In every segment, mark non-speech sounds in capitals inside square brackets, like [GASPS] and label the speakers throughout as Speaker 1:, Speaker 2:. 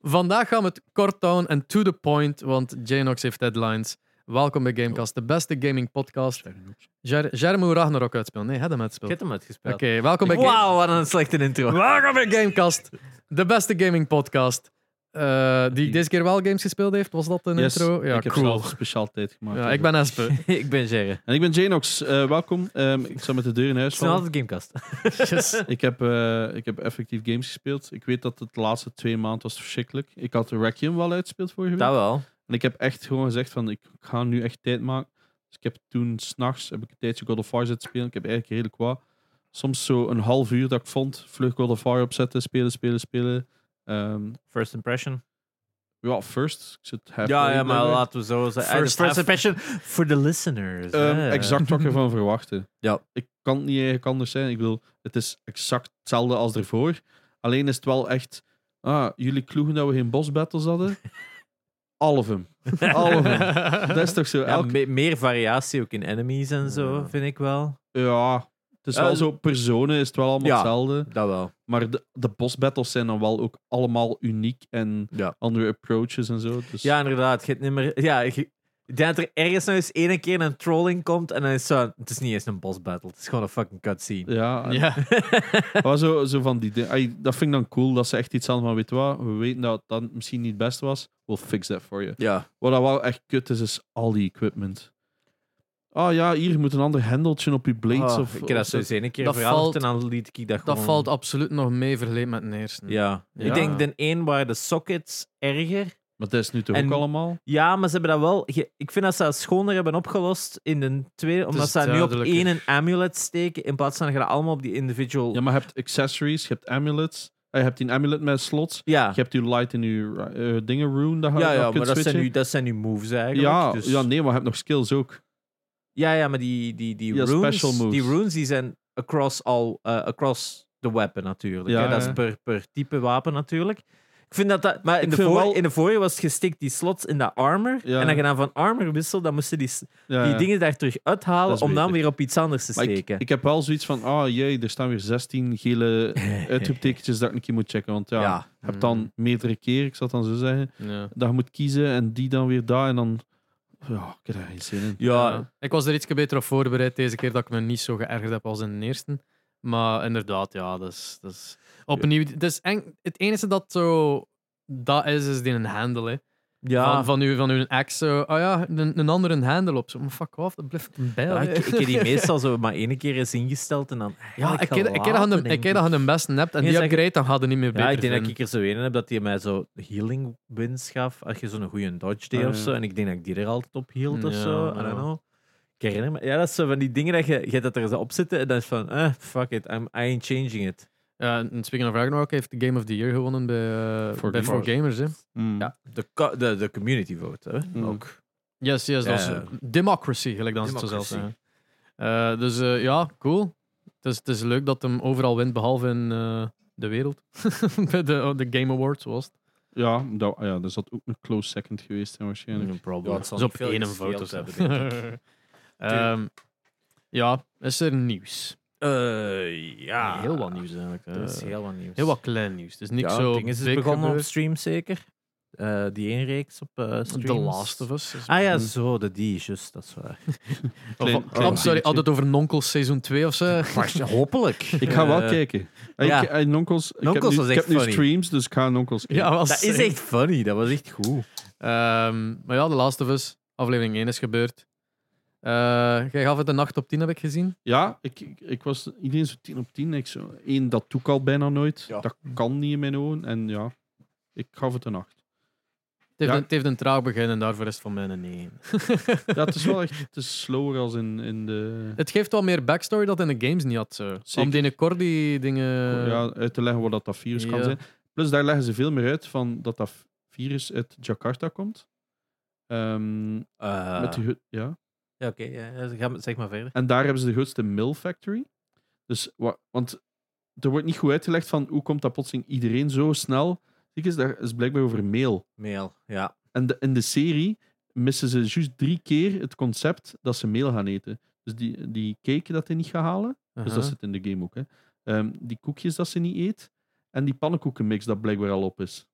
Speaker 1: Vandaag gaan we het kort houden en to the point, want Janox heeft deadlines. Welkom bij Gamecast, de beste gaming podcast. Jer Jermu Ragnarok uitspelen. Nee, hem
Speaker 2: Ik
Speaker 1: uitspelen.
Speaker 2: heb hem
Speaker 1: Oké,
Speaker 2: uitgespeeld.
Speaker 1: welkom bij Game-
Speaker 2: Wauw, wat een slechte intro.
Speaker 1: Welkom bij Gamecast, de beste gaming podcast. eh, die deze keer wel games gespeeld heeft. Was dat een
Speaker 3: Yes,
Speaker 1: intro? Ja,
Speaker 3: ik heb
Speaker 1: cool.
Speaker 3: zelf speciaal tijd gemaakt. dus
Speaker 1: Ja, ik ben Espe.
Speaker 2: [LAUGHS]
Speaker 3: [LAUGHS]
Speaker 2: ik ben Gerre.
Speaker 3: En ik ben Janox. Eh, welkom. Ehm, ik sta met de deur in huis.
Speaker 2: Snel
Speaker 3: vallen.
Speaker 2: altijd Gamecast.
Speaker 1: Yes.
Speaker 3: [LAUGHS] Ik heb, eh, ik heb effectief games gespeeld. Ik weet dat het de laatste twee maanden was verschrikkelijk. Ik had Requiem wel uitgespeeld vorige week.
Speaker 2: [LAUGHS] Dat wel.
Speaker 3: En ik heb echt gewoon gezegd van, ik ga nu echt tijd maken. Dus ik heb toen s'nachts heb ik een tijdje God of War zitten spelen. Ik heb eigenlijk redelijk wat. Soms zo een half uur dat ik vond, vlug God of War opzetten, spelen, spelen, spelen. Ehm,
Speaker 2: First impression.
Speaker 3: ja, first. Ik zit halfway,
Speaker 2: Ja, ja,
Speaker 3: blijkbaar.
Speaker 2: maar laten we zo zeggen.
Speaker 1: First
Speaker 2: First, first
Speaker 1: half.
Speaker 2: impression for the listeners.
Speaker 3: Ehm,
Speaker 2: hè. [LAUGHS]
Speaker 3: exact wat ik ervan [LAUGHS] verwachtte.
Speaker 2: Ja.
Speaker 3: Ik kan het niet eigenlijk anders zijn. Ik wil, het is exact hetzelfde als ervoor. Alleen is het wel echt. Ah, jullie kloegen dat we geen boss battles
Speaker 2: [LAUGHS]
Speaker 3: hadden. All of them. All of them. Dat is toch zo?
Speaker 2: Ja,
Speaker 3: Elk,
Speaker 2: me- meer variatie ook in enemies en zo,
Speaker 1: Ja.
Speaker 2: vind ik wel.
Speaker 3: ja, het is wel
Speaker 2: Eh,
Speaker 3: zo. Personen is het wel allemaal
Speaker 2: ja.
Speaker 3: hetzelfde.
Speaker 2: Dat wel.
Speaker 3: Maar de, de boss battles zijn dan wel ook allemaal uniek en
Speaker 2: Ja.
Speaker 3: andere approaches en zo. Dus
Speaker 2: Ja, inderdaad. Je hebt niet meer... Ja, je- ik denk dat er ergens nog eens één keer een trolling komt en dan is zo... Het is niet eens een boss battle, het is gewoon een fucking cutscene.
Speaker 3: ja,
Speaker 2: [LAUGHS]
Speaker 3: en-
Speaker 1: Ja.
Speaker 3: Maar zo, zo van die dingen. Ai, Dat vind ik dan cool dat ze echt iets hadden van: weet je wat, we weten dat dat misschien niet het beste was. We'll fix that for you.
Speaker 2: Ja.
Speaker 3: Wat dat wel echt kut is, is al die equipment. Ah ja, hier je moet een ander hendeltje op je blades.
Speaker 2: Oh,
Speaker 3: of,
Speaker 2: ik heb dat
Speaker 3: of
Speaker 2: zo eens één keer
Speaker 1: Dat
Speaker 2: veranderd
Speaker 1: valt-
Speaker 2: en dan liet ik dat gewoon...
Speaker 1: Dat valt absoluut nog mee vergeleken met een eerste.
Speaker 2: Ja.
Speaker 3: Ja.
Speaker 2: Ik denk de een waren de sockets erger.
Speaker 3: Maar dat is nu toch
Speaker 2: En-
Speaker 3: ook allemaal?
Speaker 2: Ja, maar ze hebben dat wel... ge- Ik vind dat ze dat schoner hebben opgelost in de tweede, omdat
Speaker 1: is
Speaker 2: ze dat nu op
Speaker 1: duidelijker.
Speaker 2: één een amulet steken in plaats van dat je dat allemaal op die individual...
Speaker 3: Ja,
Speaker 2: Ja.
Speaker 3: maar je hebt accessories, je hebt amulets. Eh, je hebt die amulet met slots.
Speaker 2: Ja,
Speaker 3: Je hebt je light in je eh, dingen rune. Dat je
Speaker 2: Ah. ja,
Speaker 3: nog kunt
Speaker 2: maar dat zijn,
Speaker 3: switchen.
Speaker 2: nu, dat zijn nu moves eigenlijk.
Speaker 3: Ja,
Speaker 2: dus...
Speaker 3: ja, nee, maar je hebt nog skills ook.
Speaker 2: Ja, ja, maar die, die, die
Speaker 3: Ja,
Speaker 2: runes,
Speaker 3: special moves.
Speaker 2: die runes die zijn across all, eh, across the weapon natuurlijk.
Speaker 3: Ja,
Speaker 2: hè. Dat
Speaker 3: ja.
Speaker 2: is per, per type wapen natuurlijk. Ik vind dat dat... Maar in,
Speaker 3: Ik
Speaker 2: de,
Speaker 3: vind
Speaker 2: voor,
Speaker 3: wel-
Speaker 2: in de vorige was het gestikt die slots in dat armor.
Speaker 3: Ja.
Speaker 2: En als je dan van armor wisselt, dan moesten die, s-
Speaker 3: Ja,
Speaker 2: die
Speaker 3: ja.
Speaker 2: dingen daar terug
Speaker 3: Dat
Speaker 2: uithalen
Speaker 3: is
Speaker 2: om dan
Speaker 3: beter.
Speaker 2: weer op iets anders te
Speaker 3: Maar ik,
Speaker 2: steken.
Speaker 3: ik heb wel zoiets van: ah jee, er staan weer 16
Speaker 2: [LAUGHS]
Speaker 3: gele uitroeptekentjes dat ik een keer moet checken. Want ja,
Speaker 2: Ja. Hmm.
Speaker 3: je hebt dan meerdere keer, ik zal het dan zo zeggen,
Speaker 1: Ja.
Speaker 3: dat je moet kiezen en die dan weer daar en dan. Ja, ik heb daar geen zin in.
Speaker 2: Ja,
Speaker 1: Ik was er iets beter op voorbereid deze keer dat ik me niet zo geërgerd heb als in de eerste. Maar inderdaad, ja, dat is, dat is opnieuw. Het, is eng, het enige dat zo dat is, is die een handle. Hè.
Speaker 2: ja.
Speaker 1: Van, van, uw, van uw ex, zo, ah ja, een, een andere een handle op. Zo, maar fuck off, dat blijft een bijl.
Speaker 2: Ja,
Speaker 1: hè.
Speaker 2: ik, ik heb
Speaker 1: [LAUGHS]
Speaker 2: [LAUGHS] die meestal zo maar één keer eens ingesteld en dan...
Speaker 1: Ja, ik
Speaker 2: eigenlijk
Speaker 1: ken ik ken dat je
Speaker 2: gelaten,
Speaker 1: de- ik
Speaker 2: denk
Speaker 1: ken dat je de beste hebt en
Speaker 2: Nee,
Speaker 1: die
Speaker 2: zeg-
Speaker 1: upgrade, dan gaat er niet meer beter
Speaker 2: Ja, ik denk dat
Speaker 1: vinden.
Speaker 2: ik er zo een heb dat hij mij zo healing wins gaf. Als je zo'n goede dodge deed
Speaker 3: Ah,
Speaker 2: of
Speaker 3: ja.
Speaker 2: zo. En ik denk dat ik die er altijd op hield of
Speaker 1: Ja,
Speaker 2: zo. I
Speaker 1: ja.
Speaker 2: don't know. Ik herinner me. Ja, dat is zo van die dingen dat je, je dat er zo op zitten. En dan is van, eh, fuck it, I'm, I ain't changing it.
Speaker 1: Ja, en speaking of Ragnarok heeft de Game of the Year gewonnen bij, eh,
Speaker 3: Voor
Speaker 1: bij
Speaker 3: gamers.
Speaker 1: For Gamers. Hè.
Speaker 3: Mm.
Speaker 2: Ja, de, co- de, de community vote. Hè?
Speaker 3: Mm.
Speaker 2: Ook.
Speaker 1: Yes, yes, dat is
Speaker 2: Ja.
Speaker 1: democracy, gelijk dan ze het zo zelf
Speaker 2: Eh, Democracy.
Speaker 1: zeggen. Eh, dus eh, ja, cool. Het is, het is leuk dat hem overal wint, behalve in eh, de wereld. [LAUGHS] Bij de, de Game Awards was het.
Speaker 3: Ja, dat, ja, dus dat ook een close second geweest zijn waarschijnlijk.
Speaker 2: problem.
Speaker 1: Dat is op één foto. zo. [LAUGHS] Ehm, ja, is er nieuws?
Speaker 2: ja.
Speaker 1: Heel wat nieuws eigenlijk.
Speaker 2: Er is
Speaker 1: eh.
Speaker 2: heel wat nieuws.
Speaker 1: Heel wat klein nieuws. Het is niks
Speaker 2: ja,
Speaker 1: zo
Speaker 2: dingen is
Speaker 1: big
Speaker 2: begonnen op
Speaker 1: gebeurd.
Speaker 2: stream zeker. Eh, die één reeks op eh streams.
Speaker 1: The Last of Us. is
Speaker 2: Ah ja,
Speaker 1: begonnen.
Speaker 2: zo, de die, juist, dat is waar.
Speaker 3: Klein-
Speaker 1: Of-
Speaker 3: klein
Speaker 1: oh, sorry,
Speaker 3: dingetje.
Speaker 1: had het over Nonkels seizoen 2 of
Speaker 2: [LAUGHS]
Speaker 1: zo?
Speaker 2: hopelijk.
Speaker 3: Ik ga wel
Speaker 2: Eh,
Speaker 3: kijken.
Speaker 2: ja.
Speaker 3: Ik, eh, nonkels, ik heb
Speaker 2: Nonkels
Speaker 3: nu,
Speaker 2: was
Speaker 3: ik
Speaker 2: echt
Speaker 3: heb nu
Speaker 2: funny.
Speaker 3: streams, dus ik ga nonkels kijken.
Speaker 1: was
Speaker 2: Dat is echt funny, dat was echt goed.
Speaker 1: Ehm, maar ja, The Last of Us, aflevering 1 is gebeurd. Eh, jij gaf het een nacht op 10, heb ik gezien.
Speaker 3: Ja, ik, ik, ik was iedereen zo 10 op 10. Ik zo, één, dat doe ik al bijna nooit.
Speaker 2: Ja.
Speaker 3: Dat kan niet in mijn ogen. En ja, ik gaf het een acht.
Speaker 1: Het heeft,
Speaker 3: Ja.
Speaker 1: een, het heeft een traag begin en daarvoor is het van mij een 1.
Speaker 3: Ja, het is wel echt het is slower als in, in de...
Speaker 1: Het geeft wel meer backstory dat in de games niet had. zo.
Speaker 3: Zeker.
Speaker 1: Om die Cordy dingen...
Speaker 3: ja, uit te leggen wat dat, dat virus kan
Speaker 1: Eh, Ja.
Speaker 3: zijn. Plus daar leggen ze veel meer uit van dat dat virus uit Jakarta komt. Ehm,
Speaker 2: Eh,
Speaker 3: met die, hut- ja.
Speaker 2: ja, Oké, ja, ja, ga maar- zeg maar verder.
Speaker 3: En daar hebben ze de grootste mill factory. Dus, wa- want er wordt niet goed uitgelegd van hoe komt dat plotseling iedereen zo snel. Ziek is, daar is blijkbaar over mail.
Speaker 2: Mail, ja.
Speaker 3: En de, in de serie missen ze juist drie keer het concept dat ze mail gaan eten. Dus die, die cake dat hij niet gaat halen,
Speaker 2: Uh-huh.
Speaker 3: dus dat
Speaker 1: Aha.
Speaker 3: zit in de game ook. Hè. Ehm, die koekjes dat ze niet eet en die pannenkoekenmix dat blijkbaar al op is.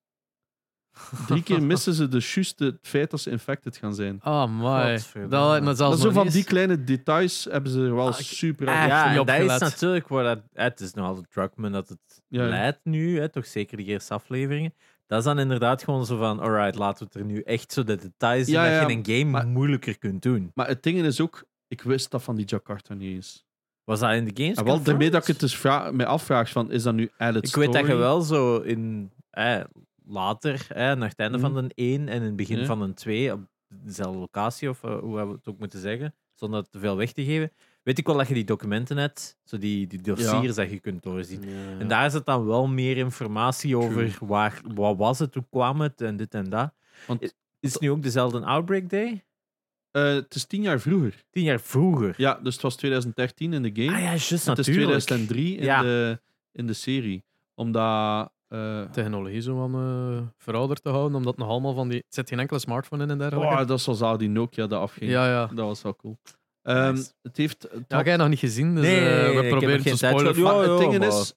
Speaker 3: Drie
Speaker 2: [LAUGHS]
Speaker 3: keer missen ze dus juist het feit dat ze infected gaan zijn.
Speaker 1: Oh, my.
Speaker 2: Godverdomme.
Speaker 1: Dat had ik me zelfs
Speaker 3: Maar zo
Speaker 1: nog
Speaker 3: van
Speaker 1: niet
Speaker 3: die
Speaker 1: eens-
Speaker 3: kleine details hebben ze er wel
Speaker 2: Ah, ik-
Speaker 3: super
Speaker 1: echt
Speaker 3: uit.
Speaker 1: niet
Speaker 2: ja, en dat is
Speaker 1: opgelet.
Speaker 2: natuurlijk waar dat... eh, Het is nog altijd Druckmann dat het
Speaker 3: Ja, ja.
Speaker 2: leidt nu, hè, toch zeker de eerste afleveringen. Dat is dan inderdaad gewoon zo van, alright, laten we het er nu echt zo de details in
Speaker 3: Ja, ja,
Speaker 2: dat je in een game
Speaker 3: maar-
Speaker 2: moeilijker kunt doen.
Speaker 3: Maar het ding is ook, ik wist dat van die Jakarta niet eens.
Speaker 2: Was dat in de games?
Speaker 3: En Ah, wel, daarmee
Speaker 2: confirmed?
Speaker 3: dat ik het dus vra- mij afvraag, van, is dat nu added
Speaker 2: Ik weet dat je
Speaker 3: story?
Speaker 2: wel zo in eh, later, eh, naar het einde
Speaker 3: Mhm.
Speaker 2: van de 1 en in het begin
Speaker 3: Ja.
Speaker 2: van de 2, op dezelfde locatie, of eh, hoe hebben we het ook moeten zeggen, zonder te veel weg te geven. Weet ik wel dat je die documenten hebt, zo die, die dossiers dat je kunt doorzien.
Speaker 1: Ja.
Speaker 2: En daar zit dan wel meer informatie over waar, wat was het, hoe kwam het en dit en dat.
Speaker 3: Want-
Speaker 2: is het nu ook dezelfde Outbreak Day?
Speaker 3: Eh, het is tien jaar vroeger.
Speaker 2: Tien jaar vroeger.
Speaker 3: Ja, dus het was 2013 in de game.
Speaker 2: Ah ja, juist
Speaker 3: en het is
Speaker 2: natuurlijk.
Speaker 3: 2003 in,
Speaker 2: Ja.
Speaker 3: de, in de serie. Omdat... eh,
Speaker 1: technologie zo aan eh verouderd te houden, omdat nog allemaal van die... Het zit geen enkele smartphone in en dergelijke.
Speaker 3: oh, dat was al die Nokia dat afging.
Speaker 1: ja, ja.
Speaker 3: Dat was wel cool. Ehm,
Speaker 2: Nice.
Speaker 3: Het heeft... het
Speaker 1: Dat heb jij nog niet gezien, dus
Speaker 2: Nee,
Speaker 1: eh,
Speaker 2: nee, nee, ik
Speaker 1: we
Speaker 2: heb
Speaker 1: proberen
Speaker 2: nog geen
Speaker 1: te
Speaker 2: tijd
Speaker 1: spoilen.
Speaker 2: gehad.
Speaker 3: Maar
Speaker 2: Ja,
Speaker 3: het
Speaker 2: ja,
Speaker 3: ding
Speaker 2: maar-
Speaker 3: is,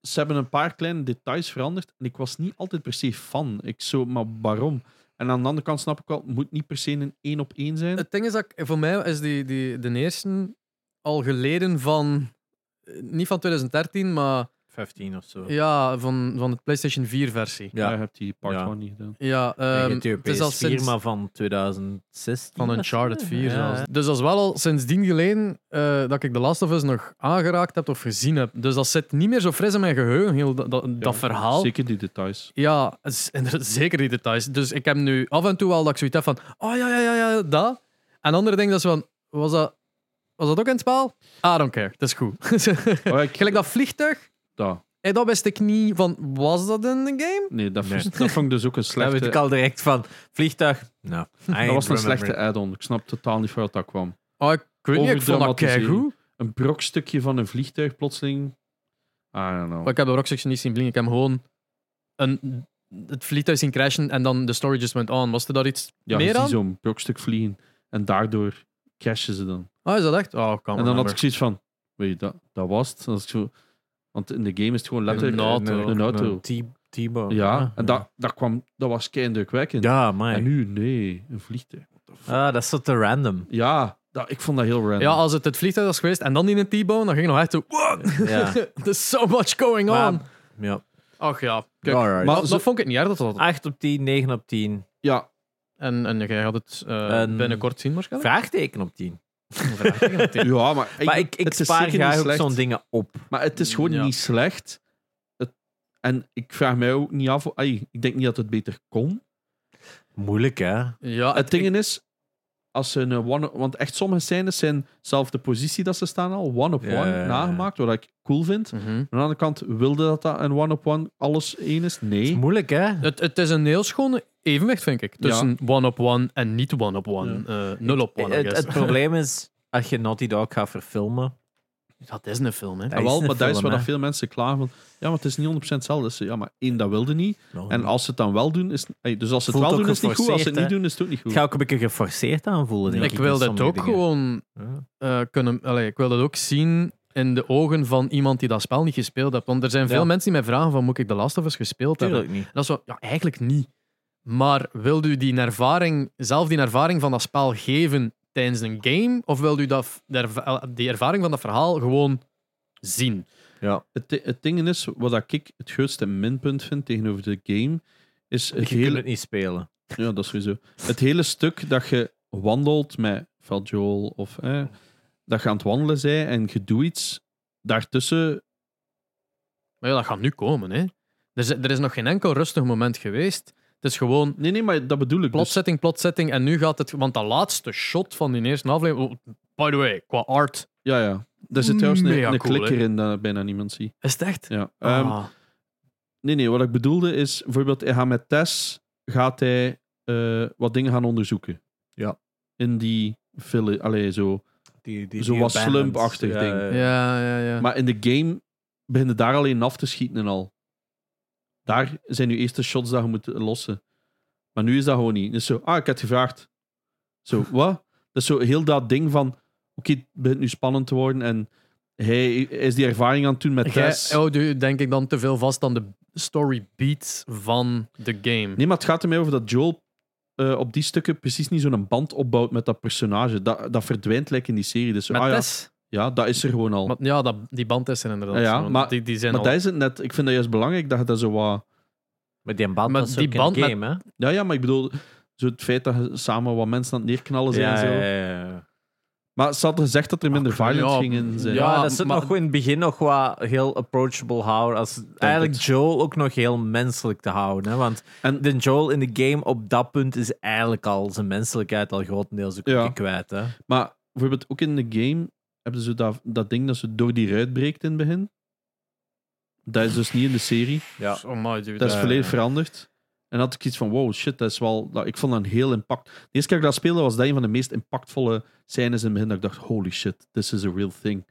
Speaker 3: ze hebben een paar kleine details veranderd. En ik was niet altijd per se fan. Ik zo, maar waarom? En aan de andere kant snap ik wel, het moet niet per se een één op één zijn.
Speaker 1: Het ding is dat ik- voor mij is die, die, de eerste al geleden van... eh, Niet van 2013, maar
Speaker 2: 15 of zo.
Speaker 1: ja, van, van de PlayStation 4-versie.
Speaker 3: ja.
Speaker 2: Ja.
Speaker 3: hebt die part
Speaker 2: Ja.
Speaker 3: 1 niet gedaan.
Speaker 1: Ja,
Speaker 2: En
Speaker 1: ehm,
Speaker 2: je hebt je
Speaker 1: het is al
Speaker 2: PS4,
Speaker 1: sinds...
Speaker 2: maar van 2016.
Speaker 1: Van
Speaker 2: of zo.
Speaker 1: Uncharted 4
Speaker 2: Ja,
Speaker 1: zelfs. Dus dat is wel al sindsdien geleden eh, dat ik The Last of Us nog aangeraakt heb of gezien heb. Dus dat zit niet meer zo fris in mijn geheugen, heel dat, dat, dat
Speaker 3: Ja,
Speaker 1: verhaal.
Speaker 3: Zeker die
Speaker 2: [LAUGHS]
Speaker 3: details.
Speaker 1: Ja, z- [LAUGHS] inderdaad, zeker die details. Dus ik heb nu af en toe wel dat ik zoiets heb van... Oh ja, ja, ja, ja, dat. En andere dingen dat is van... Was dat, was dat ook in het spel? I don't care, dat is goed. [LAUGHS]
Speaker 3: Oh, ik,
Speaker 1: Gelijk dat vliegtuig,
Speaker 3: dat.
Speaker 1: hey, dat wist ik niet van... Was dat in de game?
Speaker 3: Nee, dat,
Speaker 2: Nee.
Speaker 3: dat vond ik dus
Speaker 2: [LAUGHS]
Speaker 3: ook een
Speaker 2: Daar
Speaker 3: slechte...
Speaker 2: weet ik al direct van. Vliegtuig? Nou,
Speaker 3: [LAUGHS] dat was een slechte add-on. Ik snap totaal niet waar dat kwam.
Speaker 1: Oh, ik weet niet, ik vond dat
Speaker 3: Overdramatisering.
Speaker 1: keigoed.
Speaker 3: Een brokstukje van een vliegtuig plotseling. I don't know.
Speaker 1: Maar ik heb de Rocksection niet zien blinken. Ik heb gewoon een, het vliegtuig zien crashen en dan de story just went on. Was er daar iets
Speaker 3: ja,
Speaker 1: meer
Speaker 3: je ziet
Speaker 1: aan?
Speaker 3: zo'n brokstuk vliegen. En daardoor crashen ze dan.
Speaker 1: Oh, is dat echt? Oh, kan
Speaker 3: En dan had ik zoiets van, weet je, dat, dat was het. Dat is zo, want in de game is het gewoon letterlijk...
Speaker 1: Een auto.
Speaker 3: Een auto.
Speaker 2: T-Bone.
Speaker 3: Ja, en dat, dat, kwam, dat was keindrukwekkend.
Speaker 2: Ah, Ja, maar.
Speaker 3: En nu, nee, een vliegtuig. What the fuck?
Speaker 2: Ah, dat is zo te random.
Speaker 3: Ja, dat, ik vond dat heel random.
Speaker 1: Ja, als het het vliegtuig was geweest en dan in een T-bone, dan ging nog echt zo... What? [LAUGHS]
Speaker 2: Ja.
Speaker 1: There's so much going on.
Speaker 2: Maar- Ja.
Speaker 1: Ach ja, kijk.
Speaker 2: Alright.
Speaker 1: Maar
Speaker 3: Maar
Speaker 1: dat,
Speaker 3: zo-
Speaker 1: dat vond ik niet erg dat dat...
Speaker 2: 8 op 10, 9 op 10.
Speaker 3: ja,
Speaker 1: En, en jij gaat het eh,
Speaker 2: En-
Speaker 1: binnenkort zien waarschijnlijk?
Speaker 2: Vraagteken op 10.
Speaker 3: ja, maar ik,
Speaker 2: [LAUGHS] maar ik, ik
Speaker 3: het is
Speaker 2: spaar
Speaker 3: zeker niet
Speaker 2: graag ook
Speaker 3: slecht.
Speaker 2: zo'n dingen op.
Speaker 3: Maar het is gewoon
Speaker 1: Ja.
Speaker 3: niet slecht. Het, en ik vraag mij ook niet af... ai, ik denk niet dat het beter kon.
Speaker 2: Moeilijk, hè?
Speaker 1: [LAUGHS] Ja,
Speaker 3: Het ding is, als ze een one want echt sommige scènes zijn zelf de positie dat ze staan al, one-op-one
Speaker 2: Ja, Hm. ja, ja.
Speaker 3: nagemaakt, wat ik cool vind.
Speaker 1: Mhm.
Speaker 3: Aan de andere kant, wilde dat dat een one-op-one alles één is?
Speaker 2: Het is
Speaker 3: Nee.
Speaker 2: moeilijk, hè?
Speaker 1: het, het is een heel schoon evenwicht, vind ik. Tussen one-op-one en niet one-op-one. eh, Nul-op-one, I
Speaker 2: Het, [LAUGHS]
Speaker 1: guess.
Speaker 2: het probleem is, als je Naughty Dog gaat verfilmen.
Speaker 1: Dat is een film, hè.
Speaker 2: dat
Speaker 3: En Ah,
Speaker 2: is
Speaker 3: wel,
Speaker 2: een
Speaker 3: maar dat is
Speaker 2: film,
Speaker 3: waar
Speaker 2: hè.
Speaker 3: dat veel mensen klagen van. Ja, maar het is niet 100% hetzelfde. Dus, ja, maar één, dat wilde niet. En als ze het dan wel doen, is ey, Dus als ze het
Speaker 2: Voelt
Speaker 3: wel
Speaker 2: ook
Speaker 3: doen, is het niet goed. Als ze het niet
Speaker 2: geforceerd, hè?
Speaker 3: doen, is het ook niet goed.
Speaker 2: Het gaat ook een beetje geforceerd aanvoelen, denk
Speaker 1: Ik
Speaker 2: ik.
Speaker 1: wil
Speaker 2: in
Speaker 1: dat
Speaker 2: sommige
Speaker 1: ook
Speaker 2: dingen.
Speaker 1: gewoon
Speaker 2: Ja.
Speaker 1: eh, kunnen... Allee, ik wil dat ook zien in de ogen van iemand die dat spel niet gespeeld heeft. Want er zijn veel
Speaker 2: Ja.
Speaker 1: mensen die mij vragen van moet ik The Last of Us gespeeld hebben?
Speaker 2: Tuurlijk niet.
Speaker 1: En dat is wel, ja, eigenlijk niet. Maar wil u die ervaring, zelf die ervaring van dat spel geven tijdens een game? Of wil u dat, de erva- eh, die ervaring van dat verhaal gewoon zien?
Speaker 3: Het, di- het ding is, wat ik het grootste minpunt vind tegenover de game, is
Speaker 2: Je
Speaker 3: het
Speaker 2: kunt
Speaker 3: hele...
Speaker 2: het niet spelen.
Speaker 3: Ja, dat is sowieso. Het hele stuk dat je wandelt met Val Joel of eh, dat je aan het wandelen zij en je doet iets daartussen.
Speaker 1: Maar ja, dat gaat nu komen, hè? Er is, er is nog geen enkel rustig moment geweest. Het is gewoon
Speaker 3: Nee, nee, maar dat bedoel ik. Dus,
Speaker 1: plotzetting, plotzetting. En nu gaat het. Want dat laatste shot van die eerste aflevering. oh, by the way, qua art.
Speaker 3: ja, ja. Er zit trouwens
Speaker 1: Mega
Speaker 3: een, een
Speaker 1: cool,
Speaker 3: klikker in dat bijna niemand ziet.
Speaker 1: Is het echt?
Speaker 3: Ja. Ehm,
Speaker 1: Ah.
Speaker 3: Nee, nee, wat ik bedoelde is bijvoorbeeld, hij gaat met Tess gaat hij, eh, wat dingen gaan onderzoeken.
Speaker 2: Ja.
Speaker 3: In die file, allee, zo.
Speaker 2: Die, die,
Speaker 3: Zo
Speaker 2: die
Speaker 3: wat
Speaker 2: abandoned,
Speaker 3: slump-achtig
Speaker 2: ja,
Speaker 3: ding.
Speaker 2: ja, ja.
Speaker 1: ja, ja, ja.
Speaker 3: Maar in de game beginnen daar alleen af te schieten en al. Daar zijn je eerste shots dat je moet lossen. Maar nu is dat gewoon niet. Dus zo, ah, ik had gevraagd.
Speaker 1: [LAUGHS]
Speaker 3: Zo, wat? Dat is zo heel dat ding van, oké, het begint nu spannend te worden en hij is die ervaring aan het doen met
Speaker 1: Jij Oh.
Speaker 3: Tess.
Speaker 1: houdt u, denk ik, dan te veel vast aan de story beats van de game.
Speaker 3: Nee, maar het gaat ermee over dat Joel eh, op die stukken precies niet zo'n band opbouwt met dat personage. Dat, dat verdwijnt lekker in die serie. Dus,
Speaker 1: Met
Speaker 3: ah, ja,
Speaker 1: Tess?
Speaker 3: ja, dat is er gewoon al.
Speaker 1: Maar- ja, dat, die band is er inderdaad.
Speaker 3: Ja,
Speaker 1: zo,
Speaker 3: maar-
Speaker 1: die, die zijn
Speaker 3: maar
Speaker 1: al-
Speaker 3: dat is het net. Ik vind dat juist belangrijk dat je dat zo wat...
Speaker 2: Met die band,
Speaker 1: Maar
Speaker 2: dat is
Speaker 1: die
Speaker 2: ook
Speaker 1: band
Speaker 2: in
Speaker 1: met-
Speaker 2: de game, hè?
Speaker 3: Ja, ja, maar ik bedoel... Zo het feit dat je samen wat mensen aan het neerknallen zijn en zo.
Speaker 2: ja, ja.
Speaker 3: Maar ze had gezegd dat er minder violence
Speaker 1: ja,
Speaker 3: ging in zijn.
Speaker 1: Ja,
Speaker 2: Ja, dat zit
Speaker 1: maar-
Speaker 2: nog in het begin nog wat heel approachable houden. Als eigenlijk
Speaker 3: het.
Speaker 2: Joel ook nog heel menselijk te houden. Hè? Want
Speaker 3: En-
Speaker 2: de Joel in de game op dat punt is eigenlijk al zijn menselijkheid al grotendeels ook
Speaker 3: Ja.
Speaker 2: kwijt. Hè?
Speaker 3: Maar bijvoorbeeld ook in de game hebben ze dat, dat ding dat ze door die ruit breekt in het begin. Dat is dus niet in de serie.
Speaker 2: Ja.
Speaker 1: Oh my dude.
Speaker 3: Dat is
Speaker 1: eh,
Speaker 3: volledig veranderd. En had ik iets van, wow, shit, dat is wel... nou, ik vond dat een heel impact... De eerste keer dat ik dat speelde, was dat een van de meest impactvolle scènes in het begin. Dat ik dacht, holy shit, this is a real thing.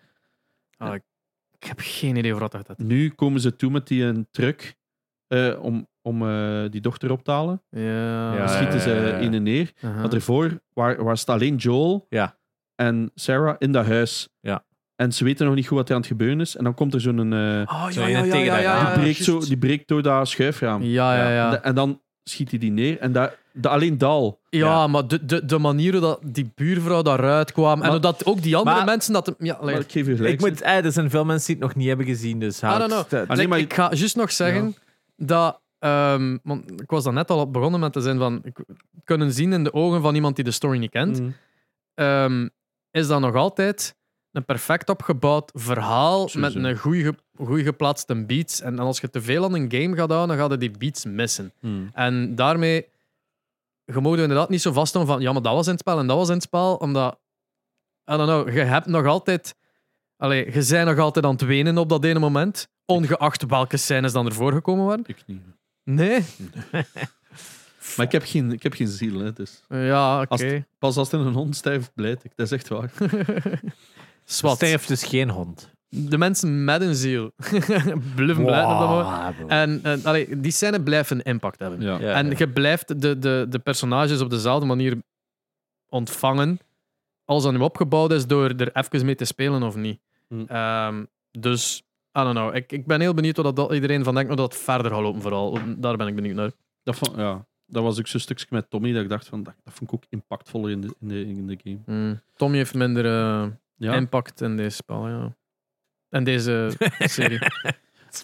Speaker 1: Ik heb geen idee voor wat dat is.
Speaker 3: Nu komen ze toe met die een truck eh, om, om eh, die dochter op te halen.
Speaker 1: Ja.
Speaker 2: Ja,
Speaker 3: Dan schieten ze
Speaker 2: ja, ja, ja.
Speaker 3: in en neer.
Speaker 1: Uh-huh.
Speaker 3: Want ervoor waar, was het alleen Joel
Speaker 2: Ja.
Speaker 3: en Sarah in dat huis.
Speaker 2: Ja.
Speaker 3: En ze weten nog niet goed wat er aan het gebeuren is. En dan komt er zo'n... eh,
Speaker 1: Oh,
Speaker 2: Zo in het tegen dat raam.
Speaker 3: die, breekt zo,
Speaker 1: juist.
Speaker 3: die breekt door dat schuifraam.
Speaker 1: Ja, ja, ja.
Speaker 3: En, da- en dan schiet hij die neer. En dat, dat alleen Dal.
Speaker 1: Ja, maar de, de, de manier hoe dat die buurvrouw daaruit kwam.
Speaker 3: Maar-
Speaker 1: en dat ook die andere
Speaker 2: Maar-
Speaker 1: mensen dat. Ja,
Speaker 3: Maar
Speaker 1: like,
Speaker 3: ik geef je gelijk.
Speaker 2: Ik moet, eh, er zijn veel mensen die het nog niet hebben gezien. Dus
Speaker 1: I don't know.
Speaker 3: Ah, nee, maar-
Speaker 1: Ik ga juist nog zeggen dat. ehm, want ik was daar net al op begonnen met te zijn van. ik- kunnen zien in de ogen van iemand die de story niet kent.
Speaker 3: Mm.
Speaker 1: ehm, is dat nog altijd een perfect opgebouwd verhaal
Speaker 3: Sowieso.
Speaker 1: met een goeie ge- goeie geplaatste beats. En als je te veel aan een game gaat houden, dan ga je die beats missen.
Speaker 3: Mm.
Speaker 1: En daarmee, je mag je inderdaad niet zo vasthouden van, ja, maar dat was in het spel en dat was in het spel, omdat, I don't know, je hebt nog altijd, allee, je bent nog altijd aan het wenen op dat ene moment, ongeacht welke scènes dan ervoor gekomen waren.
Speaker 3: Ik niet.
Speaker 1: Nee?
Speaker 3: Maar ik heb geen, ik heb geen ziel. Hè, dus.
Speaker 1: Ja, oké.
Speaker 3: Als Pas als het in een hond stijft, blijf ik. Dat is echt waar.
Speaker 1: Swat.
Speaker 2: Stijf dus geen hond.
Speaker 1: De mensen met een ziel. [LAUGHS] Bluffen blij op dat moment. En, en allee, die scène blijft een impact hebben.
Speaker 3: Ja.
Speaker 2: Ja.
Speaker 1: En je blijft de, de, de personages op dezelfde manier ontvangen als dat nu opgebouwd is door er even mee te spelen of niet.
Speaker 3: Hm.
Speaker 1: Ehm, dus, I don't know. Ik, ik ben heel benieuwd wat dat iedereen van denkt, hoe dat verder gaat lopen vooral. Daar ben ik benieuwd naar.
Speaker 3: [LAUGHS] Dat, vond- ja. dat was ook zo'n stukje met Tommy dat ik dacht van, dat, dat vond ik ook impactvoller in de, in de, in de game.
Speaker 1: Mm. Tommy heeft minder eh,
Speaker 3: Hmm. Ja.
Speaker 1: impact in deze spel, ja. En
Speaker 3: [LAUGHS]
Speaker 1: deze serie.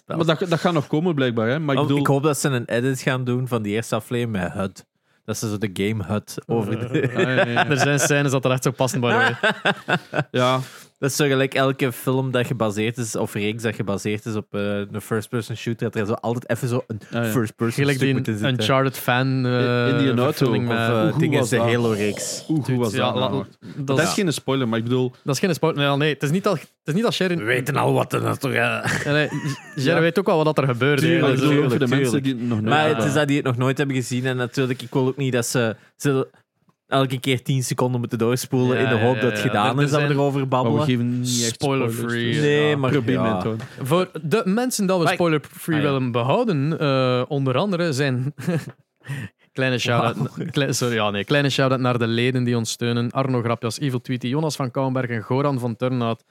Speaker 3: Maar dat, dat gaat nog komen blijkbaar. Hè. Maar ik
Speaker 2: Oh, ik,
Speaker 3: bedoel,
Speaker 2: hoop dat ze een edit gaan doen van die eerste aflevering met HUD. Dat ze zo de game HUD over de...
Speaker 3: Ja, ja, ja,
Speaker 1: er
Speaker 3: ja.
Speaker 1: zijn scènes dat er echt zo passen
Speaker 3: [LAUGHS]
Speaker 1: bij de
Speaker 3: Ja,
Speaker 2: Dat is zo gelijk elke film dat gebaseerd is, of reeks dat gebaseerd is op eh, een first-person shooter, dat er zo altijd even zo een
Speaker 3: Ah, ja.
Speaker 2: first-person
Speaker 1: Gelijk
Speaker 2: stuk
Speaker 1: die
Speaker 2: moeten zitten.
Speaker 1: Uncharted fan. eh
Speaker 3: Indian Auto,
Speaker 1: verfilming
Speaker 3: of,
Speaker 2: Of
Speaker 1: met-
Speaker 2: eh,
Speaker 3: Hoe- hoe
Speaker 2: dingen
Speaker 3: was
Speaker 2: de
Speaker 3: dat?
Speaker 2: Halo-reeks.
Speaker 3: oeh, hoe
Speaker 1: Dude,
Speaker 3: was
Speaker 1: ja,
Speaker 3: dat? nou
Speaker 1: la-
Speaker 3: nog?
Speaker 1: dat,
Speaker 3: Dat
Speaker 1: is
Speaker 3: is geen spoiler, maar ik bedoel,
Speaker 1: Dat is geen spoiler. Nee, nee, het is niet dat, het is niet dat Sharon.
Speaker 2: We weten al wat er natuurlijk...
Speaker 1: Nee, nee, Sharon
Speaker 3: Ja.
Speaker 1: weet ook wel wat er gebeurde.
Speaker 2: Tuurlijk,
Speaker 1: hè,
Speaker 3: maar ik
Speaker 1: dus-
Speaker 3: bedoel ook voor de
Speaker 2: tuurlijk,
Speaker 3: mensen die het nog nooit
Speaker 2: Maar het
Speaker 3: hebben.
Speaker 2: is dat die het nog nooit hebben gezien. En natuurlijk, ik wil ook niet dat ze, ze elke keer 10 seconden moeten doorspoelen
Speaker 1: Ja,
Speaker 2: in de hoop
Speaker 1: ja,
Speaker 2: dat
Speaker 1: ja.
Speaker 2: het gedaan
Speaker 1: Er- er
Speaker 2: is dat we
Speaker 1: zijn-
Speaker 2: erover
Speaker 3: Maar we
Speaker 2: babbelen.
Speaker 3: geven niet echt
Speaker 1: Spoiler
Speaker 3: spoilers,
Speaker 1: free,
Speaker 3: dus-
Speaker 1: ge-
Speaker 2: Nee,
Speaker 1: ja.
Speaker 2: maar
Speaker 3: Probeer
Speaker 2: eh, ja.
Speaker 3: me het houden.
Speaker 1: Voor de mensen dat we
Speaker 2: Maar-
Speaker 1: spoiler-free
Speaker 2: Ah, ja.
Speaker 1: willen behouden, eh, onder andere zijn. [LAUGHS] Kleine shout-out. klei- sorry, ja, nee. Kleine shout-out naar de leden die ons steunen. Arno Grapjas, Evil Tweety, Jonas van Kouwenberg en Goran van Turnhout.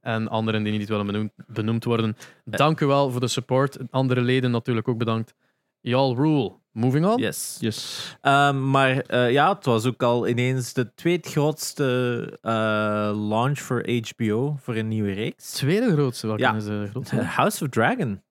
Speaker 1: En anderen die niet willen benoemd, benoemd worden. Dank u wel voor de support. Andere leden natuurlijk ook bedankt. Y'all rule. Moving on.
Speaker 2: Yes.
Speaker 3: Yes.
Speaker 2: Ehm, maar eh, ja, het was ook al ineens de tweetgrootste eh, launch voor HBO voor een nieuwe reeks.
Speaker 1: Tweede grootste. Welke
Speaker 2: Ja.
Speaker 1: is de grootste?
Speaker 2: Eh, House of Dragon.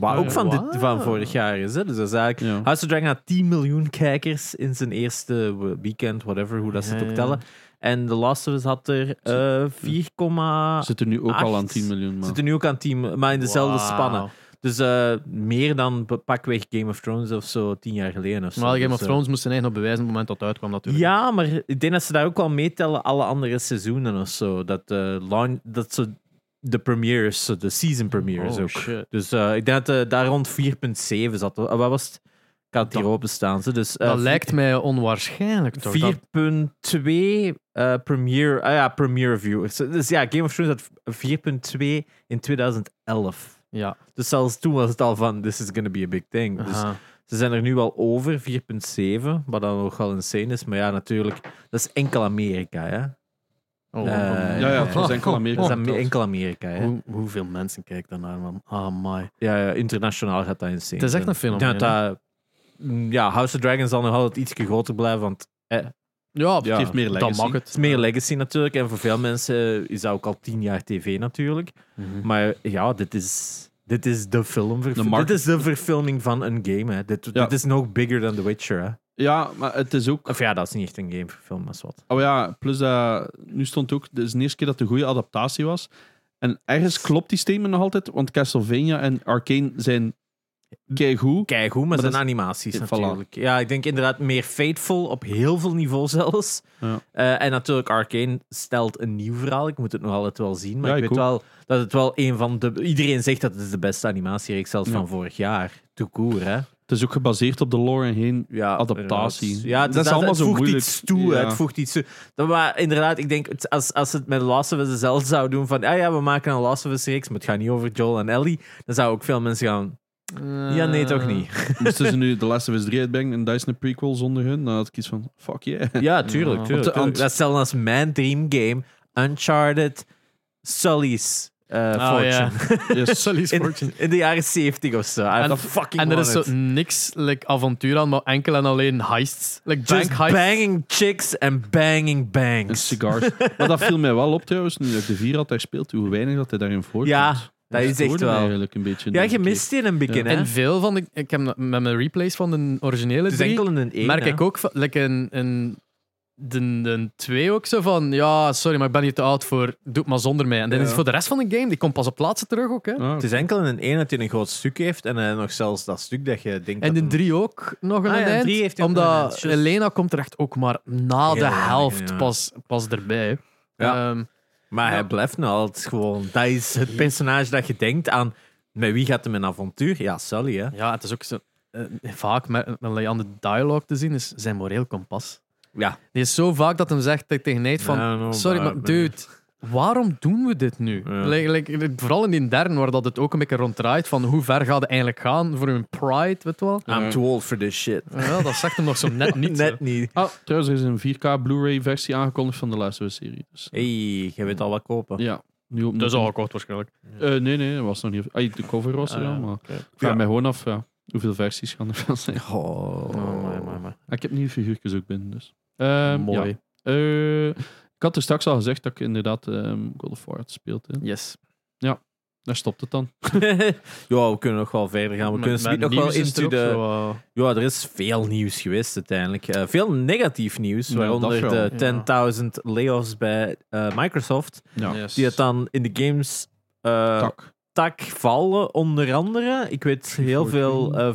Speaker 2: Waar
Speaker 3: Oh,
Speaker 2: ook van, dit,
Speaker 1: wow.
Speaker 2: van vorig jaar is. Hè? Dus dat is eigenlijk
Speaker 3: Ja.
Speaker 2: House of Dragon had 10 miljoen kijkers in zijn eerste we- weekend, whatever, hoe dat ze het
Speaker 1: Ja,
Speaker 2: ook
Speaker 1: ja.
Speaker 2: tellen. En The Last of Us had er eh 4,
Speaker 3: We
Speaker 2: zitten
Speaker 3: zitten nu ook al aan
Speaker 2: acht.
Speaker 3: 10 miljoen, man.
Speaker 2: nu ook aan 10, maar in dezelfde
Speaker 1: Wauw.
Speaker 2: spannen. Dus eh, meer dan be- pakweg Game of Thrones of zo, tien jaar geleden of zo.
Speaker 1: Maar Game
Speaker 2: Dus,
Speaker 1: of
Speaker 2: eh,
Speaker 1: Thrones moest zijn eigen op bewijzen op het moment dat het uitkwam natuurlijk.
Speaker 2: Ja, maar ik denk dat ze daar ook wel meetellen, alle andere seizoenen of zo. Dat, eh, launch, dat ze de premieres, zo de season premieres
Speaker 1: Oh,
Speaker 2: ook.
Speaker 1: shit.
Speaker 2: Dus eh, ik denk dat eh, daar rond 4.7 zat. Eh, wat was het? Ik had het hier
Speaker 1: Dat-
Speaker 2: openstaan. Ze. Dus, eh,
Speaker 1: dat lijkt mij onwaarschijnlijk toch? dat-
Speaker 2: 4.2 eh, premiere, ah ja, premiere viewers. Dus ja, Game of Thrones had 4.2 in 2011.
Speaker 1: Ja.
Speaker 2: Dus zelfs toen was het al van, this is gonna be a big thing. Dus
Speaker 1: aha.
Speaker 2: ze zijn er nu al over, 4.7, wat dan nogal insane is. Maar ja, natuurlijk, dat is enkel Amerika, hè.
Speaker 1: Oh,
Speaker 2: Eh,
Speaker 1: man.
Speaker 3: ja, ja,
Speaker 2: eh,
Speaker 3: dat is enkel Amerika.
Speaker 2: Dat is
Speaker 1: Oh,
Speaker 2: Am-
Speaker 1: dat-
Speaker 2: enkel Amerika, hè.
Speaker 1: Hoe, hoeveel mensen kijken daarnaar, man? Ah, my.
Speaker 2: Ja, ja, internationaal gaat dat insane.
Speaker 1: Het is echt
Speaker 2: zijn.
Speaker 1: een film,
Speaker 2: Ja,
Speaker 1: hè?
Speaker 2: dat- mm, ja, House of Dragons zal nog altijd ietsje groter blijven, want
Speaker 1: Ja,
Speaker 3: Het geeft meer
Speaker 1: dan
Speaker 3: legacy.
Speaker 1: mag het.
Speaker 2: het is meer legacy natuurlijk. En voor veel mensen is dat ook al tien jaar tv natuurlijk.
Speaker 1: Mhm.
Speaker 2: Maar ja, dit is, dit is de film.
Speaker 3: De market-
Speaker 2: Dit is de verfilming van een game. Hè. Dit,
Speaker 3: Ja.
Speaker 2: dit is nog bigger dan The Witcher. Hè.
Speaker 3: Ja, maar het is ook...
Speaker 2: Of ja, dat is niet echt een game verfilmd, maar is wat.
Speaker 3: Oh ja, plus dat... Nu stond ook... Dit is de eerste keer dat de goede adaptatie was. En ergens klopt die statement nog altijd, want Castlevania en Arcane zijn keigoed.
Speaker 2: Kijk hoe, maar,
Speaker 3: Maar
Speaker 2: zijn
Speaker 3: dat
Speaker 2: animaties
Speaker 3: Ja, voilà.
Speaker 2: natuurlijk. Ja, ik denk inderdaad meer Fateful op heel veel niveaus zelfs.
Speaker 3: Ja.
Speaker 2: Eh, en natuurlijk Arcane stelt een nieuw verhaal. Ik moet het nog altijd wel zien, maar
Speaker 3: Ja,
Speaker 2: ik
Speaker 3: ik
Speaker 2: weet
Speaker 3: ook.
Speaker 2: wel dat het wel een van de... Iedereen zegt dat het is de beste animatiereeks zelfs
Speaker 3: Ja.
Speaker 2: van vorig jaar. Tout court, hè.
Speaker 3: Het is ook gebaseerd op de lore en heen.
Speaker 2: ja,
Speaker 3: Adaptatie.
Speaker 2: inderdaad. Ja, het, dat is allemaal het
Speaker 3: zo
Speaker 2: voegt
Speaker 3: moeilijk.
Speaker 2: iets toe. hè.
Speaker 3: Ja.
Speaker 2: Het voegt iets toe. Dat, maar inderdaad, ik denk, het- als, als het met Last of Us zelf zou doen van, ah ja, we maken een Last of Us reeks, maar het gaat niet over Joel en Ellie, dan zou ook veel mensen gaan,
Speaker 1: eh,
Speaker 2: ja, nee, toch niet.
Speaker 3: Moesten ze nu The Last of Us 3 uitbrengen en dat is een prequel zonder hun, dan had ik iets van, fuck yeah.
Speaker 1: Ja.
Speaker 2: Ja, tuurlijk, tuurlijk.
Speaker 3: Want-
Speaker 2: tuurlijk. Dat is zelfs als mijn dream game, Uncharted, Sully's eh, Fortune.
Speaker 1: Ah, Oh, ja. [LAUGHS]
Speaker 3: Yes.
Speaker 1: Sully's
Speaker 2: In, in de jaren 70 of zo. I
Speaker 1: En-
Speaker 2: en, fucking
Speaker 1: En er
Speaker 2: want
Speaker 1: is zo
Speaker 2: it.
Speaker 1: niks like, avontuur aan, maar enkel en alleen heists. Like bank
Speaker 2: Just
Speaker 1: heists.
Speaker 2: banging chicks en banging
Speaker 3: En
Speaker 2: banks.
Speaker 3: cigars. maar dat viel mij wel op trouwens, nu dat ik de vier had daar speelt, hoe weinig dat hij daarin voorkomt.
Speaker 2: Ja, dat
Speaker 3: Ik
Speaker 2: is echt
Speaker 3: stoorde
Speaker 2: wel.
Speaker 3: mij Eigenlijk een beetje.
Speaker 2: Ja, je mist die in een begin, hè.
Speaker 1: En veel van de... Ik heb met mijn replays van de originele
Speaker 2: Het is
Speaker 1: drie,
Speaker 2: enkel in een één,
Speaker 1: merk
Speaker 2: hè.
Speaker 1: ik ook van- like in, in de, de twee ook zo van... Ja, sorry, maar ik ben hier te oud voor. Doe het maar zonder mij. En dit
Speaker 2: Ja.
Speaker 1: is voor de rest van de game. Die komt pas op plaatsen terug ook, hè.
Speaker 3: Ah,
Speaker 2: Het is enkel in een 1 dat hij een groot stuk heeft. En eh, nog zelfs dat stuk dat je denkt.
Speaker 1: En
Speaker 2: dat
Speaker 1: in
Speaker 2: hem-
Speaker 1: drie ook nog een
Speaker 2: Ah ja, in
Speaker 1: eind.
Speaker 2: drie heeft hij ook nog een eind,
Speaker 1: omdat
Speaker 2: juist.
Speaker 1: Elena komt er echt ook maar na
Speaker 2: Heel
Speaker 1: de
Speaker 2: weinig,
Speaker 1: helft
Speaker 2: ja.
Speaker 1: pas, pas erbij.
Speaker 2: Ja.
Speaker 1: Ehm,
Speaker 2: Maar hij
Speaker 1: Ja.
Speaker 2: blijft nou altijd gewoon. Dat is het personage dat je denkt aan. Met wie gaat hem een avontuur? Ja, Sully, hè?
Speaker 1: ja, het is ook zo... eh, vaak met, met aan de dialoog te zien is zijn moreel kompas.
Speaker 2: Ja.
Speaker 1: Die is zo vaak dat hem zegt te- tegen Nate van...
Speaker 2: I don't know
Speaker 1: Sorry,
Speaker 2: about
Speaker 1: maar
Speaker 2: me."
Speaker 1: dude, waarom doen we dit nu?
Speaker 2: Ja.
Speaker 1: Like- like, vooral in die derde, waar dat het ook een beetje ronddraait van hoe ver gaat het eigenlijk gaan voor hun pride, weet je wel?
Speaker 2: I'm too old for this shit.
Speaker 1: Ja, dat zegt hem nog zo
Speaker 2: [LAUGHS]
Speaker 1: net niet. hè.
Speaker 2: Net niet.
Speaker 3: Ah, trouwens, er is een 4K Blu-ray versie aangekondigd van de Last of Us serie. Dus,
Speaker 2: Hey, je weet al wat kopen.
Speaker 3: Ja. Nu op
Speaker 1: Dat is al gekocht waarschijnlijk.
Speaker 3: Eh, nee, nee, dat was nog niet. Ah, de cover was er
Speaker 1: Ah,
Speaker 3: al,
Speaker 1: ja,
Speaker 3: maar ik
Speaker 1: oké.
Speaker 3: vraag
Speaker 2: Ja.
Speaker 3: mij gewoon af ja, hoeveel versies gaan er wel zijn.
Speaker 2: Oh,
Speaker 1: my, my, my.
Speaker 3: Ah, ik heb nieuwe figuurtjes ook binnen, dus. Ehm,
Speaker 1: Mooi.
Speaker 3: ja. Eh, ik had er straks al gezegd dat ik inderdaad ehm God of War had gespeeld. Hè.
Speaker 1: Yes.
Speaker 3: Daar stopt het dan.
Speaker 2: [LAUGHS] ja, we kunnen nog wel verder gaan. We
Speaker 1: Met-
Speaker 2: kunnen
Speaker 1: met
Speaker 2: speed nog wel
Speaker 1: nieuws is
Speaker 2: into
Speaker 1: er ook
Speaker 2: de.
Speaker 1: zo, eh,
Speaker 2: Ja, er is veel nieuws geweest uiteindelijk. Eh, veel negatief nieuws,
Speaker 3: Ja,
Speaker 2: waaronder
Speaker 3: dat wel.
Speaker 2: de 10.000 layoffs bij eh, Microsoft.
Speaker 3: Ja.
Speaker 1: yes.
Speaker 2: Die het dan in de games eh, tak.
Speaker 3: Tak.
Speaker 2: vallen, onder andere. Ik weet heel
Speaker 3: Fortune.
Speaker 2: veel eh,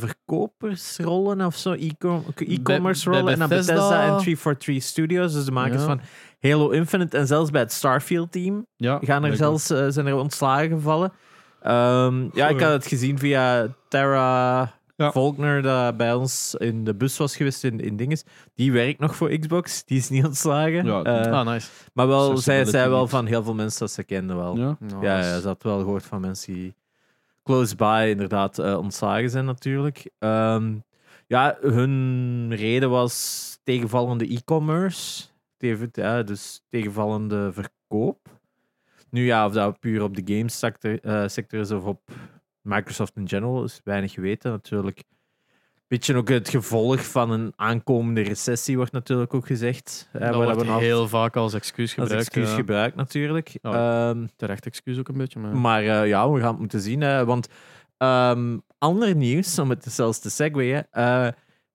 Speaker 2: verkopersrollen of zo, e-com- e-commerce
Speaker 1: Bij- bij
Speaker 2: rollen. En dan Bethesda en
Speaker 1: Bethesda.
Speaker 2: 343 Studios, dus de makers
Speaker 1: Ja.
Speaker 2: van Halo Infinite. En zelfs bij het Starfield team
Speaker 3: Ja,
Speaker 2: gaan er
Speaker 3: blijkbaar.
Speaker 2: zelfs, eh, zijn er ontslagen gevallen. Ehm, ja, ik had het gezien via Tara
Speaker 3: Ja.
Speaker 2: Volkner, dat bij ons in de bus was geweest in, in Dinges. Die werkt nog voor Xbox, die is niet ontslagen.
Speaker 3: Ja,
Speaker 2: Eh,
Speaker 1: Ah, nice.
Speaker 2: maar wel, zij
Speaker 3: accessibility
Speaker 2: zei wel
Speaker 3: niet.
Speaker 2: van heel veel mensen dat ze kenden wel.
Speaker 3: Ja.
Speaker 1: Nou,
Speaker 2: Ja,
Speaker 1: dat is-
Speaker 2: ja, ze had wel gehoord van mensen die close by inderdaad eh, ontslagen zijn natuurlijk. Ehm, ja, hun reden was tegenvallende e-commerce, Tegen- ja, dus tegenvallende verkoop. Nu ja, of dat puur op de gamesector eh, sector is of op Microsoft in general, is weinig geweten natuurlijk. Beetje ook het gevolg van een aankomende recessie wordt natuurlijk ook gezegd. eh,
Speaker 1: dat
Speaker 2: waar
Speaker 1: wordt
Speaker 2: we nog
Speaker 1: heel vaak als excuus
Speaker 2: als
Speaker 1: gebruikt.
Speaker 2: excuus
Speaker 1: ja.
Speaker 2: gebruikt natuurlijk.
Speaker 1: Oh.
Speaker 2: Ehm,
Speaker 1: Terecht excuus ook een beetje, maar...
Speaker 2: maar eh, ja, we gaan het moeten zien. hè, want ehm, ander nieuws, om het zelfs te segwayen. eh,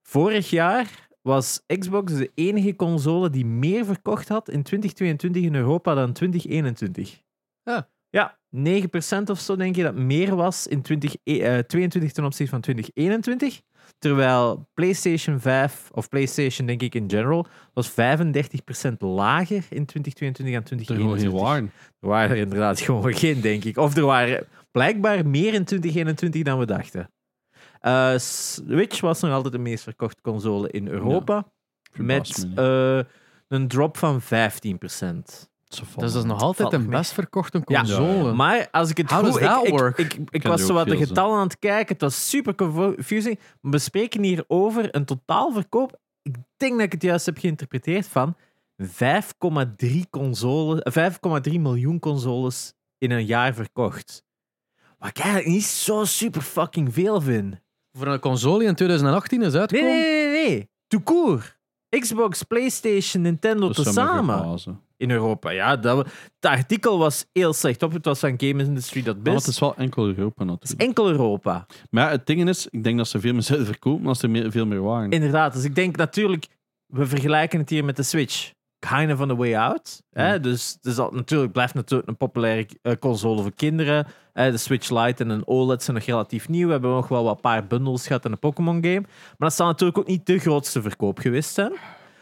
Speaker 2: vorig jaar was Xbox de enige console die meer verkocht had in 2022 in Europa dan 2021.
Speaker 3: Ah.
Speaker 1: Ja.
Speaker 2: Ja, 9% of zo denk je dat meer was in 2022 ten opzichte van 2021. Terwijl PlayStation 5, of PlayStation denk ik in general, was 35% lager in 2022 dan
Speaker 3: Er gewoon
Speaker 2: 2021.
Speaker 3: geen waren.
Speaker 2: Er waren er inderdaad [LAUGHS] gewoon geen, denk ik. Of er waren blijkbaar meer in 2021 dan we dachten. Eh, Switch was nog altijd de meest verkochte console in Europa.
Speaker 3: Verbaast
Speaker 2: met
Speaker 3: me niet.
Speaker 2: eh, een drop van 15%.
Speaker 3: Zo van,
Speaker 1: Dus dat is nog altijd
Speaker 2: valt
Speaker 1: de
Speaker 2: nog mee.
Speaker 1: best verkochte
Speaker 2: Ja.
Speaker 1: console.
Speaker 2: Maar als ik het
Speaker 1: How
Speaker 2: goed...
Speaker 1: does that
Speaker 2: ik, ik-
Speaker 1: work?
Speaker 2: Ik, ik,
Speaker 3: ken
Speaker 2: was
Speaker 3: er
Speaker 2: zo
Speaker 3: ook
Speaker 2: wat de
Speaker 3: veel, zo.
Speaker 2: getallen aan het kijken. Het was super confusing. We bespreken hier over een totaalverkoop. Ik denk dat ik het juist heb geïnterpreteerd van... 35.000 5,3 consoles, eh, 5,3 miljoen consoles in een jaar verkocht. Wat ik eigenlijk niet zo super fucking veel vind.
Speaker 1: Voor een console die in 2018 is
Speaker 2: Nee,
Speaker 1: uitgekomen.
Speaker 2: nee, nee, nee. nee. Tout court. Xbox, PlayStation, Nintendo
Speaker 3: Dat zou mij
Speaker 2: tezamen
Speaker 3: verbazen.
Speaker 2: in Europa. Ja, dat, het artikel was heel slecht op. Het was aan Games Industry dat
Speaker 3: Maar
Speaker 2: best.
Speaker 3: het is wel enkel Europa
Speaker 2: Het
Speaker 3: natuurlijk.
Speaker 2: is enkel Europa.
Speaker 3: Maar ja, het ding is, ik denk dat ze veel meer zouden verkopen als er meer, veel meer waren.
Speaker 2: Inderdaad, dus ik denk natuurlijk, we vergelijken het hier met de Switch. Kind of on the way out. Hè? Dus, dus dat natuurlijk blijft natuurlijk een populaire eh, console voor kinderen. Hè, de Switch Lite en een OLED zijn nog relatief nieuw. We hebben nog wel wat paar bundles gehad in de Pokémon game. Maar dat zal natuurlijk ook niet de grootste verkoop geweest zijn.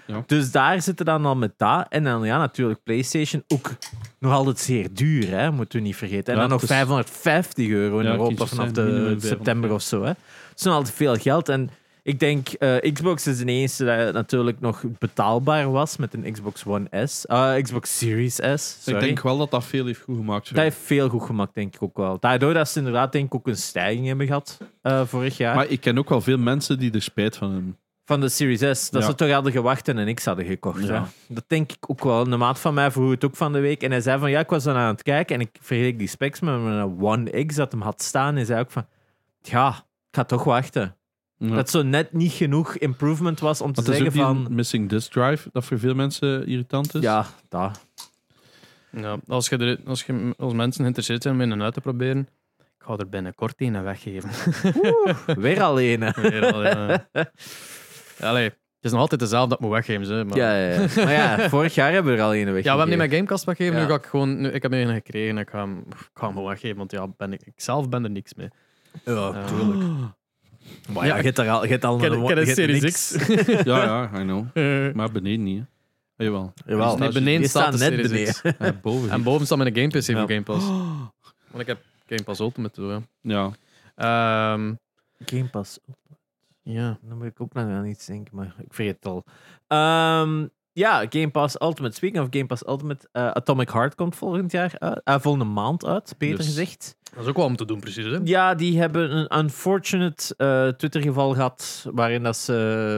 Speaker 3: Ja.
Speaker 2: Dus daar zitten dan al met dat. En dan ja, natuurlijk PlayStation ook nog altijd zeer duur, hè? moeten we niet vergeten. En
Speaker 3: Ja,
Speaker 2: dan nog
Speaker 3: het is-
Speaker 2: 550 euro in
Speaker 3: Ja,
Speaker 2: Europa
Speaker 3: kiezers
Speaker 2: vanaf
Speaker 3: zijn
Speaker 2: de
Speaker 3: minimum
Speaker 2: september of zo. Hè? Het is nog altijd veel geld. En ik denk, eh, Xbox is de eerste dat natuurlijk nog betaalbaar was met een Xbox One S. eh, Xbox Series S, sorry.
Speaker 3: Ik denk wel dat dat veel heeft goed gemaakt.
Speaker 2: dat heeft veel goed gemaakt, denk ik ook wel. Daardoor dat ze inderdaad denk ik ook een stijging hebben gehad eh, vorig jaar.
Speaker 3: Maar ik ken ook wel veel mensen die er spijt van hebben.
Speaker 2: Van de Series S. Dat
Speaker 3: Ja.
Speaker 2: ze toch hadden gewacht en een X hadden gekocht.
Speaker 3: Ja.
Speaker 2: hè. Dat denk ik ook wel. Een maat van mij vroeg het ook van de week. En hij zei van, ja, ik was dan aan het kijken en ik vergeleek die specs met mijn One X dat hem had staan. En zei ook van, ja, ik ga toch wachten.
Speaker 3: Ja.
Speaker 2: Dat zo net niet genoeg improvement was om te
Speaker 3: Want dat is ook
Speaker 2: zeggen
Speaker 3: die
Speaker 2: van...
Speaker 3: missing disk drive, dat voor veel mensen irritant
Speaker 1: Dus?
Speaker 3: is.
Speaker 2: Ja, dat.
Speaker 1: Ja, als, je er- als, je, als mensen geïnteresseerd zijn om in en uit te proberen, ik ga er binnenkort een weggeven.
Speaker 2: Weer alleen. hè.
Speaker 1: Weer al, [LAUGHS] ja. [LAUGHS] Allee, het is nog altijd dezelfde dat ik moet weggeven. Ze, [LAUGHS] maar...
Speaker 2: Ja, ja, ja. Maar ja, vorig jaar hebben we er alleen een weg.
Speaker 1: Ja, we hebben niet mijn Gamecast weggegeven.
Speaker 2: Ja.
Speaker 1: Nu ga ik gewoon... Nu, ik heb er een gekregen. Ik ga, hem, ik ga hem gewoon weggeven, want ja, ben ik, ik zelf ben er niks mee.
Speaker 2: Ja,
Speaker 1: Eh,
Speaker 2: tuurlijk. [GASPS] Maar
Speaker 1: Ja,
Speaker 2: ja, je hebt er al, je hebt al
Speaker 1: ken-
Speaker 2: een
Speaker 1: ken een
Speaker 2: je hebt
Speaker 1: Series
Speaker 2: niks.
Speaker 1: X.
Speaker 3: ja, ja, I know.
Speaker 1: [LAUGHS] Eh,
Speaker 3: Maar beneden niet. Hè. Ah,
Speaker 2: [LAUGHS]
Speaker 3: Jawel.
Speaker 2: Jawel.
Speaker 1: nee,
Speaker 2: Die
Speaker 1: beneden staat
Speaker 2: staan
Speaker 1: de
Speaker 2: net
Speaker 1: Series
Speaker 2: beneden.
Speaker 1: X.
Speaker 3: Eh,
Speaker 1: [LAUGHS]
Speaker 3: boven.
Speaker 1: En boven staat mijn Game PC
Speaker 2: Ja.
Speaker 1: voor Game [GASPS] Pass. Want ik heb Game Pass Ultimate, hoor.
Speaker 3: Ja.
Speaker 1: ja. Ehm,
Speaker 2: Game Pass. Oh,
Speaker 1: ja.
Speaker 2: Dan moet ik ook nog aan iets denken, maar ik vergeet het al. Ehm, ja, Game Pass Ultimate. Speaking of Game Pass Ultimate, eh, Atomic Heart komt volgend jaar uit. eh, volgende maand uit, beter
Speaker 3: Dus-
Speaker 2: gezegd.
Speaker 1: Dat is ook wel om te doen, precies. Hè?
Speaker 2: Ja, die hebben een unfortunate eh, Twitter-geval gehad, waarin dat ze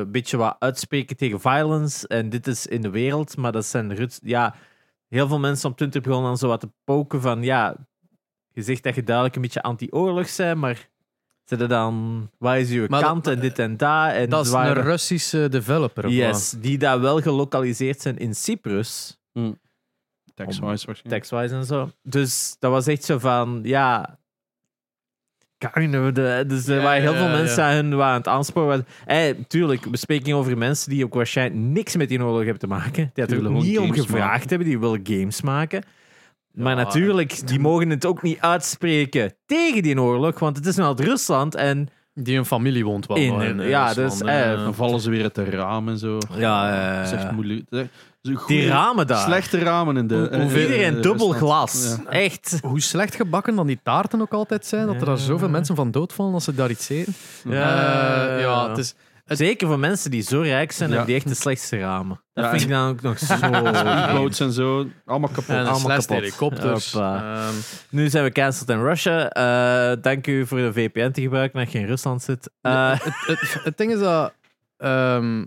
Speaker 2: een beetje wat uitspreken tegen violence. En dit is in de wereld, maar dat zijn... ruts- Ja, heel veel mensen op Twitter begonnen dan zo wat te poken van, ja, je zegt dat je duidelijk een beetje anti-oorlog bent, maar... Zitten dan, waar is uw
Speaker 1: Maar dat-
Speaker 2: kant en dit en dat? En
Speaker 1: Dat is
Speaker 2: waar-
Speaker 1: een Russische developer. of wat?
Speaker 2: Yes, die daar wel gelokaliseerd zijn in Cyprus,
Speaker 3: Tax-wise waarschijnlijk.
Speaker 2: taxwise en zo. Dus dat was echt zo van, ja... Kind of, de, dus er
Speaker 1: Ja,
Speaker 2: waren heel
Speaker 1: ja,
Speaker 2: veel
Speaker 1: ja.
Speaker 2: mensen aan hun waren aan het aansporen. waren. Hey, tuurlijk, bespreking over mensen die ook waarschijnlijk niks met die oorlog hebben te maken. Die er
Speaker 3: Tuurlijk,
Speaker 2: ook niet
Speaker 3: gewoon
Speaker 2: om
Speaker 3: games
Speaker 2: gevraagd
Speaker 3: maken.
Speaker 2: hebben, die willen games maken. Maar
Speaker 1: Ja,
Speaker 2: natuurlijk, die mogen het ook niet uitspreken tegen die oorlog, want het is nou altijd Rusland en...
Speaker 1: Die een familie woont wel.
Speaker 2: In-
Speaker 1: nog in, eh,
Speaker 2: ja,
Speaker 1: Rusland,
Speaker 2: dus,
Speaker 1: hè.
Speaker 2: eh,
Speaker 3: Dan vallen ze weer uit de raam en zo.
Speaker 2: Ja, ja, ja,
Speaker 3: Dat is echt
Speaker 2: ja.
Speaker 3: moeilijk. Dat is een goede-
Speaker 2: Eh. Die ramen daar.
Speaker 3: eh, Slechte ramen in de...
Speaker 1: Hoe-
Speaker 3: eh,
Speaker 1: hoeveel-
Speaker 3: in de-
Speaker 2: Iedereen dubbel
Speaker 3: Rusland.
Speaker 2: glas.
Speaker 3: Ja.
Speaker 2: Echt.
Speaker 1: hoe slecht gebakken dan die taarten ook altijd zijn, dat er daar zoveel mensen van doodvallen als ze daar iets eten. Eh, ja, het is,
Speaker 2: Zeker voor mensen die zo rijk zijn,
Speaker 3: Ja.
Speaker 2: hebben die echt de slechtste ramen. Dat
Speaker 3: Ja,
Speaker 2: vind
Speaker 3: en-
Speaker 2: ik dan ook nog [LAUGHS] zo...
Speaker 3: Speedboats en zo. Allemaal kapot.
Speaker 1: en de
Speaker 2: allemaal
Speaker 1: slechtste
Speaker 2: kapot.
Speaker 1: helikopters.
Speaker 2: Hoppa.
Speaker 1: Ehm,
Speaker 2: nu zijn we cancelled in Russia. Eh, dank u voor de VPN te gebruiken dat je in Rusland zit. Eh,
Speaker 1: het, het, het ding is dat, ehm,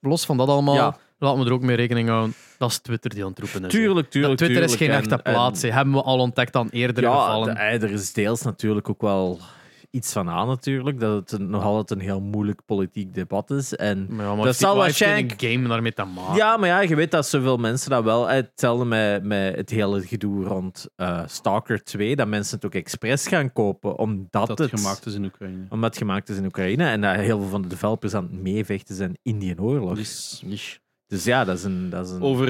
Speaker 1: los van dat allemaal,
Speaker 2: Ja.
Speaker 1: laten we er ook mee rekening houden, dat is Twitter die aan het roepen is.
Speaker 2: tuurlijk,
Speaker 1: Dat
Speaker 2: tuurlijk,
Speaker 1: Twitter is
Speaker 2: tuurlijk.
Speaker 1: geen
Speaker 2: En-
Speaker 1: echte plaats.
Speaker 2: en-
Speaker 1: hè. Hebben we al ontdekt aan eerdere
Speaker 2: ja,
Speaker 1: gevallen.
Speaker 2: de- eh, er is deels natuurlijk ook wel iets van aan natuurlijk. Dat het een- nog altijd een heel moeilijk politiek debat is. En
Speaker 1: Maar ja, maar
Speaker 2: dat
Speaker 1: heeft-
Speaker 2: zal
Speaker 1: wat heeft
Speaker 2: waarschijnlijk-
Speaker 1: een game daarmee te maken.
Speaker 2: Ja, maar ja, je weet dat zoveel mensen dat wel. eh, Hetzelfde met, met het hele gedoe rond eh, Stalker 2. Dat mensen het ook expres gaan kopen. Omdat
Speaker 3: dat
Speaker 2: het
Speaker 3: gemaakt is in Oekraïne.
Speaker 2: Omdat het gemaakt is in Oekraïne. En dat heel veel van de developers aan het meevechten zijn in die oorlog.
Speaker 3: Dus-
Speaker 2: Dus ja, dat is een... Dat is een
Speaker 3: Over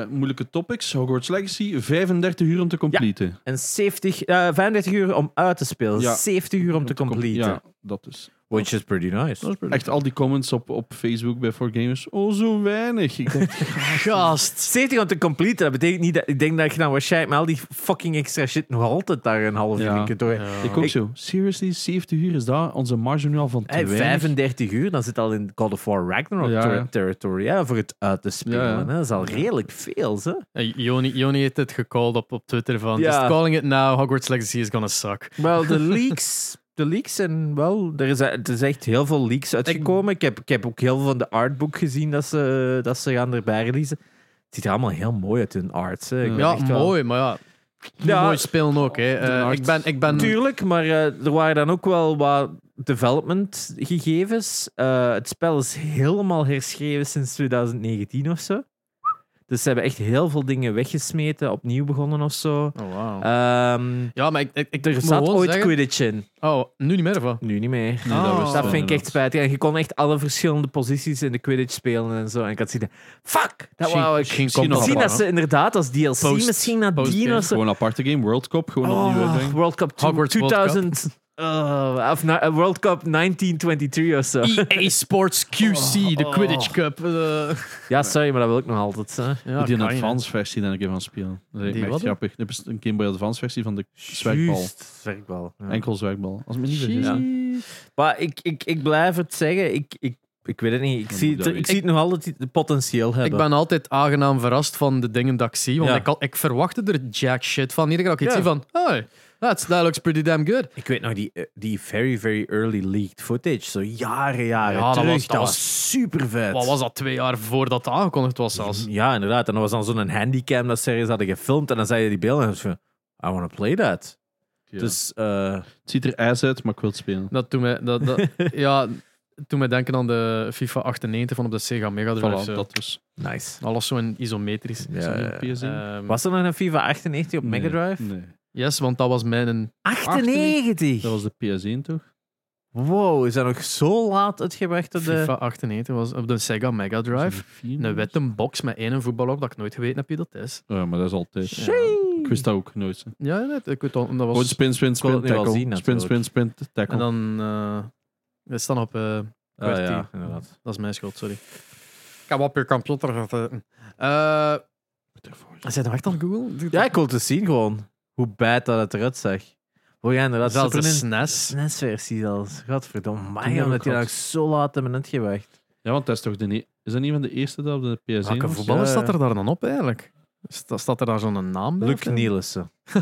Speaker 3: eh, moeilijke topics. Hogwarts Legacy. 35 uur om te completen.
Speaker 2: En 70, eh, 35 uur om uit te spelen.
Speaker 3: Ja.
Speaker 2: 70 uur om te
Speaker 3: com-
Speaker 2: completen.
Speaker 3: Ja, dat is.
Speaker 2: Which is pretty nice.
Speaker 3: Echt al die comments op, op Facebook bij 4Gamers. Oh, zo weinig. Ik denk,
Speaker 1: Gast.
Speaker 2: 70 om te completen, dat betekent niet dat... Ik denk dat je dan waarschijnlijk met al die fucking extra shit nog altijd daar een half uur
Speaker 3: Ja.
Speaker 2: in kunt door.
Speaker 1: Ja.
Speaker 3: ik ook zo. Seriously, 70 uur is daar onze marge nu al van te
Speaker 2: Hey,
Speaker 3: weinig?
Speaker 2: 35 uur, dan zit al in God of War Ragnarok
Speaker 3: Ja,
Speaker 2: ter-
Speaker 3: ja.
Speaker 2: territory hè, voor het uit te spelen.
Speaker 3: Ja, ja.
Speaker 2: Hè. Dat is al redelijk veel, hè?
Speaker 1: Eh, Joni, Joni heeft het gecalled op, op Twitter van
Speaker 2: Ja.
Speaker 1: Just calling it now, Hogwarts Legacy is gonna suck.
Speaker 2: Wel, de leaks. De leaks en wel, er is, er is echt heel veel leaks uitgekomen. Ik, heb, ik heb ook heel veel van de artbook gezien dat ze, dat ze gaan erbij releasen. Het ziet er allemaal heel mooi uit, hun art. hè. Ik ben
Speaker 1: Mm. Ja,
Speaker 2: echt wel-
Speaker 1: mooi, maar ja.
Speaker 2: Ja.
Speaker 1: Mooi spelen ook. Hè. Eh,
Speaker 3: De art.
Speaker 1: ik ben, ik ben
Speaker 2: Tuurlijk, maar eh, er waren dan ook wel wat development gegevens. Eh, het spel is helemaal herschreven sinds 2019 of zo. Dus ze hebben echt heel veel dingen weggesmeten, opnieuw begonnen of zo.
Speaker 1: Oh, wauw.
Speaker 2: Ehm,
Speaker 1: ja, maar ik, ik, ik
Speaker 2: er
Speaker 1: moet
Speaker 2: zat
Speaker 1: gewoon
Speaker 2: ooit
Speaker 1: zeggen-
Speaker 2: Quidditch in.
Speaker 1: Oh, nu niet meer van.
Speaker 2: Nu niet meer.
Speaker 3: Nee, dat eh,
Speaker 1: Oh.
Speaker 3: wist
Speaker 2: Dus Dat
Speaker 3: ik
Speaker 2: vind ik
Speaker 3: inderdaad.
Speaker 2: echt spijtig. En je kon echt alle verschillende posities in de Quidditch spelen en zo. En ik had zien, fuck, dat
Speaker 1: Misschien-
Speaker 2: wou ik.
Speaker 1: misschien
Speaker 3: Misschien
Speaker 1: komt
Speaker 3: nog
Speaker 1: dat
Speaker 2: Misschien
Speaker 1: wel,
Speaker 2: dat ze
Speaker 1: hè.
Speaker 2: inderdaad als DLC
Speaker 1: Post-
Speaker 2: misschien nadien
Speaker 1: postgame.
Speaker 2: of zo.
Speaker 3: Gewoon een aparte game, World Cup, gewoon opnieuw
Speaker 2: Oh,
Speaker 3: uitbrengen.
Speaker 2: World Cup two-
Speaker 1: Hogwarts World
Speaker 2: 2000. Oh, of na- eh, World Cup 1923 of zo.
Speaker 1: EA E Sports QC, de Quidditch Cup. eh,
Speaker 2: Oh. Ja, sorry, maar dat wil ik nog altijd. hè.
Speaker 1: ja,
Speaker 3: Moet die een
Speaker 1: kan je.
Speaker 3: advanced versie dan een keer van spelen. Dat
Speaker 1: Die
Speaker 3: is echt
Speaker 1: wat?
Speaker 3: grappig. Er is een Game Boy Advance versie van de zwerkbal.
Speaker 2: Juist, Zwerkbal. ja.
Speaker 3: Enkel zwerkbal. Als ik me niet vergis.
Speaker 2: Ja.
Speaker 1: Shit.
Speaker 2: Maar ik, ik, ik blijf het zeggen. Ik, ik, ik weet het niet. Ik
Speaker 3: Dan
Speaker 2: zie
Speaker 3: moet
Speaker 2: het,
Speaker 3: dat
Speaker 2: ik
Speaker 3: weten.
Speaker 2: zie het nog altijd het potentieel
Speaker 1: Ik
Speaker 2: hebben.
Speaker 1: ben altijd aangenaam verrast van de dingen dat ik zie. Want
Speaker 2: Ja.
Speaker 1: ik, had- ik verwachtte er jack shit van. Iedere keer dat ik iets
Speaker 2: Ja.
Speaker 1: zie van... Hey, that's, that looks pretty damn good.
Speaker 2: Ik weet nog die, eh, die very, very early leaked footage. Zo jaren, jaren
Speaker 1: Ja, dat
Speaker 2: terug.
Speaker 1: was- dat was-
Speaker 2: super vet.
Speaker 1: Wat was dat twee jaar voordat het aangekondigd was zelfs?
Speaker 2: Ja, inderdaad. En dat was dan zo'n handicam dat ze ergens hadden gefilmd. En dan zei je die beelden. En dan was van, I want to play that.
Speaker 3: Ja.
Speaker 2: Dus, eh,
Speaker 3: Het ziet er ijs uit, maar ik wil het spelen.
Speaker 1: Dat doet mij... Dat, [LAUGHS] dat, ja, toen mij denken aan de FIFA 98 van op de Sega Mega Drive.
Speaker 3: Voilà,
Speaker 1: zo.
Speaker 3: dat dus.
Speaker 2: nice.
Speaker 1: Alles zo in isometrisch.
Speaker 2: Ja, ja, ja.
Speaker 3: PS1?
Speaker 1: Ehm,
Speaker 2: Was er nog een FIFA 98 op Mega Drive?
Speaker 3: Nee.
Speaker 1: yes, want dat was mijn...
Speaker 2: 98?
Speaker 3: Dat was de PS1 toch?
Speaker 2: Wow, is dat nog zo laat uitgebracht? op De...
Speaker 1: FIFA 98 was op de Sega Mega Drive. Een witte box met één voetbal op dat ik nooit geweten heb wie dat is.
Speaker 3: Ja, maar dat is altijd. Ik wist dat ook nooit. hè.
Speaker 1: Ja, net, ik weet dat, dat
Speaker 3: Gewoon
Speaker 1: was...
Speaker 3: spin, spin,
Speaker 2: wil
Speaker 3: spin,
Speaker 2: het nu wel
Speaker 3: tackle.
Speaker 2: zien,
Speaker 3: spin, spin,
Speaker 2: natuurlijk.
Speaker 3: spin, tackle.
Speaker 1: En dan... eh dat staan op... eh,
Speaker 2: Ah, ja,
Speaker 1: kwartier.
Speaker 2: inderdaad.
Speaker 1: dat is mijn schuld, sorry. Ik heb op je computer gezeten. Eh zijn er nou echt aan Google?
Speaker 2: Ja, ik wil het eens zien gewoon. Hoe bad dat het eruit zag. Hoe jij inderdaad
Speaker 1: Zelfs de E
Speaker 2: Super Nin-
Speaker 1: SNES.
Speaker 2: SNES-versie zelfs. Godverdomme,
Speaker 3: Toen
Speaker 2: man,
Speaker 3: heb
Speaker 2: omdat
Speaker 3: ik
Speaker 2: die
Speaker 3: gehad.
Speaker 2: nog zo laat hebben uitgebracht.
Speaker 3: Ja, want dat is toch de. ne- Is dat niet van de eerste dat op de PS1
Speaker 1: Welke
Speaker 3: was?
Speaker 1: voetballer
Speaker 2: Ja, ja.
Speaker 1: staat er daar dan op eigenlijk? Sta- Staat er daar zo'n naam bij?
Speaker 2: Luc Nielsen.
Speaker 1: [LAUGHS]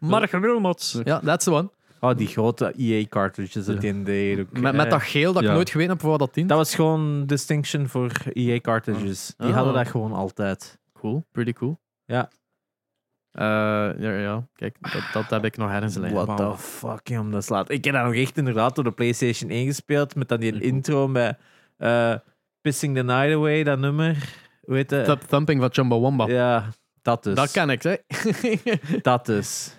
Speaker 1: Mark Wilmots. Ja, that's the one.
Speaker 2: Oh, die grote EA-cartridges dat
Speaker 3: Ja.
Speaker 2: die in deed. ook. eh,
Speaker 1: Met, met dat geel dat ik
Speaker 3: Ja.
Speaker 1: nooit geweten heb voor wat dat dient.
Speaker 2: Dat was gewoon distinction voor EA-cartridges. Die
Speaker 1: Ah.
Speaker 2: hadden dat gewoon altijd.
Speaker 1: Cool, pretty cool.
Speaker 2: Ja.
Speaker 1: Eh, ja, ja, kijk, dat, dat heb ik nog ergens liggen.
Speaker 2: What the fuck, jong, dat slaat. Ik heb dat nog echt inderdaad door de PlayStation 1 gespeeld. Met dan die intro met eh, Pissing the Night Away, dat nummer. Weet je?
Speaker 1: Thump- thumping van Chumbawamba.
Speaker 2: Ja, dat dus.
Speaker 1: Dat ken ik, hè. [LAUGHS]
Speaker 2: Dat dus.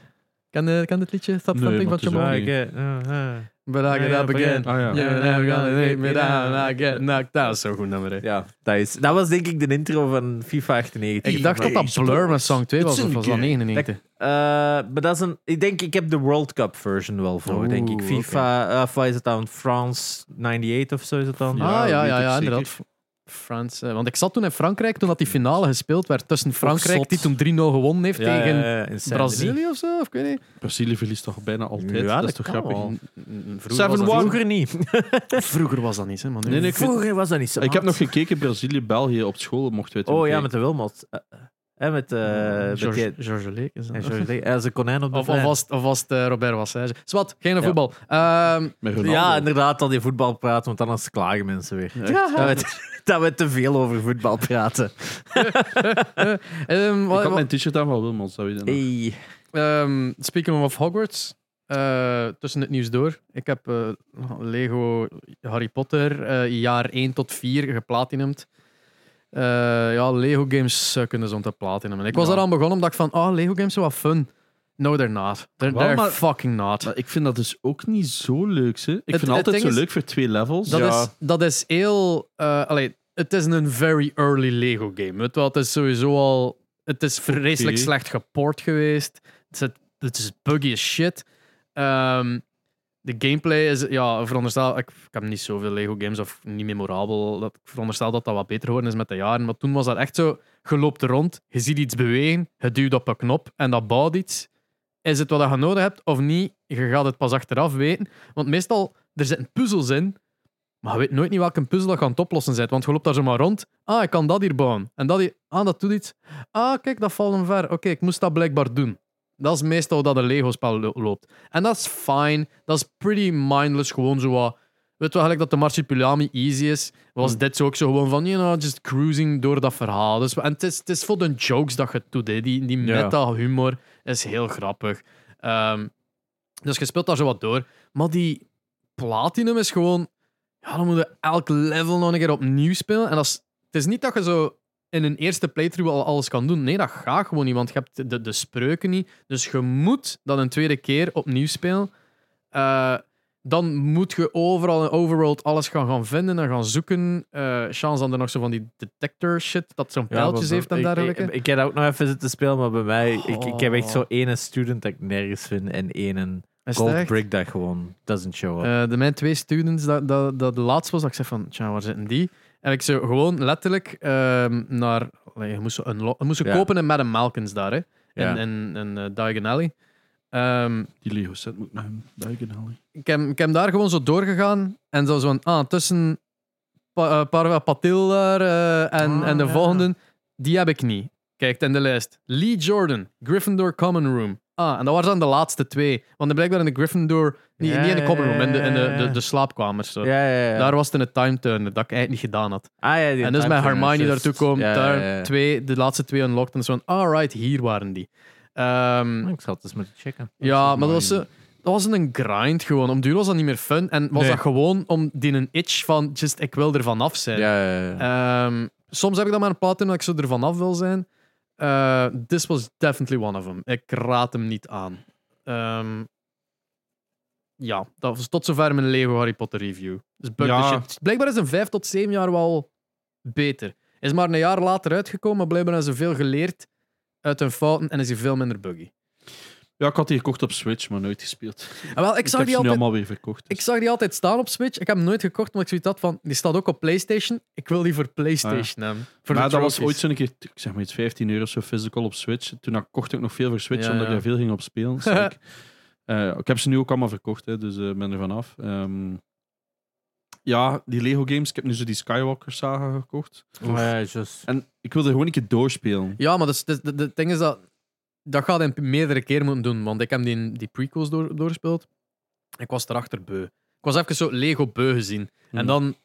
Speaker 1: kan, eh, kan dit liedje? Thup,
Speaker 3: Nee,
Speaker 1: thumping
Speaker 3: maar
Speaker 1: van
Speaker 3: het is
Speaker 2: Ja,
Speaker 1: Chumbawamba.
Speaker 3: wel-
Speaker 2: ik, eh, eh, eh.
Speaker 1: But I get
Speaker 2: Ja,
Speaker 1: up
Speaker 2: ja,
Speaker 1: again.
Speaker 3: Ah ja.
Speaker 1: You're never gonna take me down. I get knocked out. Zo'n goed nummer, hè.
Speaker 2: Ja, dat, is, dat was denk ik de intro van FIFA 98.
Speaker 1: Ik dacht dat dat Blur met Song 2 was, of was dat 99?
Speaker 2: Eh, maar dat is een. Ik denk, ik heb de World Cup version wel voor,
Speaker 1: Oeh,
Speaker 2: denk ik.
Speaker 1: oké.
Speaker 2: FIFA, eh, of wat is het dan? France 98 of zo is het dan?
Speaker 3: Ja.
Speaker 1: ah, ja,
Speaker 3: weet
Speaker 1: ja,
Speaker 3: ik
Speaker 1: ja,
Speaker 3: zeker.
Speaker 1: inderdaad. Frans, eh, want ik zat toen in Frankrijk, toen dat die finale gespeeld werd tussen Frankrijk,
Speaker 2: zot.
Speaker 1: die toen 3-0 gewonnen heeft
Speaker 2: Ja,
Speaker 1: tegen
Speaker 2: ja, ja, in Saint-Denis.
Speaker 1: Brazilië of zo, of ik weet niet.
Speaker 3: Brazilië verliest toch bijna altijd?
Speaker 2: Ja,
Speaker 3: dat is
Speaker 2: dat
Speaker 3: toch
Speaker 2: kan
Speaker 3: grappig?
Speaker 2: wel.
Speaker 3: Seven
Speaker 1: was dat
Speaker 3: one.
Speaker 2: Vroeger niet.
Speaker 1: niet- Vroeger was dat niet, hè, maar nu...
Speaker 3: Nee, nee, ik, weet-
Speaker 2: Vroeger was dat niet zo.
Speaker 3: ik heb
Speaker 2: hard.
Speaker 3: nog gekeken Brazilië-België op school, mochten wij toen
Speaker 2: Oh ja,
Speaker 3: kijken.
Speaker 2: met de Wilmot. Eh, En met. eh met
Speaker 1: Ah, George,
Speaker 2: die-
Speaker 1: George Leek is dat.
Speaker 2: en George Lee- en zijn konijn op de
Speaker 1: Of, of,
Speaker 2: vlei.
Speaker 1: was, het- of was het eh, Robert was, hè. Zwat, geen
Speaker 2: Ja.
Speaker 1: voetbal. Ehm,
Speaker 3: Met Ronaldo.
Speaker 2: Ja, inderdaad, al die voetbal praten, want anders klagen mensen weer.
Speaker 3: Echt.
Speaker 2: Dat, we te, [LAUGHS] dat we te veel over voetbal praten.
Speaker 1: ehm,
Speaker 3: Ik
Speaker 1: wa-
Speaker 3: had
Speaker 1: wa-
Speaker 3: mijn t-shirt aan van Wilmots, dat weet je nog.
Speaker 2: Hey.
Speaker 1: ehm, speaking of Hogwarts, eh, tussen het nieuws door, ik heb eh, Lego Harry Potter eh, jaar 1 tot 4 geplatinumd. Eh, ja, Lego games eh, kunnen ze om te platinumen. Ik was
Speaker 3: Ja.
Speaker 1: eraan begonnen omdat ik van, ah, Lego games zijn wat fun. No, they're not. They're,
Speaker 3: Wel,
Speaker 1: they're
Speaker 3: maar-
Speaker 1: fucking not.
Speaker 3: Maar ik vind dat dus ook niet zo leuk. Hè. Ik
Speaker 1: Het-
Speaker 3: vind
Speaker 1: het
Speaker 3: altijd
Speaker 1: ding
Speaker 3: zo
Speaker 1: is-
Speaker 3: leuk voor twee levels.
Speaker 1: Dat,
Speaker 3: Ja.
Speaker 1: is, dat is heel. eh, allee, het is een very early Lego game. Weet wel, het is sowieso al. Het is vreselijk
Speaker 3: Oké.
Speaker 1: slecht geport geweest. Het is, het is buggy as shit. Ehm, de gameplay is. Ja, veronderstel. Ik, ik heb niet zoveel Lego games of niet memorabel. Dat, ik veronderstel dat dat wat beter geworden is met de jaren. Maar toen was dat echt zo. Je loopt er rond, je ziet iets bewegen, je duwt op een knop en dat bouwt iets. Is het wat je nodig hebt of niet? Je gaat het pas achteraf weten. Want meestal, er zitten puzzels in, maar je weet nooit niet welke puzzel dat je aan het oplossen bent. Want je loopt daar zomaar rond. Ah, ik kan dat hier bouwen. En dat hier. Ah, dat doet iets. Ah, kijk, dat valt hem ver. Oké, ik moest dat blijkbaar doen. Dat is meestal hoe dat een Lego-spel lo- loopt. En dat is fine. Dat is pretty mindless. Gewoon zo wat Weet wel gelijk dat de Marsupilami easy is, was dit zo ook zo gewoon van, you know, just cruising door dat verhaal. Dus, en het is, het is voor de jokes dat je het doet, hè. die, die
Speaker 2: Ja.
Speaker 1: meta-humor is heel grappig. Ehm, dus je speelt daar zo wat door. Maar die platinum is gewoon, ja, dan moet je elk level nog een keer opnieuw spelen. En dat is, het is niet dat je zo in een eerste playthrough al alles kan doen. Nee, dat gaat gewoon niet, want je hebt de, de spreuken niet. Dus je moet dat een tweede keer opnieuw spelen. Eh, dan moet je overal in Overworld alles gaan, gaan vinden en gaan zoeken. Eh chance dan er nog zo van die detector shit, dat zo'n pijltjes
Speaker 2: maar-
Speaker 1: heeft en
Speaker 2: ik-
Speaker 1: dergelijke.
Speaker 2: Ik, ik, heb ook nog even zitten spelen, maar bij mij, ik, ik heb echt
Speaker 1: Oh.
Speaker 2: zo ene student dat ik nergens vind en ene
Speaker 1: Is het
Speaker 2: gold
Speaker 1: echt?
Speaker 2: brick dat gewoon doesn't show up.
Speaker 1: Eh, de mijn twee students, dat, dat, dat de laatste was, dat ik zei van, tja, waar zitten die? En ik zo gewoon letterlijk ehm, naar... allee, je moest ze, unlo- je moest ze
Speaker 2: Ja.
Speaker 1: kopen in Madame Malkins daar, hè. In,
Speaker 2: Ja.
Speaker 1: in, in eh, Diagon Alley. Ehm,
Speaker 3: Die Lego set moet ik naar hem duiken halen.
Speaker 1: ik, heb, ik heb daar gewoon zo doorgegaan. En zo van, ah, tussen pa, eh, Parva Patil daar eh, en,
Speaker 2: Ah,
Speaker 1: en de
Speaker 2: ja.
Speaker 1: volgende, die heb ik niet. Kijk, in de lijst. Lee Jordan, Gryffindor Common Room. Ah, en dat waren dan de laatste twee. Want blijkbaar in de Gryffindor... Niet,
Speaker 2: Ja,
Speaker 1: niet in de
Speaker 2: ja,
Speaker 1: Common
Speaker 2: ja,
Speaker 1: Room, in de, in
Speaker 2: ja,
Speaker 1: de,
Speaker 2: ja,
Speaker 1: de,
Speaker 2: ja.
Speaker 1: de slaapkamers. Zo.
Speaker 2: ja, ja, ja.
Speaker 1: Daar was het in het time turner dat ik eigenlijk niet gedaan had.
Speaker 2: ah, ja, die
Speaker 1: en dus met
Speaker 2: timeturner,
Speaker 1: Hermione
Speaker 2: juist.
Speaker 1: daartoe kwam,
Speaker 2: Ja,
Speaker 1: daar
Speaker 2: ja, ja.
Speaker 1: Twee, de laatste twee unlocked. En zo van, alright, hier waren die. Ehm,
Speaker 2: Ik zal het eens moeten checken.
Speaker 1: ja,
Speaker 3: ook
Speaker 1: maar dat was,
Speaker 3: mooi.
Speaker 1: eh, dat was een grind gewoon. Om duur was dat niet meer fun. En was
Speaker 2: Nee.
Speaker 1: dat gewoon om die een itch van, just, ik wil er vanaf zijn.
Speaker 2: Ja, ja, ja.
Speaker 1: Ehm, soms heb ik dan maar een pattern dat ik zo er vanaf wil zijn. Eh, this was definitely one of them. Ik raad hem niet aan. Ehm, ja, dat was tot zover mijn Lego Harry Potter review. Dus bug
Speaker 3: Ja.
Speaker 1: the shit. Blijkbaar is een 5 tot 7 jaar wel beter. Is maar een jaar later uitgekomen, maar blijkbaar hebben ze veel geleerd uit hun fouten en is hij veel minder buggy.
Speaker 3: Ja, ik had die gekocht op Switch, maar nooit gespeeld.
Speaker 1: En Ah, wel, ik,
Speaker 3: Ik,
Speaker 1: zag
Speaker 3: heb
Speaker 1: die
Speaker 3: ze
Speaker 1: altijd,
Speaker 3: nu allemaal weer verkocht.
Speaker 1: ik zag die altijd staan op Switch. Ik heb hem nooit gekocht, maar ik zoiets had van, die staat ook op PlayStation. Ik wil die voor PlayStation hebben. Voor de
Speaker 3: Ah maar dat was
Speaker 1: trophies.
Speaker 3: ooit zo'n keer, ik zeg maar iets, 15 euro zo physical op Switch. Toen ik kocht ik nog veel voor Switch,
Speaker 1: Ja,
Speaker 3: omdat
Speaker 1: ja.
Speaker 3: ik daar veel ging op
Speaker 1: [LAUGHS]
Speaker 3: spelen. Dus ik, eh, ik heb ze nu ook allemaal verkocht, hè, dus eh ben er vanaf. Ehm, ja, die Lego games. Ik heb nu zo die Skywalker saga gekocht.
Speaker 2: Oh, ja, juist.
Speaker 3: En ik wilde gewoon een keer doorspelen.
Speaker 1: Ja, maar dat is- dat- dat- het ding is dat... Dat gaat hij meerdere keer moeten doen, want ik heb die, die prequels door, doorgespeeld. Ik was erachter beu. Ik was even zo Lego beu gezien. En dan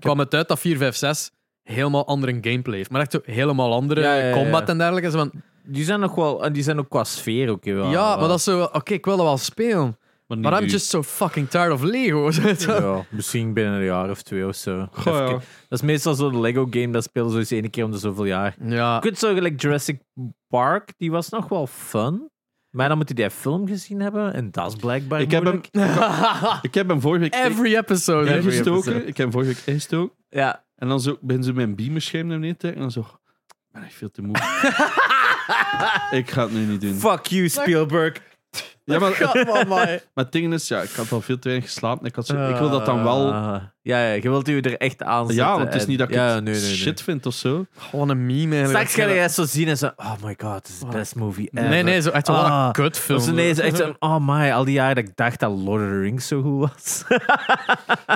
Speaker 1: kwam het uit dat 4, 5, 6 helemaal andere gameplay heeft. Maar echt zo helemaal andere
Speaker 2: Ja, ja, ja,
Speaker 1: combat
Speaker 2: ja.
Speaker 1: en dergelijke. Zo van,
Speaker 2: Die zijn nog wel, en die zijn ook qua sfeer ook
Speaker 1: ja,
Speaker 2: wel.
Speaker 1: maar dat is zo... Oké, ik wil dat wel spelen.
Speaker 3: Maar
Speaker 1: Maar I'm
Speaker 3: nu.
Speaker 1: just so fucking tired of Lego. [LAUGHS]
Speaker 2: Ja, misschien binnen een jaar of twee of zo.
Speaker 3: Goh, ja.
Speaker 2: Even- Dat is meestal zo de Lego game, dat spelen ze eens één keer om de zoveel jaar.
Speaker 1: ja.
Speaker 2: Ik weet zo, gelijk Jurassic Park, die was nog wel fun. Maar dan moet je die film gezien hebben. En dat is blijkbaar
Speaker 3: Ik heb, hem,
Speaker 2: moeilijk.
Speaker 3: [LAUGHS] ik heb hem
Speaker 1: [LAUGHS]
Speaker 3: vorige week
Speaker 1: Every episode.
Speaker 2: Every
Speaker 1: [LAUGHS]
Speaker 3: ingestoken.
Speaker 2: episode.
Speaker 3: Ik heb hem vorige week ingestoken.
Speaker 2: Ja.
Speaker 3: En dan zo, ben ze mijn beamerscherm naar beneden te trekken. En dan zo, ik ben echt veel [LAUGHS] te moe. ik ga het nu niet doen.
Speaker 2: Fuck you, Spielberg.
Speaker 3: ja, maar,
Speaker 1: God, Oh, man, man.
Speaker 3: maar het ding is, ja, ik had al veel te weinig geslapen. Ik, had zo, ik wil dat
Speaker 2: Ah,
Speaker 3: dan wel...
Speaker 2: Ja, ja, je wilt u er echt aan zetten.
Speaker 3: ja, want het is
Speaker 2: en-
Speaker 3: niet dat ik
Speaker 2: ja,
Speaker 3: het
Speaker 2: nee, nee, nee.
Speaker 3: shit vind of zo.
Speaker 1: Gewoon een meme eigenlijk.
Speaker 2: Straks ga je dat zo zien en zo... Oh my god, het is de best movie ever.
Speaker 1: Nee, nee, zo echt wel
Speaker 2: Ah.
Speaker 1: een kutfilm.
Speaker 2: Dat is ineens
Speaker 1: [LAUGHS]
Speaker 2: echt een... Oh my, al die jaren dat ik dacht dat Lord of the Rings zo goed
Speaker 3: [LAUGHS]
Speaker 2: was.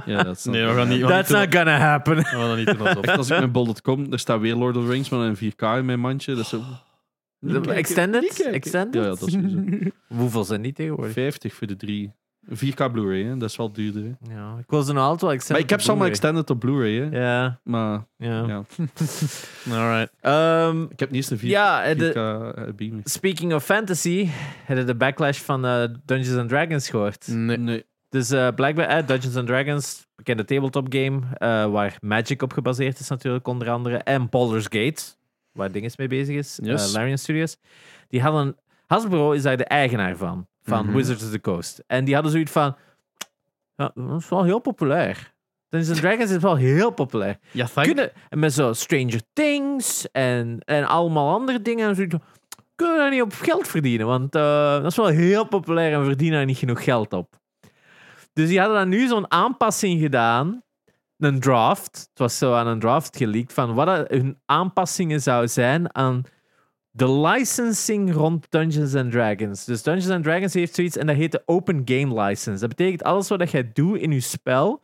Speaker 3: Ja, dat is
Speaker 1: Nee, we gaan niet... we gaan
Speaker 2: That's
Speaker 1: niet doen-
Speaker 2: not gonna happen. [LAUGHS]
Speaker 1: we gaan dat niet doen alsof.
Speaker 3: Echt, als ik met Bol.com, daar staat weer Lord of the Rings, maar dan in 4K in mijn mandje. Dat is zo... Niet kijken, niet
Speaker 2: Extended?
Speaker 3: kijken.
Speaker 2: Extended?
Speaker 3: Ja, ja, dat is
Speaker 2: [LAUGHS]
Speaker 3: sowieso.
Speaker 2: Hoeveel zijn die tegenwoordig?
Speaker 3: 50 voor de drie. 4K Blu-ray, hè, dat is wel duurder. hè.
Speaker 2: Ja, ik wil ze nog altijd wel extended
Speaker 3: Maar ik heb
Speaker 2: op
Speaker 3: ze allemaal
Speaker 2: Blu-ray.
Speaker 3: extended op Blu-ray, hè.
Speaker 2: Ja,
Speaker 3: maar
Speaker 2: ja.
Speaker 3: ja.
Speaker 1: [LAUGHS] Alright.
Speaker 2: Ehm,
Speaker 3: ik heb niet eens een 4K,
Speaker 2: Ja, eh,
Speaker 3: 4K
Speaker 2: de-
Speaker 3: eh, beamer.
Speaker 2: speaking of fantasy, hebben de backlash van eh, Dungeons and Dragons gehoord.
Speaker 1: Nee.
Speaker 3: Nee.
Speaker 2: Dus eh, blijkbaar, eh, Dungeons and Dragons, bekende tabletop game, eh, waar Magic op gebaseerd is natuurlijk, onder andere. En Baldur's Gate, waar Dinges mee bezig is,
Speaker 1: Yes.
Speaker 2: eh, Larian Studios. Die hadden, Hasbro is daar de eigenaar van, van
Speaker 1: Mhm.
Speaker 2: Wizards of the Coast. En die hadden zoiets van, ja, dat is wel heel populair. Dungeons and Dragons is wel heel populair.
Speaker 1: Ja, thank
Speaker 2: Kunnen, en met zo Stranger Things en, en allemaal andere dingen. En zoiets van, kunnen we daar niet op geld verdienen? Want eh, dat is wel heel populair en we verdienen daar niet genoeg geld op. Dus die hadden dan nu zo'n aanpassing gedaan. Een draft. Het was zo aan een draft geleakt van wat dat hun aanpassingen zou zijn aan de licensing rond Dungeons and Dragons. Dus Dungeons and Dragons heeft zoiets en dat heet de Open Game License. Dat betekent alles wat dat jij doet in je spel,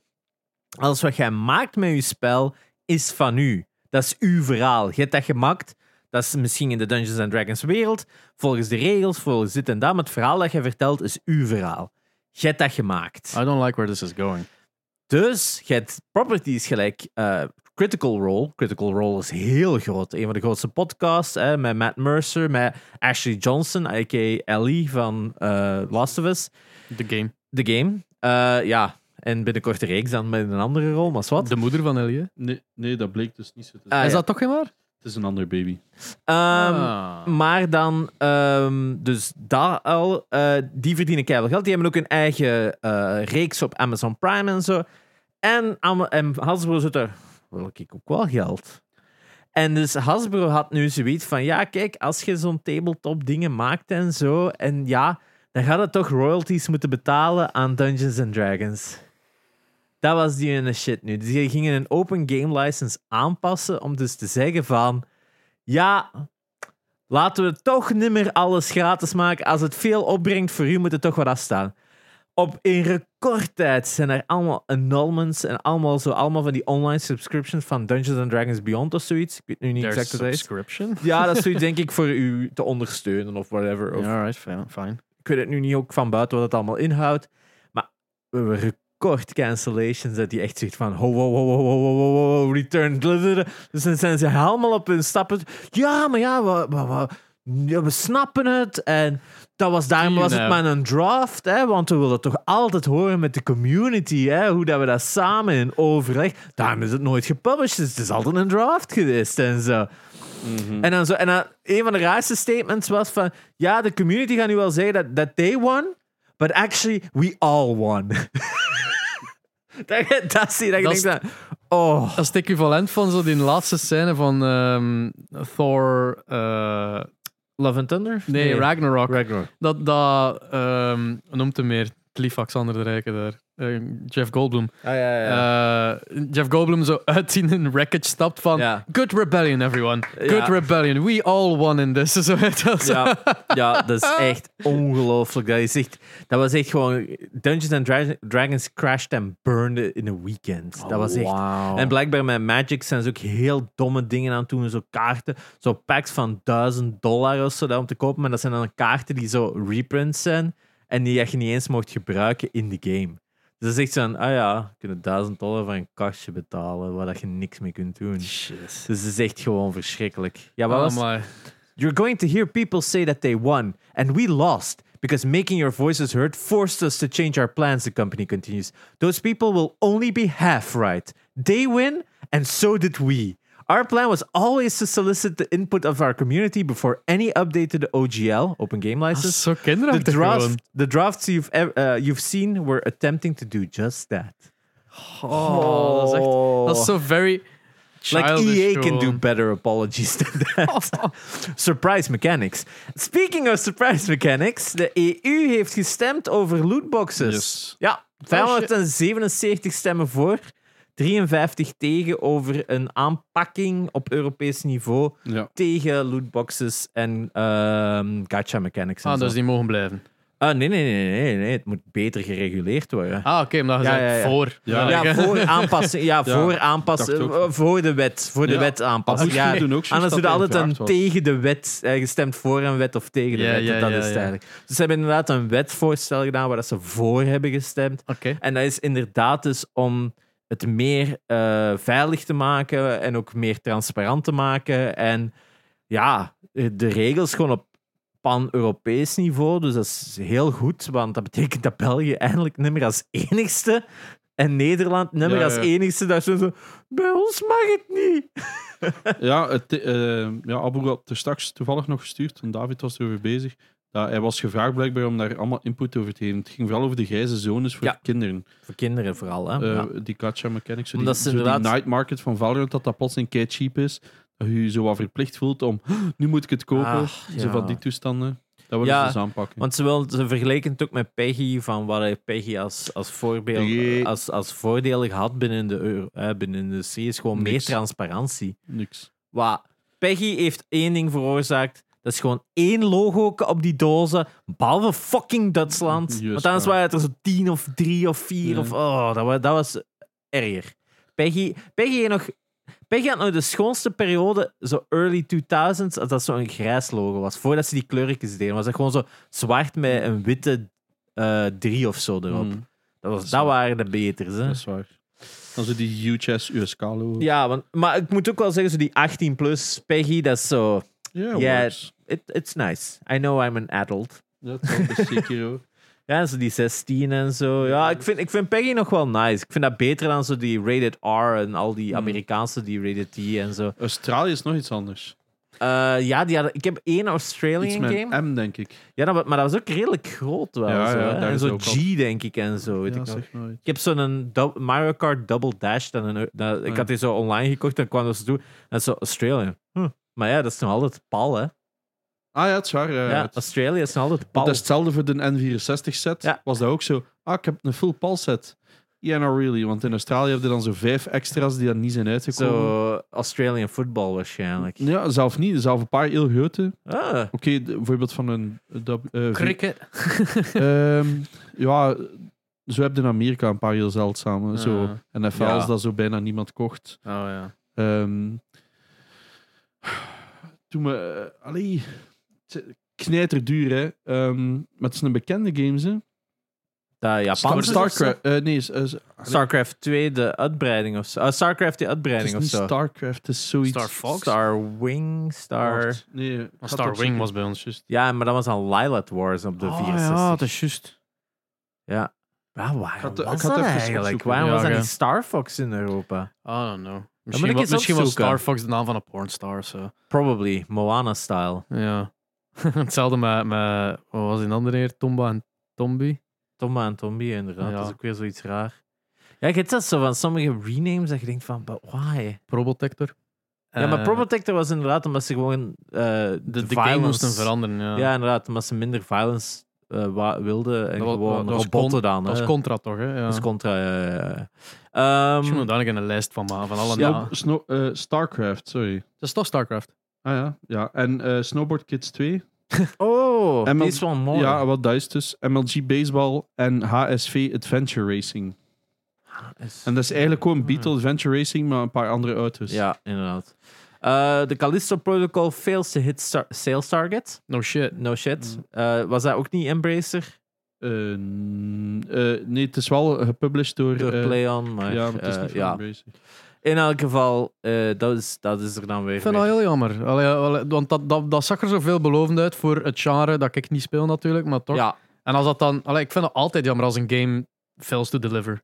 Speaker 2: alles wat jij maakt met je spel, is van u. Dat is uw verhaal. Je hebt dat gemaakt. Dat is misschien in de Dungeons and Dragons wereld, volgens de regels, volgens dit en dat. Maar het verhaal dat jij vertelt is uw verhaal. Je hebt dat gemaakt.
Speaker 1: I don't like where this is going.
Speaker 2: Dus je hebt properties gelijk eh, Critical Role. Critical Role is heel groot. Een van de grootste podcasts hè, met Matt Mercer, met Ashley Johnson, a.k.a. Ellie van eh, Last of Us.
Speaker 1: De game.
Speaker 2: The Game. Eh, ja, en binnenkort de reeks dan met een andere rol, maar wat.
Speaker 1: De moeder van Ellie. hè?
Speaker 3: Nee, nee, dat bleek dus niet zo te
Speaker 2: Ah,
Speaker 3: zijn.
Speaker 1: is
Speaker 2: ja.
Speaker 1: dat toch geen waar?
Speaker 3: Het is een andere baby.
Speaker 1: Ah.
Speaker 2: Ehm, Maar dan, ehm, dus daar al, eh, die verdienen keihard geld. Die hebben ook een eigen eh, reeks op Amazon Prime en zo. En, Am- en Hasbro zit er, wil ik ook wel geld. En dus Hasbro had nu zoiets van, ja kijk, als je zo'n tabletop dingen maakt en zo, en ja, dan gaat het toch royalties moeten betalen aan Dungeons and Dragons. Dat was die ene shit nu. Dus die gingen een open game license aanpassen om dus te zeggen van, ja, Laten we toch nimmer alles gratis maken. Als het veel opbrengt voor u, moet het toch wat afstaan. Op in recordtijd zijn er allemaal annulments en allemaal, zo, allemaal van die online subscriptions van Dungeons and Dragons Beyond of zoiets. Ik weet nu niet
Speaker 1: Their
Speaker 2: exact wat dat is.
Speaker 1: subscription.
Speaker 2: Ja, dat is zoiets denk ik voor u te ondersteunen of whatever. Of,
Speaker 1: Alright, fine. fine.
Speaker 2: Ik weet het nu niet ook van buiten wat het allemaal inhoudt. Maar we hebben record cancellations dat die echt zegt van ho, ho, ho, ho, ho, ho, ho, ho, ho, return. Dus dan zijn ze helemaal op hun stappen. Ja, maar ja, we, we, we, ja, we snappen het. En dat was, daarom
Speaker 1: You
Speaker 2: was het
Speaker 1: know.
Speaker 2: maar een draft, hè, want we willen toch altijd horen met de community, hè, hoe dat we dat samen in overleg... Daarom is het nooit gepublished, dus het is altijd een draft geweest en zo. En dan zo, en dan, een van de raarste statements was van, ja, de community gaat nu wel zeggen dat that they won, but actually we all won. [LAUGHS] dat, dat zie je, dat,
Speaker 1: Dat
Speaker 2: ik
Speaker 1: is-
Speaker 2: denk dan, oh,
Speaker 1: Dat is het equivalent van zo die laatste scène van ehm, Thor. eh,
Speaker 2: Love and Thunder?
Speaker 1: nee, Ragnarok.
Speaker 2: Ragnarok.
Speaker 1: dat, dat ehm, noemt hem meer. Lief Alexander de Rijke daar. Eh, Jeff Goldblum.
Speaker 2: Ah, ja, ja.
Speaker 1: Eh, Jeff Goldblum zo uit in een wreckage stapt van.
Speaker 2: Ja.
Speaker 1: Good rebellion, everyone. Good
Speaker 2: Ja.
Speaker 1: rebellion. We all won in this. [LAUGHS] Zo, Oh weet je wel, zo.
Speaker 2: ja, ja, dat is echt ongelooflijk. Dat, is echt, dat was echt gewoon... Dungeons and Dra- Dragons crashed and burned in een weekend. Dat was echt...
Speaker 1: Oh, Wauw.
Speaker 2: En blijkbaar met Magic zijn ze ook heel domme dingen aan het doen. Zo kaarten, zo packs van 1000 dollar of zo daar om te kopen. Maar dat zijn dan kaarten die zo reprints zijn. En die je niet eens mocht gebruiken in de game. Dus dat is echt zo'n, ah ja, kunnen 1000 dollar voor een kastje betalen waar dat je niks mee kunt doen. Dus dat is echt gewoon verschrikkelijk. Ja, wat
Speaker 1: Oh
Speaker 2: was het?
Speaker 1: my.
Speaker 2: You're going to hear people say that they won, and we lost, because making your voices heard forced us to change our plans, the company continues. Those people will only be half right. They win, and so did we. Our plan was always to solicit the input of our community before any update to the OGL, Open Game
Speaker 1: Dat is
Speaker 2: License.
Speaker 1: zo
Speaker 2: The,
Speaker 1: kinderachtig gewoon.
Speaker 2: draft, the drafts you've, ev- uh, you've seen were attempting to do just that.
Speaker 1: Oh, dat is echt... Dat is zo very
Speaker 2: Like
Speaker 1: childish
Speaker 2: EA can do
Speaker 1: gewoon.
Speaker 2: better apologies than that. [LAUGHS] surprise mechanics. Speaking of surprise mechanics, de EU heeft gestemd over lootboxes.
Speaker 3: Yes.
Speaker 2: Ja, 577 stemmen voor, 53 tegen over een aanpakking op Europees niveau
Speaker 3: Ja.
Speaker 2: tegen lootboxes en ehm gacha mechanics. En
Speaker 1: Ah,
Speaker 2: zo.
Speaker 1: dus die mogen blijven.
Speaker 2: Ah, nee, nee, nee, nee, nee, het moet beter gereguleerd worden.
Speaker 1: Ah, oké, maar dat
Speaker 2: Ja,
Speaker 1: is
Speaker 2: ja, ja.
Speaker 1: voor. Ah,
Speaker 3: Ja.
Speaker 2: Ah, Ja,
Speaker 1: ik-
Speaker 2: voor aanpassing. [LAUGHS] Ja, voor
Speaker 3: dacht
Speaker 2: aanpassen.
Speaker 3: ook.
Speaker 2: eh, Voor de wet. Voor de
Speaker 3: Ja.
Speaker 2: wet aanpassen.
Speaker 3: Moet je
Speaker 2: Ja,
Speaker 3: doen ook, zoals
Speaker 2: anders
Speaker 3: dat
Speaker 2: doet altijd een
Speaker 3: gevraagd was.
Speaker 2: tegen de wet. eh, gestemd voor een wet of tegen de
Speaker 1: Ja,
Speaker 2: wet.
Speaker 1: ja,
Speaker 2: dat
Speaker 1: ja,
Speaker 2: is het
Speaker 1: ja.
Speaker 2: eigenlijk. Dus ze hebben inderdaad een wetvoorstel gedaan waar dat ze voor hebben gestemd.
Speaker 1: [LAUGHS] Oké.
Speaker 2: En dat is inderdaad dus om het meer eh, veilig te maken en ook meer transparant te maken. En ja, de regels gewoon op pan-Europees niveau. Dus dat is heel goed, want dat betekent dat België eindelijk nummer als enigste en Nederland nummer
Speaker 3: Ja,
Speaker 2: als
Speaker 3: ja.
Speaker 2: enigste daar zo zo, bij ons mag het niet.
Speaker 3: Ja, het, eh, ja, Abu had er straks toevallig nog gestuurd, want David was erover bezig. Dat hij was gevraagd blijkbaar om daar allemaal input over te geven. Het ging vooral over de grijze zones voor
Speaker 2: Ja.
Speaker 3: kinderen.
Speaker 2: Voor kinderen vooral, hè.
Speaker 3: Eh,
Speaker 2: ja.
Speaker 3: Die gacha mechanics, zo die,
Speaker 2: Omdat ze
Speaker 3: zo die
Speaker 2: inderdaad-
Speaker 3: night market van Valorant, dat dat plotseling kei cheap is. Dat je je zo wat verplicht voelt om, "Huh, nu moet ik het kopen.
Speaker 2: Ach, ja.
Speaker 3: Zo van die toestanden. Dat willen
Speaker 2: Ja,
Speaker 3: ze dus aanpakken.
Speaker 2: Want ze, wil, ze vergelijken het ook met Peggy, van wat heeft Peggy als, als, voorbeeld,
Speaker 3: Peggy.
Speaker 2: als, als voordelen gehad binnen de, euro, hè, binnen de industrie, is gewoon meer
Speaker 3: Niks.
Speaker 2: transparantie.
Speaker 3: Niks.
Speaker 2: Wat Peggy heeft één ding veroorzaakt, dat is gewoon één logo op die dozen, behalve fucking Duitsland.
Speaker 3: Juist,
Speaker 2: Want anders
Speaker 3: ja.
Speaker 2: waren het er zo tien of drie of vier,
Speaker 3: Ja.
Speaker 2: of, oh, dat, was, dat was erger. Peggy, Peggy, heeft nog, Peggy had nog de schoonste periode, zo early 2000s, als dat zo'n grijs logo was. Voordat ze die kleurtjes deden, was dat gewoon zo zwart met een witte eh, drie of zo erop.
Speaker 3: Mm,
Speaker 2: Dat, was,
Speaker 3: Zo.
Speaker 2: dat waren de beters. Hè?
Speaker 3: Dat is waar. Dan zo die huge ass USK-logo.
Speaker 2: Ja, want, maar ik moet ook wel zeggen, zo die 18 plus Peggy, dat is zo.
Speaker 3: Yeah,
Speaker 2: Ja.
Speaker 3: works.
Speaker 2: It, it's nice. I know I'm an adult.
Speaker 3: Dat is Sekiro.
Speaker 2: Ja, zo die 16 en zo. Ja, ik vind, ik vind Peggy nog wel nice. Ik vind dat beter dan zo die rated R en al
Speaker 3: Mm.
Speaker 2: die Amerikaanse, die rated T en zo.
Speaker 3: [LAUGHS] Australië is nog iets anders.
Speaker 2: Eh, ja, die hadden, ik heb één
Speaker 3: Iets
Speaker 2: Australian
Speaker 3: met
Speaker 2: game.
Speaker 3: een M, denk ik.
Speaker 2: eh. Ja, dat, wa- maar dat was ook redelijk groot wel.
Speaker 3: Ja,
Speaker 2: zo,
Speaker 3: ja,
Speaker 2: hè.
Speaker 3: daar
Speaker 2: en
Speaker 3: is
Speaker 2: zo
Speaker 3: ook
Speaker 2: G,
Speaker 3: al-
Speaker 2: denk ik, en zo. Weet
Speaker 3: ja,
Speaker 2: ik, nog.
Speaker 3: zeg nooit.
Speaker 2: ik heb zo'n dub- Mario Kart Double Dash. Dan een, dat- ik
Speaker 3: Ja.
Speaker 2: had die zo online gekocht en kwam dat zo toe. En zo, Australië. Hm. Maar ja, dat is nog altijd pal, hè.
Speaker 3: Ah ja, het is waar. eh,
Speaker 2: Ja,
Speaker 3: het-
Speaker 2: Australië is nog altijd pal.
Speaker 3: Want dat is hetzelfde voor de N64-set.
Speaker 2: Ja.
Speaker 3: Was dat ook zo? Ah, ik heb een full PAL-set. Yeah, not really. Want in Australië hebben er dan zo vijf extra's die dan niet zijn uitgekomen.
Speaker 2: Zo Australian football waarschijnlijk.
Speaker 3: Ja, zelf niet. Zelf een paar heel grote. Oké,
Speaker 2: Ah,
Speaker 3: de- bijvoorbeeld van een... dat- eh,
Speaker 1: Cricket.
Speaker 3: Ehm, ja, zo heb je in Amerika een paar heel zeldzame. Zo NFL's
Speaker 2: Ja.
Speaker 3: dat zo bijna niemand kocht.
Speaker 1: Oh ja.
Speaker 3: Ehm, toen me... eh, allee, het knijter duur, hè. Ehm, maar het is een bekende game, hè.
Speaker 2: dat
Speaker 3: Star-
Speaker 2: Japanse
Speaker 3: Starcraft. eh, nee, is- is-
Speaker 2: Starcraft 2, de uitbreiding of zo. Ah, Starcraft, die
Speaker 3: het is
Speaker 2: uitbreiding of
Speaker 3: niet
Speaker 2: zo.
Speaker 3: Starcraft, het is zoiets...
Speaker 1: Star Fox.
Speaker 2: Star Wing, Star...
Speaker 3: Wacht, Nee, ik ga
Speaker 1: Maar
Speaker 3: het
Speaker 1: Star
Speaker 3: opzoeken.
Speaker 1: Wing was bij ons juist.
Speaker 2: Ja, maar dat was aan Lilat Wars op de 64.
Speaker 1: Oh, ja, dat is juist.
Speaker 2: Ja. Waar, waar
Speaker 3: had-
Speaker 2: was
Speaker 3: ik had
Speaker 2: dat
Speaker 3: even
Speaker 2: eigenlijk?
Speaker 3: opzoeken.
Speaker 2: Waarom
Speaker 1: Ja,
Speaker 2: was dat
Speaker 1: ja.
Speaker 2: niet Star Fox in Europa?
Speaker 1: I don't know.
Speaker 2: moet ik
Speaker 1: Misschien, wa-
Speaker 2: eens
Speaker 1: misschien was
Speaker 2: opzoeken.
Speaker 1: Star Fox de naam van een pornstar of zo.
Speaker 2: Probably, Moana-style.
Speaker 1: Ja. [LAUGHS] Hetzelfde met, met, wat was die andere heer? Tomba en Tombi?
Speaker 2: Tomba en Tombi, inderdaad.
Speaker 1: Ja.
Speaker 2: Dat is ook weer zoiets raar. Ja, je hebt dat zo van sommige renames dat je denkt van, but why?
Speaker 1: Probotector.
Speaker 2: ja, maar
Speaker 1: Eh,
Speaker 2: Probotector was inderdaad omdat ze gewoon eh, de,
Speaker 1: de, de game
Speaker 2: violence-
Speaker 1: moesten veranderen. Ja,
Speaker 2: Ja, inderdaad, omdat ze minder violence eh, wa- wilden en
Speaker 1: Dat was-
Speaker 2: gewoon
Speaker 1: dat was
Speaker 2: robotten
Speaker 1: con-
Speaker 2: dan.
Speaker 1: dat was
Speaker 2: hè.
Speaker 1: contra toch? Hè? Ja.
Speaker 2: eh. Dat is contra, ja, ja, ja. Ehm,
Speaker 1: Misschien moet ik daar een lijst van maken. Van alle
Speaker 3: Snow-
Speaker 1: namen.
Speaker 3: Snow- eh, Starcraft, sorry.
Speaker 1: Dat is toch StarCraft?
Speaker 3: Ah ja, ja. En eh, Snowboard Kids 2.
Speaker 2: Oh,
Speaker 3: ML
Speaker 2: die is wel mooi.
Speaker 3: Ja, wat dat is dus. MLG Baseball en HSV Adventure Racing.
Speaker 2: Is-
Speaker 3: En dat is eigenlijk
Speaker 1: Hmm.
Speaker 3: gewoon Beetle Adventure Racing, maar een paar andere auto's.
Speaker 2: Ja, inderdaad. Eh, De Callisto Protocol fails to hit star- sales target.
Speaker 1: No shit.
Speaker 2: No shit.
Speaker 1: Mm.
Speaker 2: Eh, was dat ook niet Embracer?
Speaker 3: Eh, n- eh, nee, het is wel gepublished door...
Speaker 2: Door
Speaker 3: eh,
Speaker 2: PlayOn, maar
Speaker 3: ja, maar het is
Speaker 2: eh,
Speaker 3: niet van
Speaker 2: ja.
Speaker 3: Embracer.
Speaker 2: In elk geval, eh, dat, is, dat is er dan weer.
Speaker 1: Ik vind dat
Speaker 2: mee.
Speaker 1: heel jammer. Allee, allee, want dat, dat, dat zag er zo veelbelovend uit voor het genre dat ik niet speel natuurlijk, maar toch.
Speaker 2: Ja.
Speaker 1: En als dat dan... Allee, ik vind het altijd jammer als een game fails to deliver.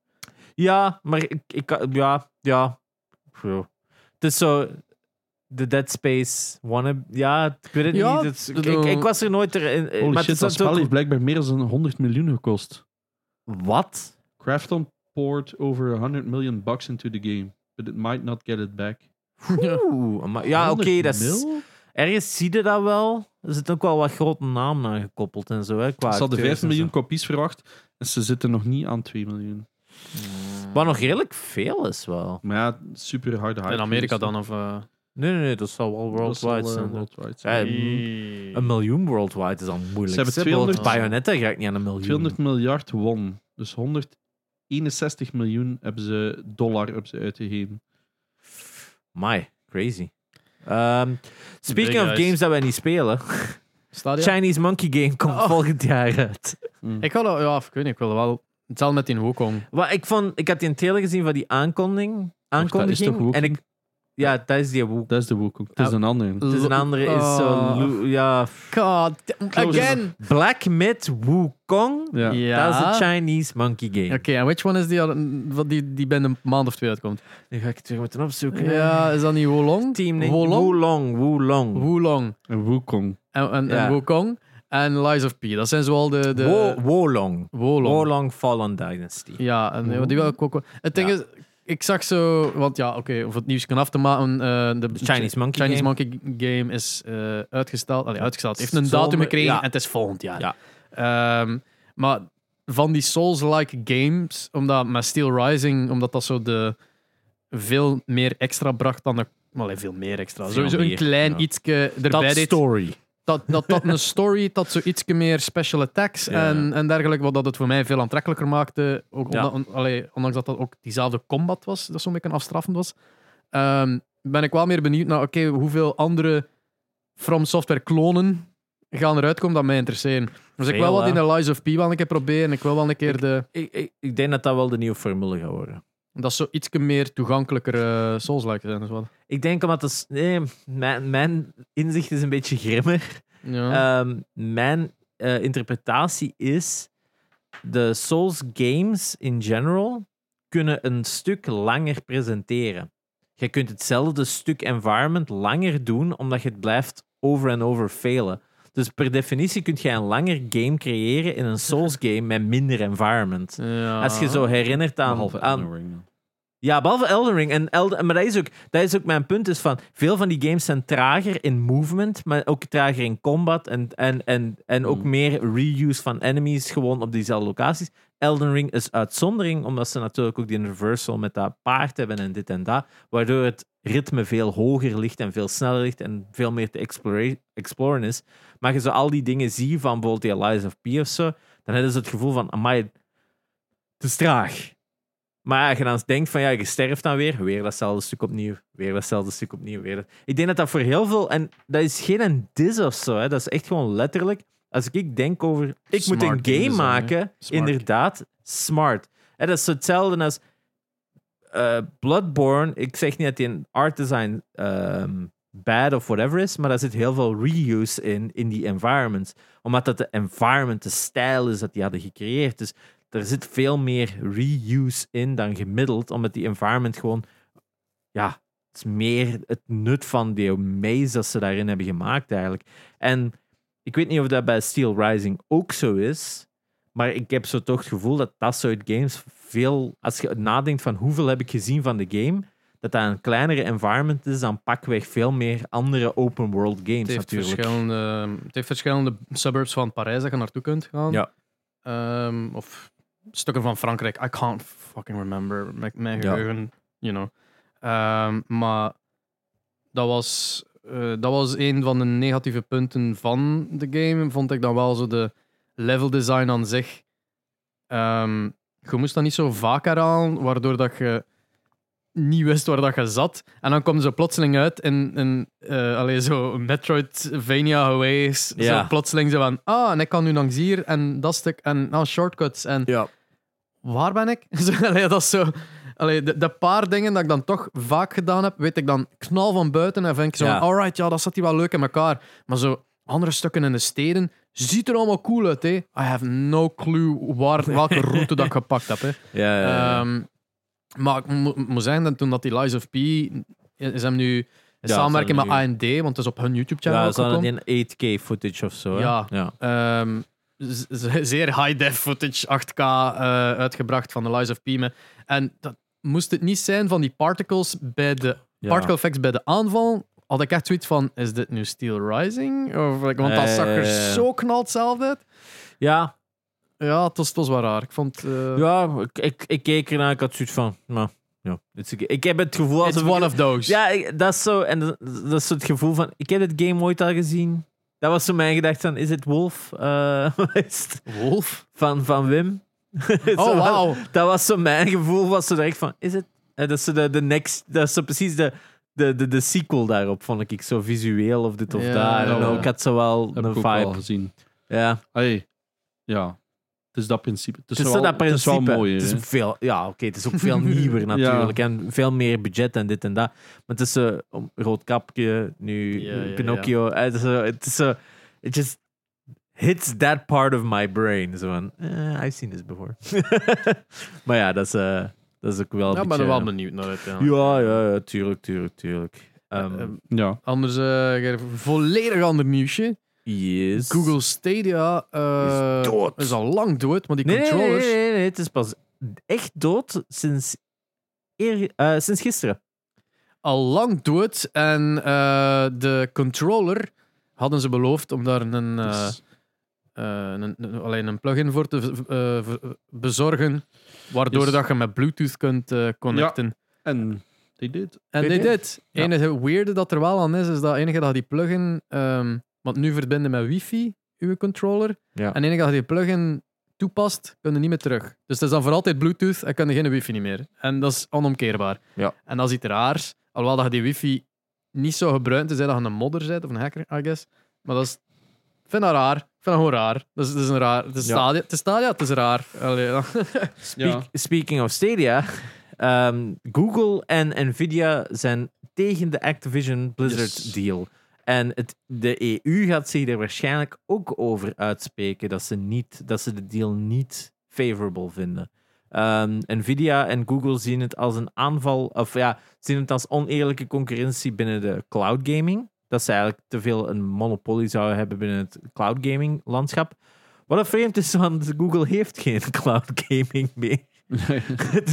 Speaker 2: ja, maar ik, ik kan- ja, ja. Phew. Het is zo de Dead Space wannabe. Ja, ik weet het
Speaker 1: Ja,
Speaker 2: niet. Het is- ik, ik,
Speaker 1: bedoel-
Speaker 2: ik was er nooit er in. eh,
Speaker 3: Holy
Speaker 2: maar
Speaker 3: shit,
Speaker 2: het
Speaker 3: dat
Speaker 2: is
Speaker 3: spel
Speaker 2: ook-
Speaker 3: heeft blijkbaar meer dan 100 miljoen gekost.
Speaker 2: Wat?
Speaker 3: Crafton poured over 100 million bucks into the game, but it might not get it back.
Speaker 1: Ja.
Speaker 2: Oeh, maar- ja, oké,
Speaker 3: 100
Speaker 2: dat is.
Speaker 3: mil?
Speaker 2: Ergens zie je dat wel. Er zit ook wel wat grote namen aan gekoppeld en zo. Hè, qua
Speaker 3: Ze hadden
Speaker 2: acteurs
Speaker 3: 5
Speaker 2: en zo.
Speaker 3: miljoen kopies verwacht en ze zitten nog niet aan 2 miljoen.
Speaker 2: Wat nog redelijk veel is wel.
Speaker 3: Maar ja, super harde hype.
Speaker 1: In Amerika
Speaker 3: geweest, hè.
Speaker 1: dan, of... eh,
Speaker 2: Nee, nee, nee, dat zal wel
Speaker 3: Dat zal, eh,
Speaker 2: worldwide zijn.
Speaker 3: worldwide zijn.
Speaker 2: Ja, een miljoen worldwide is al moeilijk.
Speaker 3: Ze hebben
Speaker 2: hè,
Speaker 1: 200
Speaker 2: bijvoorbeeld Bayonetta ga ik niet aan een miljoen.
Speaker 3: 200 miljard won. Dus 161 miljoen hebben ze dollar hebben ze uitgegeven.
Speaker 2: My, crazy. Ehm, speaking
Speaker 1: Big
Speaker 2: of
Speaker 1: eyes.
Speaker 2: games dat wij niet spelen.
Speaker 1: Stadia?
Speaker 2: Chinese Monkey Game komt
Speaker 1: Ah, Oh.
Speaker 2: volgend jaar uit.
Speaker 1: Ik wil... Ja, ik weet niet, ik wil wel... Hetzelfde met die Wukong.
Speaker 2: Wat ik, vond, ik had die trailer gezien van die aankondiging. aankondiging
Speaker 3: Wukong?
Speaker 2: en ik, ja, dat is die Wukong.
Speaker 3: Dat is de Wukong. Het is
Speaker 1: Ja.
Speaker 3: een andere.
Speaker 2: Dus een andere is zo...
Speaker 1: Oh.
Speaker 2: Lu- ja,
Speaker 1: God,
Speaker 3: Close
Speaker 1: again!
Speaker 2: Black Myth Wukong.
Speaker 3: Ja.
Speaker 1: Ja.
Speaker 2: Dat is de Chinese Monkey Game.
Speaker 1: Oké, en which one is die, al- wat die, die binnen een maand of twee uitkomt?
Speaker 2: Nu ga ik het weer moeten opzoeken.
Speaker 1: Ja, is dat niet Wolong?
Speaker 2: Team Ninja.
Speaker 1: Wolong?
Speaker 2: Wulong. Wulong.
Speaker 1: Wolong.
Speaker 3: Een Wukong.
Speaker 1: En, en,
Speaker 2: Ja.
Speaker 1: en Wukong. En Lies of P. Dat zijn zoal de... de
Speaker 2: Wo- Wolong.
Speaker 1: Wolong.
Speaker 2: Wolong Fallen Dynasty.
Speaker 1: Ja, en eh, die wil ik ook wel. Het ding
Speaker 2: Ja.
Speaker 1: is, ik zag zo, want ja, oké, om het nieuws kan af te maken, eh, de
Speaker 2: Chinese Monkey
Speaker 1: Chinese
Speaker 2: Game.
Speaker 1: Monkey Game is eh, uitgesteld. Allee, uitgesteld. Heeft een
Speaker 2: Zomer-
Speaker 1: datum gekregen
Speaker 2: ja.
Speaker 1: en het is volgend jaar.
Speaker 2: Ja.
Speaker 1: Ehm, maar van die Souls-like games, omdat met Steel Rising, omdat dat zo de veel meer extra bracht dan de allee, veel meer extra.
Speaker 2: Veel
Speaker 1: Sowieso
Speaker 2: meer,
Speaker 1: een klein
Speaker 2: ja.
Speaker 1: ietsje erbij
Speaker 2: Dat
Speaker 1: deed
Speaker 2: story.
Speaker 1: dat, dat, dat
Speaker 2: [LAUGHS]
Speaker 1: een story, dat zo iets meer special attacks
Speaker 2: Ja.
Speaker 1: en, en dergelijke, wat dat het voor mij veel aantrekkelijker maakte. Ook
Speaker 2: Ja.
Speaker 1: onda- on- allee, ondanks dat dat ook diezelfde combat was, dat zo'n beetje afstraffend was. Ehm, ben ik wel meer benieuwd naar, oké, hoeveel andere From Software klonen gaan eruit komen dat mij interesseren. Dus ik
Speaker 2: Veel,
Speaker 1: wil wat
Speaker 2: hè?
Speaker 1: in de Lies of P wel een keer proberen. Ik wil wel een keer de...
Speaker 2: Ik, ik, ik denk dat dat wel de nieuwe formule gaat worden.
Speaker 1: Dat is zo iets meer toegankelijker eh, Souls-like zijn. Dus wat.
Speaker 2: Ik denk omdat dat... is- Nee, mijn, mijn inzicht is een beetje grimmer.
Speaker 1: Ja.
Speaker 2: Ehm, mijn eh, interpretatie is... De Souls games in general kunnen een stuk langer presenteren. Je kunt hetzelfde stuk environment langer doen, omdat je het blijft over en over failen. Dus per definitie kun jij een langer game creëren in een Souls game met minder environment.
Speaker 1: ja.
Speaker 2: Als je zo herinnert aan,
Speaker 3: Behalve
Speaker 2: aan,
Speaker 3: Elden Ring dan.
Speaker 2: ja, behalve Elden Ring. En Elden, maar dat is, ook, dat is ook mijn punt. Is van, veel van die games zijn trager in movement, maar ook trager in combat. En, en, en, en ook
Speaker 3: Hmm.
Speaker 2: meer reuse van enemies gewoon op diezelfde locaties. Elden Ring is uitzondering, omdat ze natuurlijk ook die reversal met dat paard hebben en dit en dat. Waardoor het ritme veel hoger ligt en veel sneller ligt en veel meer te explora- exploren is. Maar je zo al die dingen zien van bijvoorbeeld die Lies of P of zo, dan hebben ze het gevoel van, amai, het is traag. Maar als je dan denkt van ja, je sterft dan weer, weer datzelfde stuk opnieuw, weer datzelfde stuk opnieuw, weer dat- Ik denk dat dat voor heel veel, en dat is geen een dis of zo, hè. dat is echt gewoon letterlijk, als ik denk over, ik
Speaker 1: Smart
Speaker 2: moet een
Speaker 1: game
Speaker 2: game
Speaker 1: design, hè.
Speaker 2: maken,
Speaker 1: Smart.
Speaker 2: inderdaad, smart. Hè, dat is zo hetzelfde als eh, Bloodborne, ik zeg niet dat die een art design ehm, bad of whatever is, maar daar zit heel veel reuse in, in die environments. Omdat dat de environment, de stijl is dat die hadden gecreëerd. Dus er zit veel meer reuse in dan gemiddeld, omdat die environment gewoon, ja, het is meer het nut van die maze dat ze daarin hebben gemaakt eigenlijk. En ik weet niet of dat bij Steel Rising ook zo is, maar ik heb zo toch het gevoel dat dat soort games veel, als je nadenkt van hoeveel heb ik gezien van de game, dat dat een kleinere environment is dan pakweg veel meer andere open world games
Speaker 1: Het heeft,
Speaker 2: natuurlijk.
Speaker 1: verschillende, het heeft verschillende suburbs van Parijs dat je naartoe kunt gaan.
Speaker 2: Ja.
Speaker 1: Ehm, of stukken van Frankrijk. I can't fucking remember. Mijn, mijn
Speaker 2: Ja.
Speaker 1: geheugen, you know. Ehm, maar dat was, eh, dat was een van de negatieve punten van de game. Vond ik dan wel zo de level design aan zich. Ehm, je moest dat niet zo vaak herhalen, waardoor dat je niet wist waar dat je zat. En dan komen ze plotseling uit in, in eh, allee, zo Metroidvania geweest.
Speaker 2: Ja.
Speaker 1: Zo plotseling zo van, ah, en ik kan nu langs hier en dat stuk en ah, shortcuts en
Speaker 2: Ja.
Speaker 1: waar ben ik? [LAUGHS] Zo, allee, dat is zo... Allee, de, de paar dingen dat ik dan toch vaak gedaan heb, weet ik dan knal van buiten en vind ik zo
Speaker 2: Ja.
Speaker 1: van, alright, ja, dat zat hier wel leuk in elkaar. Maar zo andere stukken in de steden, ziet er allemaal cool uit, hè. I have no clue
Speaker 2: [LAUGHS]
Speaker 1: waar, welke route dat ik gepakt heb, hè.
Speaker 2: Ja, ja, ja.
Speaker 1: Ehm, maar ik mo- moet zeggen dat toen dat die Lies of P is hem nu in
Speaker 2: Ja,
Speaker 1: samenwerking
Speaker 2: dat
Speaker 1: met
Speaker 2: is hem
Speaker 1: AMD, want het is op hun YouTube-channel
Speaker 2: Ja,
Speaker 1: ook
Speaker 2: ze hadden
Speaker 1: gekomen.
Speaker 2: in 8K footage of zo. hè?
Speaker 1: Ja.
Speaker 2: ja.
Speaker 1: Ehm, z- z- zeer high-def footage, 8K eh, uitgebracht van de Lies of P. met- En dat moest het niet zijn van die particles bij de
Speaker 2: Ja.
Speaker 1: particle effects bij de aanval. Had ik echt zoiets van: is dit nu Steel Rising? Of, like, want dat
Speaker 2: Eh,
Speaker 1: zag er
Speaker 2: ja, ja.
Speaker 1: zo knal hetzelfde uit.
Speaker 2: Ja,
Speaker 1: Ja, het was, het was wel raar. Ik vond. eh,
Speaker 2: ja ik, ik, ik keek ernaar, ik had zoiets van. Nou, ja, it's okay. Ik heb het gevoel
Speaker 1: it's
Speaker 2: alsof. ik-
Speaker 1: one of those.
Speaker 2: Ja, ik- dat is zo. En dat, dat is zo het gevoel van. Ik heb het game ooit al gezien. Dat was zo mijn gedachte van: is het Wolf? Eh, [LAUGHS]
Speaker 1: Wolf.
Speaker 2: van, van Wim. [LAUGHS] Zo,
Speaker 1: Oh,
Speaker 2: dat-
Speaker 1: wauw.
Speaker 2: Dat was zo mijn gevoel. Was zo direct van: is het? Eh, Dat is zo de, de next. Dat is zo precies de. De, de, de sequel daarop vond ik zo visueel of dit of
Speaker 1: Ja,
Speaker 2: daar.
Speaker 3: ja, ja.
Speaker 2: Ik had zo wel
Speaker 3: Heb
Speaker 2: een
Speaker 3: ik ook al
Speaker 2: vibe.
Speaker 3: gezien.
Speaker 2: Ja.
Speaker 3: Hey, ja. Het is dat principe. Het is,
Speaker 2: Het is,
Speaker 3: wel,
Speaker 2: dat principe.
Speaker 3: Het is wel mooi,
Speaker 2: Het
Speaker 3: hè.
Speaker 2: is veel, ja, oké, het is ook
Speaker 1: [LAUGHS]
Speaker 2: veel nieuwer natuurlijk. En veel meer budget en dit en dat. Maar het is eh, om rood kapje, nu
Speaker 1: Ja, ja,
Speaker 2: Pinocchio. Eh, Het is, zo- het is zo- it just hits that part of my brain. Zo van, eh, I've seen this before. [LAUGHS] maar ja, dat is, eh, dat is ook wel een
Speaker 1: Ja, maar
Speaker 2: beetje...
Speaker 1: ben nou, wel benieuwd naar het. Ja.
Speaker 2: ja, ja, ja, tuurlijk, tuurlijk, tuurlijk. Ehm,
Speaker 1: Eh,
Speaker 3: Ja.
Speaker 1: Anders, eh, ik heb een volledig ander nieuwsje.
Speaker 2: yes.
Speaker 1: Google Stadia eh,
Speaker 2: Is dood.
Speaker 1: is al lang dood, maar die
Speaker 2: Nee, nee, nee,
Speaker 1: controllers.
Speaker 2: nee, nee, nee, het is pas echt dood sinds, eer, eh, sinds gisteren.
Speaker 1: Al lang dood. En eh, de controller hadden ze beloofd om daar een, eh,
Speaker 3: Dus-
Speaker 1: eh, een, een- alleen een plugin voor te v- eh, v- bezorgen. Waardoor
Speaker 3: Yes.
Speaker 1: dat je met Bluetooth kunt eh, connecten.
Speaker 3: en they did.
Speaker 1: En
Speaker 2: Weet
Speaker 1: dit,
Speaker 2: je?
Speaker 1: dit.
Speaker 2: Ja.
Speaker 1: enige weirde dat er wel aan is, is dat enige dat je die plugin... ehm want nu verbinden met wifi, uw controller.
Speaker 2: Ja.
Speaker 1: En enige dat je die plugin toepast, kun je niet meer terug. Dus het is dan voor altijd bluetooth en kun je geen wifi niet meer. En dat is onomkeerbaar.
Speaker 2: Ja.
Speaker 1: En dat is iets raars. Alhoewel dat je die wifi niet zou gebruiken, tenzij dat je een modder bent of een hacker, I guess. Maar dat is... Ik vind dat raar. Ik vind dat gewoon raar. Dat is, dat is een raar... Het is
Speaker 2: Ja.
Speaker 1: stadia. Het is stadia, het is raar. Allee, ja.
Speaker 2: Speak- Speaking of Stadia, [LAUGHS] Ehm, Google en Nvidia zijn tegen de Activision Blizzard
Speaker 3: Yes.
Speaker 2: deal. En het, de EU gaat zich er waarschijnlijk ook over uitspreken dat ze, niet, dat ze de deal niet favorable vinden. Ehm, Nvidia en Google zien het als een aanval, of ja, zien het als oneerlijke concurrentie binnen de cloud gaming. Dat ze eigenlijk te veel een monopolie zouden hebben binnen het cloud gaming landschap. Wat een vreemd is, want Google heeft geen [LAUGHS] cloud gaming meer. [LAUGHS]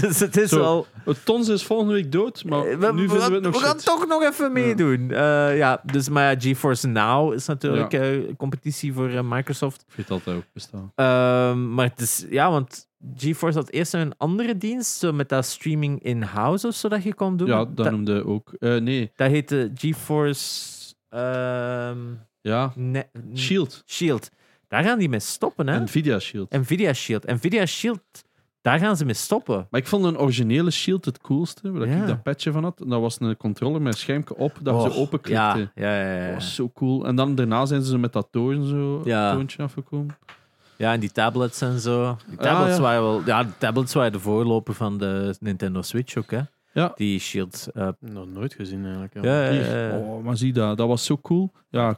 Speaker 2: dus het is
Speaker 3: Zo,
Speaker 2: wel.
Speaker 3: Het Eh, Tons is volgende week dood, maar
Speaker 2: Eh,
Speaker 3: nu vinden we het nog
Speaker 2: we gaan
Speaker 3: shit.
Speaker 2: toch nog even meedoen. Ja. ja, dus maar ja, GeForce Now is natuurlijk eh, competitie voor eh, Microsoft.
Speaker 3: Ik vind dat ook bestaan.
Speaker 2: Ehm, maar het is, ja, want GeForce had eerst een andere dienst, zo met dat streaming in-house of zo dat je kon doen.
Speaker 3: Ja, dat
Speaker 2: dat,
Speaker 3: noemde ook. eh, nee,
Speaker 2: dat heette GeForce ehm,
Speaker 3: ja.
Speaker 2: ne- n-
Speaker 3: Shield.
Speaker 2: Shield. Daar gaan die mee stoppen, Hm. hè?
Speaker 3: Nvidia Shield.
Speaker 2: Nvidia Shield. Nvidia Shield, daar gaan ze mee stoppen.
Speaker 3: Maar ik vond een originele Shield het coolste, waar
Speaker 2: Ja.
Speaker 3: ik dat petje van had. En dat was een controller met een schermpje op, dat
Speaker 2: Oh,
Speaker 3: ze openklikte.
Speaker 2: Ja, ja, ja. ja,
Speaker 3: Dat
Speaker 2: ja.
Speaker 3: was zo cool. En dan daarna zijn ze met dat toon zo,
Speaker 2: Eh. Ja.
Speaker 3: toontje afgekomen.
Speaker 2: Ja, en die tablets en zo. Die
Speaker 3: Ah,
Speaker 2: tablets,
Speaker 3: ja.
Speaker 2: waren wel, ja, de tablets waren de voorloper van de Nintendo Switch ook, hè?
Speaker 3: Ja.
Speaker 2: Die Shield. eh,
Speaker 1: [LAUGHS] Nog nooit gezien eigenlijk. Ja.
Speaker 2: ja,
Speaker 3: Hier.
Speaker 2: ja, ja.
Speaker 3: Oh, maar zie dat, dat was zo cool. Ja,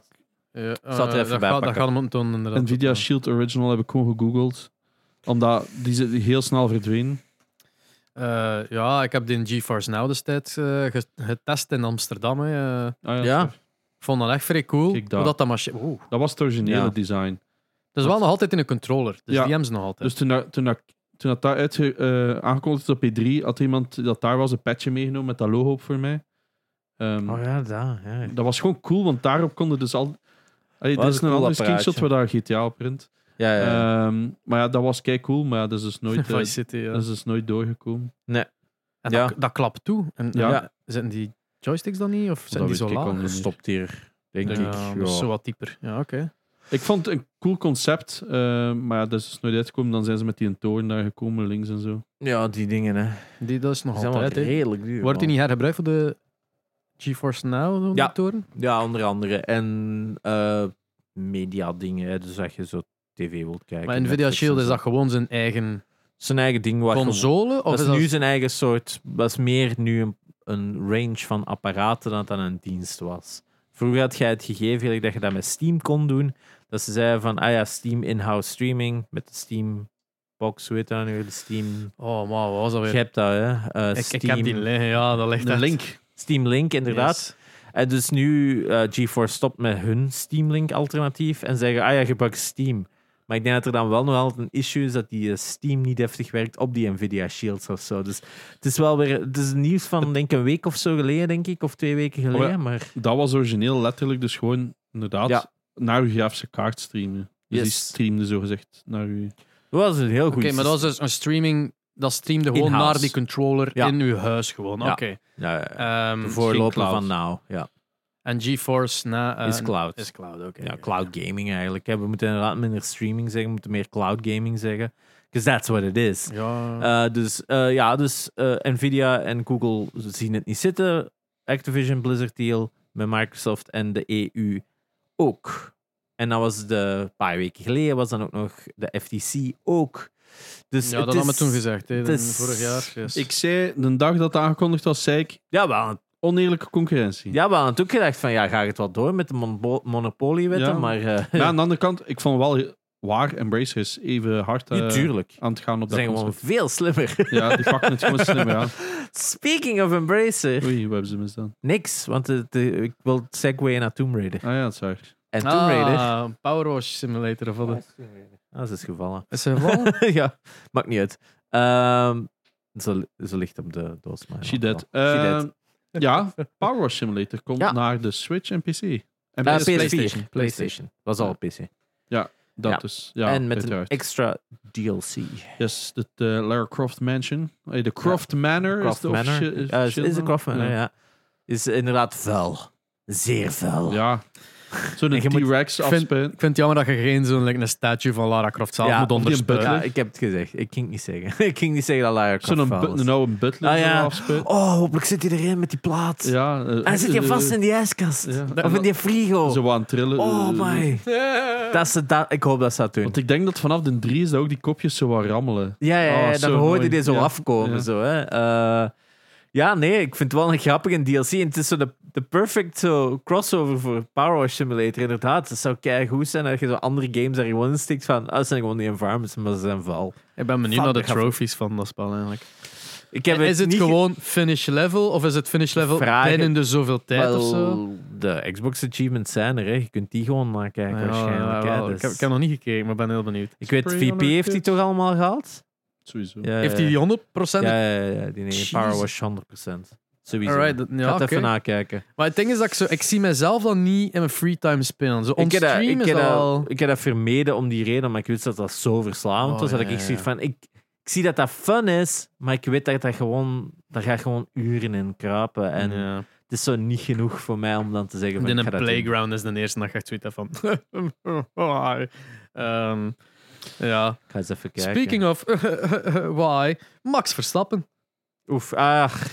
Speaker 1: Ja, eh,
Speaker 2: zal het er even
Speaker 1: dat
Speaker 2: bij
Speaker 1: gaat, dat
Speaker 2: pakken.
Speaker 1: gaat hem tonen, inderdaad.
Speaker 3: Nvidia Shield Original heb ik gewoon gegoogeld. Omdat die zijn heel snel verdwenen.
Speaker 1: Eh, ja, ik heb die GeForce Now destijds eh, ges- getest in Amsterdam. hè. Eh,
Speaker 3: Ah,
Speaker 2: Ja.
Speaker 3: sorry.
Speaker 1: ik vond dat echt vrij cool.
Speaker 3: Kijk daar.
Speaker 1: Hoe dat, dat machine... Oeh.
Speaker 3: Dat was het originele
Speaker 2: Ja.
Speaker 3: design.
Speaker 1: Dat is wel nog altijd in een controller. Dus
Speaker 3: Ja.
Speaker 1: die hebben ze nog altijd.
Speaker 3: Dus toen, dat- toen, dat- toen dat daar uitge, eh, aangekondigd is op E3, had iemand dat daar was een patchje meegenomen met dat logo op voor mij. Ehm,
Speaker 2: Oh ja, daar. Ja.
Speaker 3: Dat was gewoon cool, want daarop konden dus al... Allee,
Speaker 2: Oh,
Speaker 3: dit
Speaker 2: dat
Speaker 3: is
Speaker 2: is
Speaker 3: een
Speaker 2: een cool
Speaker 3: andere
Speaker 2: apparaatje.
Speaker 3: screenshot waar daar GTA op print.
Speaker 2: Ja, ja, ja.
Speaker 3: Ehm, maar ja, dat was kei cool, maar ja, dat is dus
Speaker 2: [LAUGHS]
Speaker 3: nooit,
Speaker 1: [LAUGHS]
Speaker 3: eh,
Speaker 1: Vice City, ja.
Speaker 3: dat is dus nooit doorgekomen.
Speaker 1: En
Speaker 2: Ja.
Speaker 1: dat, dat klapt toe. En,
Speaker 3: Ja.
Speaker 1: ja. Zitten die joysticks dan niet? Of zijn
Speaker 3: weet
Speaker 1: die zo
Speaker 3: ik al
Speaker 1: laag?
Speaker 3: niet.
Speaker 2: Dat stopt hier, denk
Speaker 1: Ja,
Speaker 2: ik.
Speaker 1: dat is zo wat dieper. Ja, oké.
Speaker 3: Ik vond het een cool concept, eh, maar ja, dat is dus nooit uitgekomen. Dan zijn ze met die een toren daar gekomen, links en zo.
Speaker 2: Ja, die dingen, hè.
Speaker 1: Die, dat is nog
Speaker 2: Die zijn wel
Speaker 1: altijd. hè.
Speaker 2: redelijk duur.
Speaker 1: Wordt die
Speaker 2: man.
Speaker 1: niet hergebruikt voor de GeForce Now
Speaker 2: Ja.
Speaker 1: ja. toren?
Speaker 2: Ja, onder andere. En eh media dingen, hè. Dus dat je zo tv wilt kijken.
Speaker 1: Maar Nvidia
Speaker 2: Netflix en
Speaker 1: Shield
Speaker 2: zo.
Speaker 1: is dat gewoon zijn eigen
Speaker 2: Zijn eigen ding. Wat je-
Speaker 1: console? Of
Speaker 2: dat
Speaker 1: is
Speaker 2: is
Speaker 1: dat...
Speaker 2: nu zijn eigen soort. Dat is meer nu een, een range van apparaten dan dat een dienst was. Vroeger had jij het gegeven eigenlijk dat je dat met Steam kon doen. Dat ze zeiden van, ah ja, Steam in-house streaming met de Steam box, hoe heet dat nu? De Steam.
Speaker 1: Oh, man, wat was dat
Speaker 2: Je
Speaker 1: weer?
Speaker 2: hebt dat, hè? Eh,
Speaker 1: Ik, ik
Speaker 2: Steam,
Speaker 1: heb die liggen, ja, dat ligt
Speaker 3: Een
Speaker 1: echt-
Speaker 3: link.
Speaker 2: Steam Link, inderdaad.
Speaker 1: Yes.
Speaker 2: En dus nu eh GeForce stopt met hun Steam Link alternatief en zeggen, ah ja, gebruik Steam. Maar ik denk dat er dan wel nog altijd een issue is dat die eh, Steam niet heftig werkt op die Nvidia Shields of zo. Dus het is wel weer, het is nieuws van denk ik, een week of zo geleden, denk ik, of twee weken geleden.
Speaker 3: Oh ja.
Speaker 2: Maar
Speaker 3: Dat was origineel letterlijk dus gewoon, inderdaad,
Speaker 2: Ja.
Speaker 3: naar uw grafische kaart streamen. Dus die
Speaker 2: Yes.
Speaker 3: streamde zogezegd naar uw...
Speaker 2: dat was een heel goed
Speaker 1: Oké, maar dat was dus een streaming... Dat streamde gewoon
Speaker 2: In-house.
Speaker 1: naar die controller
Speaker 2: Ja.
Speaker 1: in uw huis gewoon.
Speaker 2: Ja.
Speaker 1: Oké.
Speaker 2: ja, ja, ja.
Speaker 1: Ehm,
Speaker 2: de voorloper
Speaker 3: cloud.
Speaker 2: van nou. Ja.
Speaker 1: en GeForce na, eh,
Speaker 2: is cloud.
Speaker 1: Is cloud, oké.
Speaker 2: ja, cloud gaming eigenlijk. hè. We moeten inderdaad minder streaming zeggen, we moeten meer cloud gaming zeggen. Because that's what it is.
Speaker 1: Ja.
Speaker 2: Eh, dus eh, ja, dus eh, Nvidia en Google zien het niet zitten. Activision Blizzard deal met Microsoft en de EU ook. En dat was de een paar weken geleden, was dan ook nog de FTC ook. Dus
Speaker 1: ja,
Speaker 2: het
Speaker 1: dat
Speaker 2: is,
Speaker 1: hadden we toen gezegd, hè,
Speaker 2: het
Speaker 1: dan
Speaker 2: is-
Speaker 1: vorig jaar. Yes.
Speaker 3: Ik zei, de dag dat het aangekondigd was, zei ik,
Speaker 2: Ja, we hadden,
Speaker 3: oneerlijke concurrentie.
Speaker 2: ja, we hadden ook gedacht van ja, ga ik het wel door met de monopo- monopoliewetten,
Speaker 3: Ja.
Speaker 2: maar eh,
Speaker 3: Maar aan de andere kant, ik vond wel waar Embrace is even hard
Speaker 2: [LAUGHS]
Speaker 3: eh,
Speaker 2: natuurlijk.
Speaker 3: aan het gaan op
Speaker 2: Ze
Speaker 3: dat
Speaker 2: zijn gewoon
Speaker 3: concept.
Speaker 2: veel slimmer. [LAUGHS]
Speaker 3: Ja, die pakken het gewoon slimmer aan.
Speaker 2: Speaking of Embracer,
Speaker 3: Oei, wat hebben ze misdaan?
Speaker 2: niks, want het, eh, ik wil segue naar Tomb Raider.
Speaker 3: Ah ja, dat is waar.
Speaker 2: En Tomb Raider,
Speaker 1: Ah, Power Wash Simulator of wat?
Speaker 2: ah, ze is gevallen.
Speaker 1: Is er wel?
Speaker 2: [LAUGHS] ja, maakt niet uit. Ehm, ze, ze ligt op de doos. Maar
Speaker 3: She
Speaker 2: ja,
Speaker 3: dead.
Speaker 2: wel. She
Speaker 3: Eh,
Speaker 2: dead. Ah, [LAUGHS]
Speaker 3: Ja, Power Wash Simulator komt
Speaker 2: Ja.
Speaker 3: naar de Switch en PC. En
Speaker 2: Eh,
Speaker 3: PS-
Speaker 2: PS4.
Speaker 1: PlayStation.
Speaker 2: PlayStation. Was al PC.
Speaker 3: dat
Speaker 2: ja.
Speaker 3: dus. Ja,
Speaker 2: en met
Speaker 3: uiteraard.
Speaker 2: een extra DLC.
Speaker 3: Yes, de eh, Lara Croft Mansion. Eh, De Croft Manor is
Speaker 2: Croft
Speaker 3: de
Speaker 2: Manor.
Speaker 3: officie-
Speaker 2: Ja, is,
Speaker 3: officieel
Speaker 2: is de
Speaker 3: naam?
Speaker 2: Croft Manor,
Speaker 3: Ja.
Speaker 2: ja. Is inderdaad vuil. Zeer vuil.
Speaker 3: Ja, Zo'n
Speaker 2: En [LAUGHS] je moet-
Speaker 3: T-Rex
Speaker 1: Ik vind-
Speaker 3: afspelen.
Speaker 1: Ik vind het jammer dat je geen zo'n like, een statue van Lara Croft zelf
Speaker 2: Ja,
Speaker 1: moet
Speaker 3: of die een
Speaker 1: onderspelen.
Speaker 3: butler.
Speaker 2: Ja, ik heb het gezegd. Ik ging het niet zeggen. [LAUGHS] ik ging niet zeggen dat Lara Croft
Speaker 3: Zo'n
Speaker 2: faal
Speaker 3: but-
Speaker 2: is.
Speaker 3: een oude butler
Speaker 2: Ah, ja.
Speaker 3: afspelen.
Speaker 2: Oh, hopelijk zit hij erin met die plaat.
Speaker 3: Ja, eh,
Speaker 2: En zit je
Speaker 3: eh,
Speaker 2: vast in die ijskast.
Speaker 3: ja.
Speaker 2: Of in die frigo.
Speaker 3: Zo aan trillen.
Speaker 2: Oh
Speaker 3: eh, [LAUGHS]
Speaker 2: my. Dat ze dat, ik hoop dat ze dat doen.
Speaker 3: Want ik denk dat vanaf de 3 is dat ook die kopjes zo wat rammelen.
Speaker 2: Ja, ja, ja
Speaker 3: Oh,
Speaker 2: dan
Speaker 3: zo
Speaker 2: hoorde je
Speaker 3: mooi.
Speaker 2: die zo
Speaker 3: Ja.
Speaker 2: afkomen.
Speaker 3: Ja.
Speaker 2: Zo, hè. Eh, ja, nee, ik vind het wel een grappige DLC. En het is zo de, de perfect zo, crossover voor Power Wash Simulator, inderdaad. Het zou goed zijn dat je zo andere games daar gewoon in stikt van, ah, dat zijn gewoon die environments, maar ze zijn val.
Speaker 1: Ik ben benieuwd
Speaker 2: Fuck,
Speaker 1: naar de
Speaker 2: ik ga-
Speaker 1: trophies van dat spel eigenlijk.
Speaker 2: Ik heb
Speaker 1: is het
Speaker 2: niet
Speaker 1: gewoon finish level of is het finish level
Speaker 2: Vragen.
Speaker 1: binnen de zoveel tijd
Speaker 2: Wel,
Speaker 1: of zo?
Speaker 2: De Xbox achievements zijn er, hè. je kunt die gewoon nakijken
Speaker 1: Ja,
Speaker 2: waarschijnlijk.
Speaker 1: ja,
Speaker 2: hè.
Speaker 1: wel,
Speaker 2: Dus-
Speaker 1: ik, heb, ik heb nog niet gekeken, maar ben heel benieuwd.
Speaker 2: ik weet,
Speaker 3: Spray on
Speaker 2: VP
Speaker 3: our
Speaker 2: heeft die
Speaker 3: kids.
Speaker 2: toch allemaal gehad?
Speaker 3: Sowieso.
Speaker 2: Ja,
Speaker 1: Heeft hij
Speaker 2: ja.
Speaker 1: die 100%?
Speaker 2: Eh, Ja, ja, ja, ja, die nee,
Speaker 1: Jezus.
Speaker 2: Power Wash 100%. Sowieso.
Speaker 1: Alright, dat-
Speaker 2: Ga
Speaker 1: ja,
Speaker 2: het
Speaker 1: oké.
Speaker 2: even nakijken.
Speaker 1: Maar het ding is dat ik zo, ik zie mezelf dan niet in mijn free time spelen. Zo on
Speaker 2: Ik heb, dat,
Speaker 1: stream
Speaker 2: ik,
Speaker 1: is
Speaker 2: heb
Speaker 1: dat
Speaker 2: dat-
Speaker 1: al.
Speaker 2: ik heb dat vermeden om die reden, maar ik wist dat dat zo verslavend
Speaker 1: Oh,
Speaker 2: was. Dat
Speaker 1: ja,
Speaker 2: ik echt
Speaker 1: ja,
Speaker 2: zoiets
Speaker 1: ja.
Speaker 2: van, ik, ik zie dat dat fun is, maar ik weet dat dat gewoon, daar ga ik gewoon uren in kruipen. En
Speaker 1: ja.
Speaker 2: het is zo niet genoeg voor mij om dan te zeggen van,
Speaker 1: Mm. in
Speaker 2: ik
Speaker 1: een
Speaker 2: ga dat doen.
Speaker 1: playground is de eerste dag echt zoiets van. [LAUGHS] Ehm, ja.
Speaker 2: Ik ga eens even kijken.
Speaker 1: Speaking of [LAUGHS] why, Max Verstappen.
Speaker 2: Oef, ach,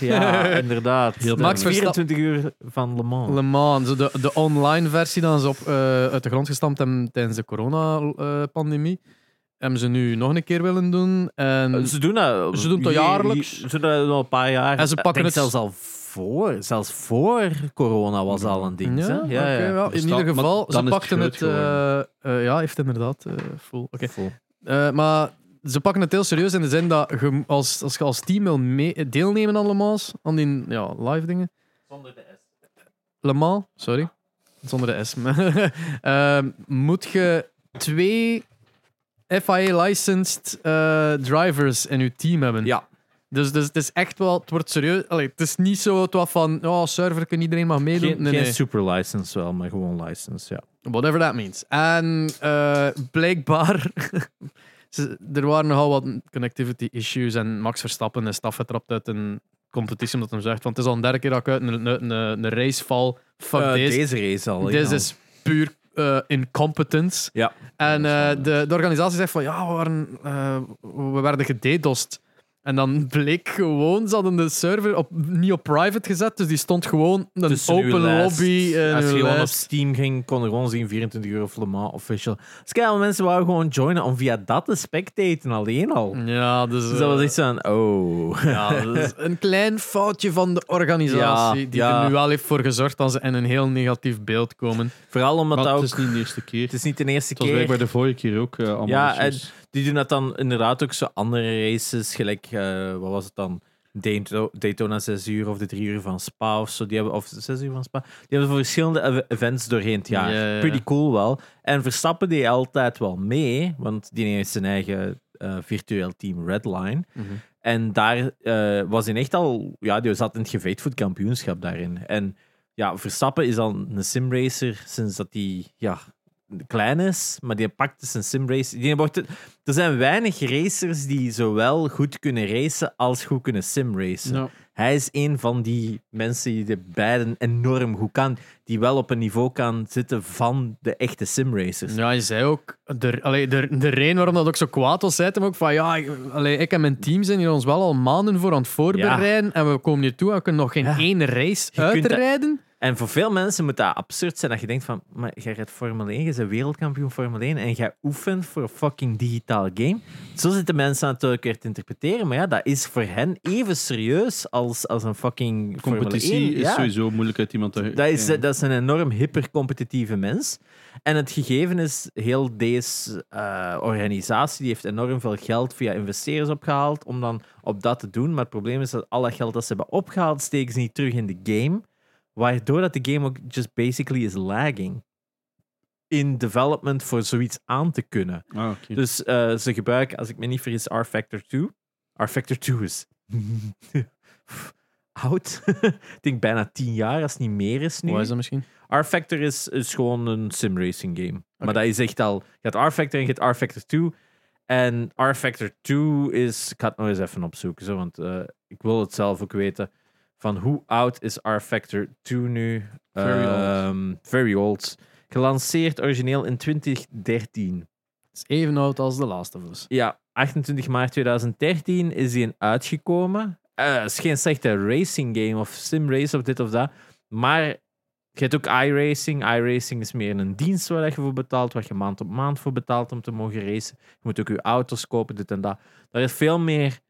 Speaker 1: [LAUGHS]
Speaker 2: ja, inderdaad.
Speaker 1: Heel
Speaker 2: De
Speaker 1: Max Verstappen-
Speaker 2: 24 uur van Le Mans.
Speaker 1: Le Mans, zo de, de online versie dan ze op, eh, uit de grond gestampt hebben tijdens de corona-pandemie. hebben ze nu nog een keer willen doen. En
Speaker 2: Eh, Ze doen dat.
Speaker 1: Ze doen dat
Speaker 2: je- je-
Speaker 1: jaarlijks.
Speaker 2: Ze doen dat al een paar jaar.
Speaker 1: En ze
Speaker 2: Ik
Speaker 1: pakken
Speaker 2: denk
Speaker 1: het-
Speaker 2: zelfs al voor. Zelfs voor corona was al een ding. hè?
Speaker 1: Ja, oké, wel,
Speaker 3: Dus
Speaker 1: in ieder
Speaker 3: dat- maar
Speaker 1: geval,
Speaker 3: dan
Speaker 1: ze
Speaker 3: is het
Speaker 1: pakten
Speaker 3: groot
Speaker 1: het. eh, eh, ja, heeft inderdaad eh full. Oké.
Speaker 2: Vol.
Speaker 1: Eh, maar ze pakken het heel serieus in de zin dat je, als, als je als team wil mee- deelnemen aan Le Mans, aan die ja, live dingen. Le Mans, sorry. Zonder de S. [LAUGHS] Ehm, moet je twee FIA-licensed eh, drivers in je team hebben.
Speaker 2: Ja.
Speaker 1: Dus, dus het is echt wel, het wordt serieus. Allee, het is niet zo het wat van, oh, server, kan iedereen mag meedoen.
Speaker 2: Geen,
Speaker 1: nee,
Speaker 2: geen
Speaker 1: nee.
Speaker 2: super license wel, maar gewoon license, ja.
Speaker 1: Whatever that means. En eh, blijkbaar, [LAUGHS] ze- er waren nogal wat connectivity issues en Max Verstappen is afgetrapt uit een competitie omdat hij zegt, want het is al een derde keer dat ik uit een, een, een, een race val. Fuck
Speaker 2: Eh,
Speaker 1: deze.
Speaker 2: deze race al.
Speaker 1: Dit
Speaker 2: ja.
Speaker 1: is puur eh, incompetence.
Speaker 2: Ja.
Speaker 1: En
Speaker 2: Dat is wel,
Speaker 1: eh, de, de organisatie zegt van ja, we, waren, eh, we werden gededost. En dan bleek gewoon, ze hadden de server op, niet op private gezet, dus die stond gewoon een
Speaker 2: Tussen uw
Speaker 1: open
Speaker 2: lijst.
Speaker 1: lobby. eh, en
Speaker 2: Als je
Speaker 1: uw
Speaker 2: gewoon op
Speaker 1: lijst.
Speaker 2: Steam ging, kon je gewoon zien 24 uur of Le Mans official. Dus kijk, mensen wouden gewoon joinen om via dat te spectaten alleen al.
Speaker 1: Ja, dus,
Speaker 2: Dus dat was
Speaker 1: eh,
Speaker 2: echt zo'n, oh.
Speaker 1: ja, [LAUGHS] dat is een klein foutje van de organisatie
Speaker 2: Ja,
Speaker 1: die
Speaker 2: ja.
Speaker 1: er nu wel heeft voor gezorgd dat ze in een heel negatief beeld komen.
Speaker 2: [LAUGHS] Vooral omdat
Speaker 3: Maar
Speaker 2: dat ook...
Speaker 3: het is niet de eerste keer.
Speaker 2: Het is niet de eerste
Speaker 3: Het was
Speaker 2: keer.
Speaker 3: blijkbaar de vorige keer ook eh, allemaal.
Speaker 2: Ja,
Speaker 3: issues.
Speaker 2: Die doen dat dan inderdaad ook zo andere races, gelijk, eh, wat was het dan? Dayto- Daytona 6 uur of de 3 uur van Spa of zo. Die hebben, of 6 uur van Spa. Die hebben voor verschillende ev- events doorheen het jaar.
Speaker 1: Ja, ja, ja.
Speaker 2: Pretty cool wel. En Verstappen die altijd wel mee, want die heeft zijn eigen eh, virtueel team Redline.
Speaker 1: Mhm.
Speaker 2: En daar eh, was hij echt al, ja, die zat in het gevecht voor het kampioenschap daarin. En ja, Verstappen is al een simracer sinds dat hij, ja, klein is, maar die pakt dus zijn simrace. Die wordt het- er zijn weinig racers die zowel goed kunnen racen als goed kunnen simracen.
Speaker 3: Ja.
Speaker 2: Hij is een van die mensen die de beiden enorm goed kan, die wel op een niveau kan zitten van de echte simracers.
Speaker 1: Ja, hij zei ook, de, allee, de, de reden waarom dat ook zo kwaad was, zei hij hem ook van ja, ik, allee, ik en mijn team zijn hier ons wel al maanden voor aan het voorbereiden en we komen hier toe en we kunnen nog geen
Speaker 2: Ja.
Speaker 1: één race
Speaker 2: kunt
Speaker 1: uitrijden.
Speaker 2: En voor veel mensen moet dat absurd zijn dat je denkt van, maar jij rijdt Formule 1, je bent wereldkampioen Formule 1 en jij oefent voor een fucking digitaal game. Zo zitten mensen natuurlijk weer te interpreteren, maar ja, dat is voor hen even serieus als, als een fucking
Speaker 3: Competitie
Speaker 2: Formule 1.
Speaker 3: is
Speaker 2: ja.
Speaker 3: sowieso moeilijk uit iemand te
Speaker 2: Dat is,
Speaker 3: Ja.
Speaker 2: dat is een enorm hypercompetitieve mens. En het gegeven is, heel deze eh, organisatie die heeft enorm veel geld via investeerders opgehaald om dan op dat te doen. Maar het probleem is dat al dat geld dat ze hebben opgehaald, steken ze niet terug in de game. Waardoor dat de game ook just basically is lagging. In development voor zoiets aan te kunnen.
Speaker 3: Ah,
Speaker 1: Hm.
Speaker 3: oké.
Speaker 2: Dus eh, ze gebruiken, als ik me niet vergis, R-Factor 2. R-Factor 2 is [LAUGHS] oud. [LAUGHS] ik denk bijna 10 jaar, als het niet meer is nu.
Speaker 1: Wat is dat misschien?
Speaker 2: R-Factor is, is gewoon een simracing game. Maar
Speaker 1: Oké.
Speaker 2: dat is echt al... Je had R-Factor en je had R-Factor 2. En R-Factor 2 is... Ik ga het nog eens even opzoeken, zo, want eh, ik wil het zelf ook weten. Van hoe oud is R-Factor 2 nu?
Speaker 3: Very old.
Speaker 2: Ehm, Very old. Gelanceerd origineel in 2013.
Speaker 1: is even oud als The Last of Us.
Speaker 2: Ja, 28 maart 2013 is die uitgekomen. Eh is geen slechte racing game of sim race of dit of dat. Maar je hebt ook iRacing. iRacing is meer een dienst waar je voor betaalt, waar je maand op maand voor betaalt om te mogen racen. Je moet ook je auto's kopen, dit en dat. Daar is veel meer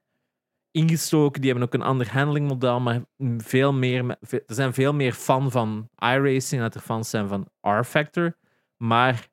Speaker 2: ingestoken. Die hebben ook een ander handlingmodel, maar veel meer, me- ve- er zijn veel meer fan van iRacing dan dat er fans zijn van R-Factor. Maar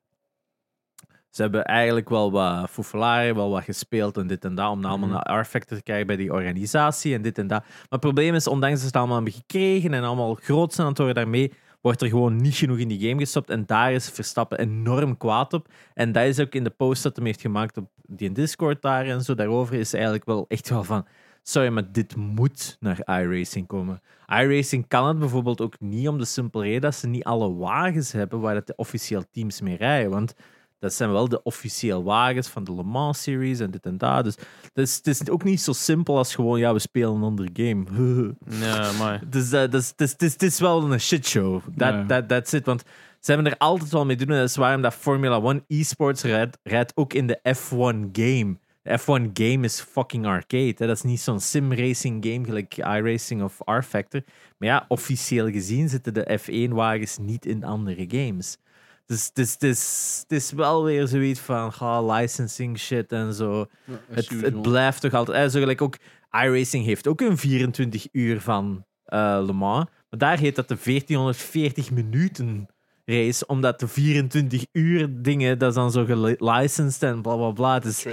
Speaker 2: ze hebben eigenlijk wel wat foefelaren, wel wat gespeeld en dit en dat, om dan allemaal
Speaker 1: Mhm.
Speaker 2: naar R-Factor te krijgen bij die organisatie en dit en dat. Maar het probleem is, ondanks dat ze het allemaal hebben gekregen en allemaal groot zijn aan het worden daarmee, wordt er gewoon niet genoeg in die game gestopt. En daar is Verstappen enorm kwaad op. En dat is ook in de post dat hem heeft gemaakt op die Discord daar en zo. Daarover is eigenlijk wel echt wel van... Sorry, maar dit moet naar iRacing komen. iRacing kan het bijvoorbeeld ook niet om de simpele reden dat ze niet alle wagens hebben waar dat de officieel teams mee rijden. Want dat zijn wel de officieel wagens van de Le Mans series en dit en dat. Dus het is, het is ook niet zo simpel als gewoon, ja, we spelen een ander game. [LAUGHS]
Speaker 1: Ja, maar.
Speaker 2: Dus eh, dat is- het is- het is- het is wel een shitshow. Dat
Speaker 3: Ja.
Speaker 2: dat that's it. Want ze hebben er altijd wel mee te doen. En dat is waarom dat Formula 1 esports rijdt, rijdt ook in de F1 game. De F1 game is fucking arcade. Hè? Dat is niet zo'n sim-racing game gelijk iRacing of R-Factor. Maar ja, officieel gezien zitten de F1-wagens niet in andere games. Dus het is, het, is, het is wel weer zoiets van ga licensing shit en zo. Het, het blijft toch altijd. eh, Zo gelijk ook iRacing heeft ook een 24 uur van eh, Le Mans. Maar daar heet dat de 1440 minuten race. Omdat de 24 uur dingen, dat is dan zo gelicensed en bla bla bla. Het is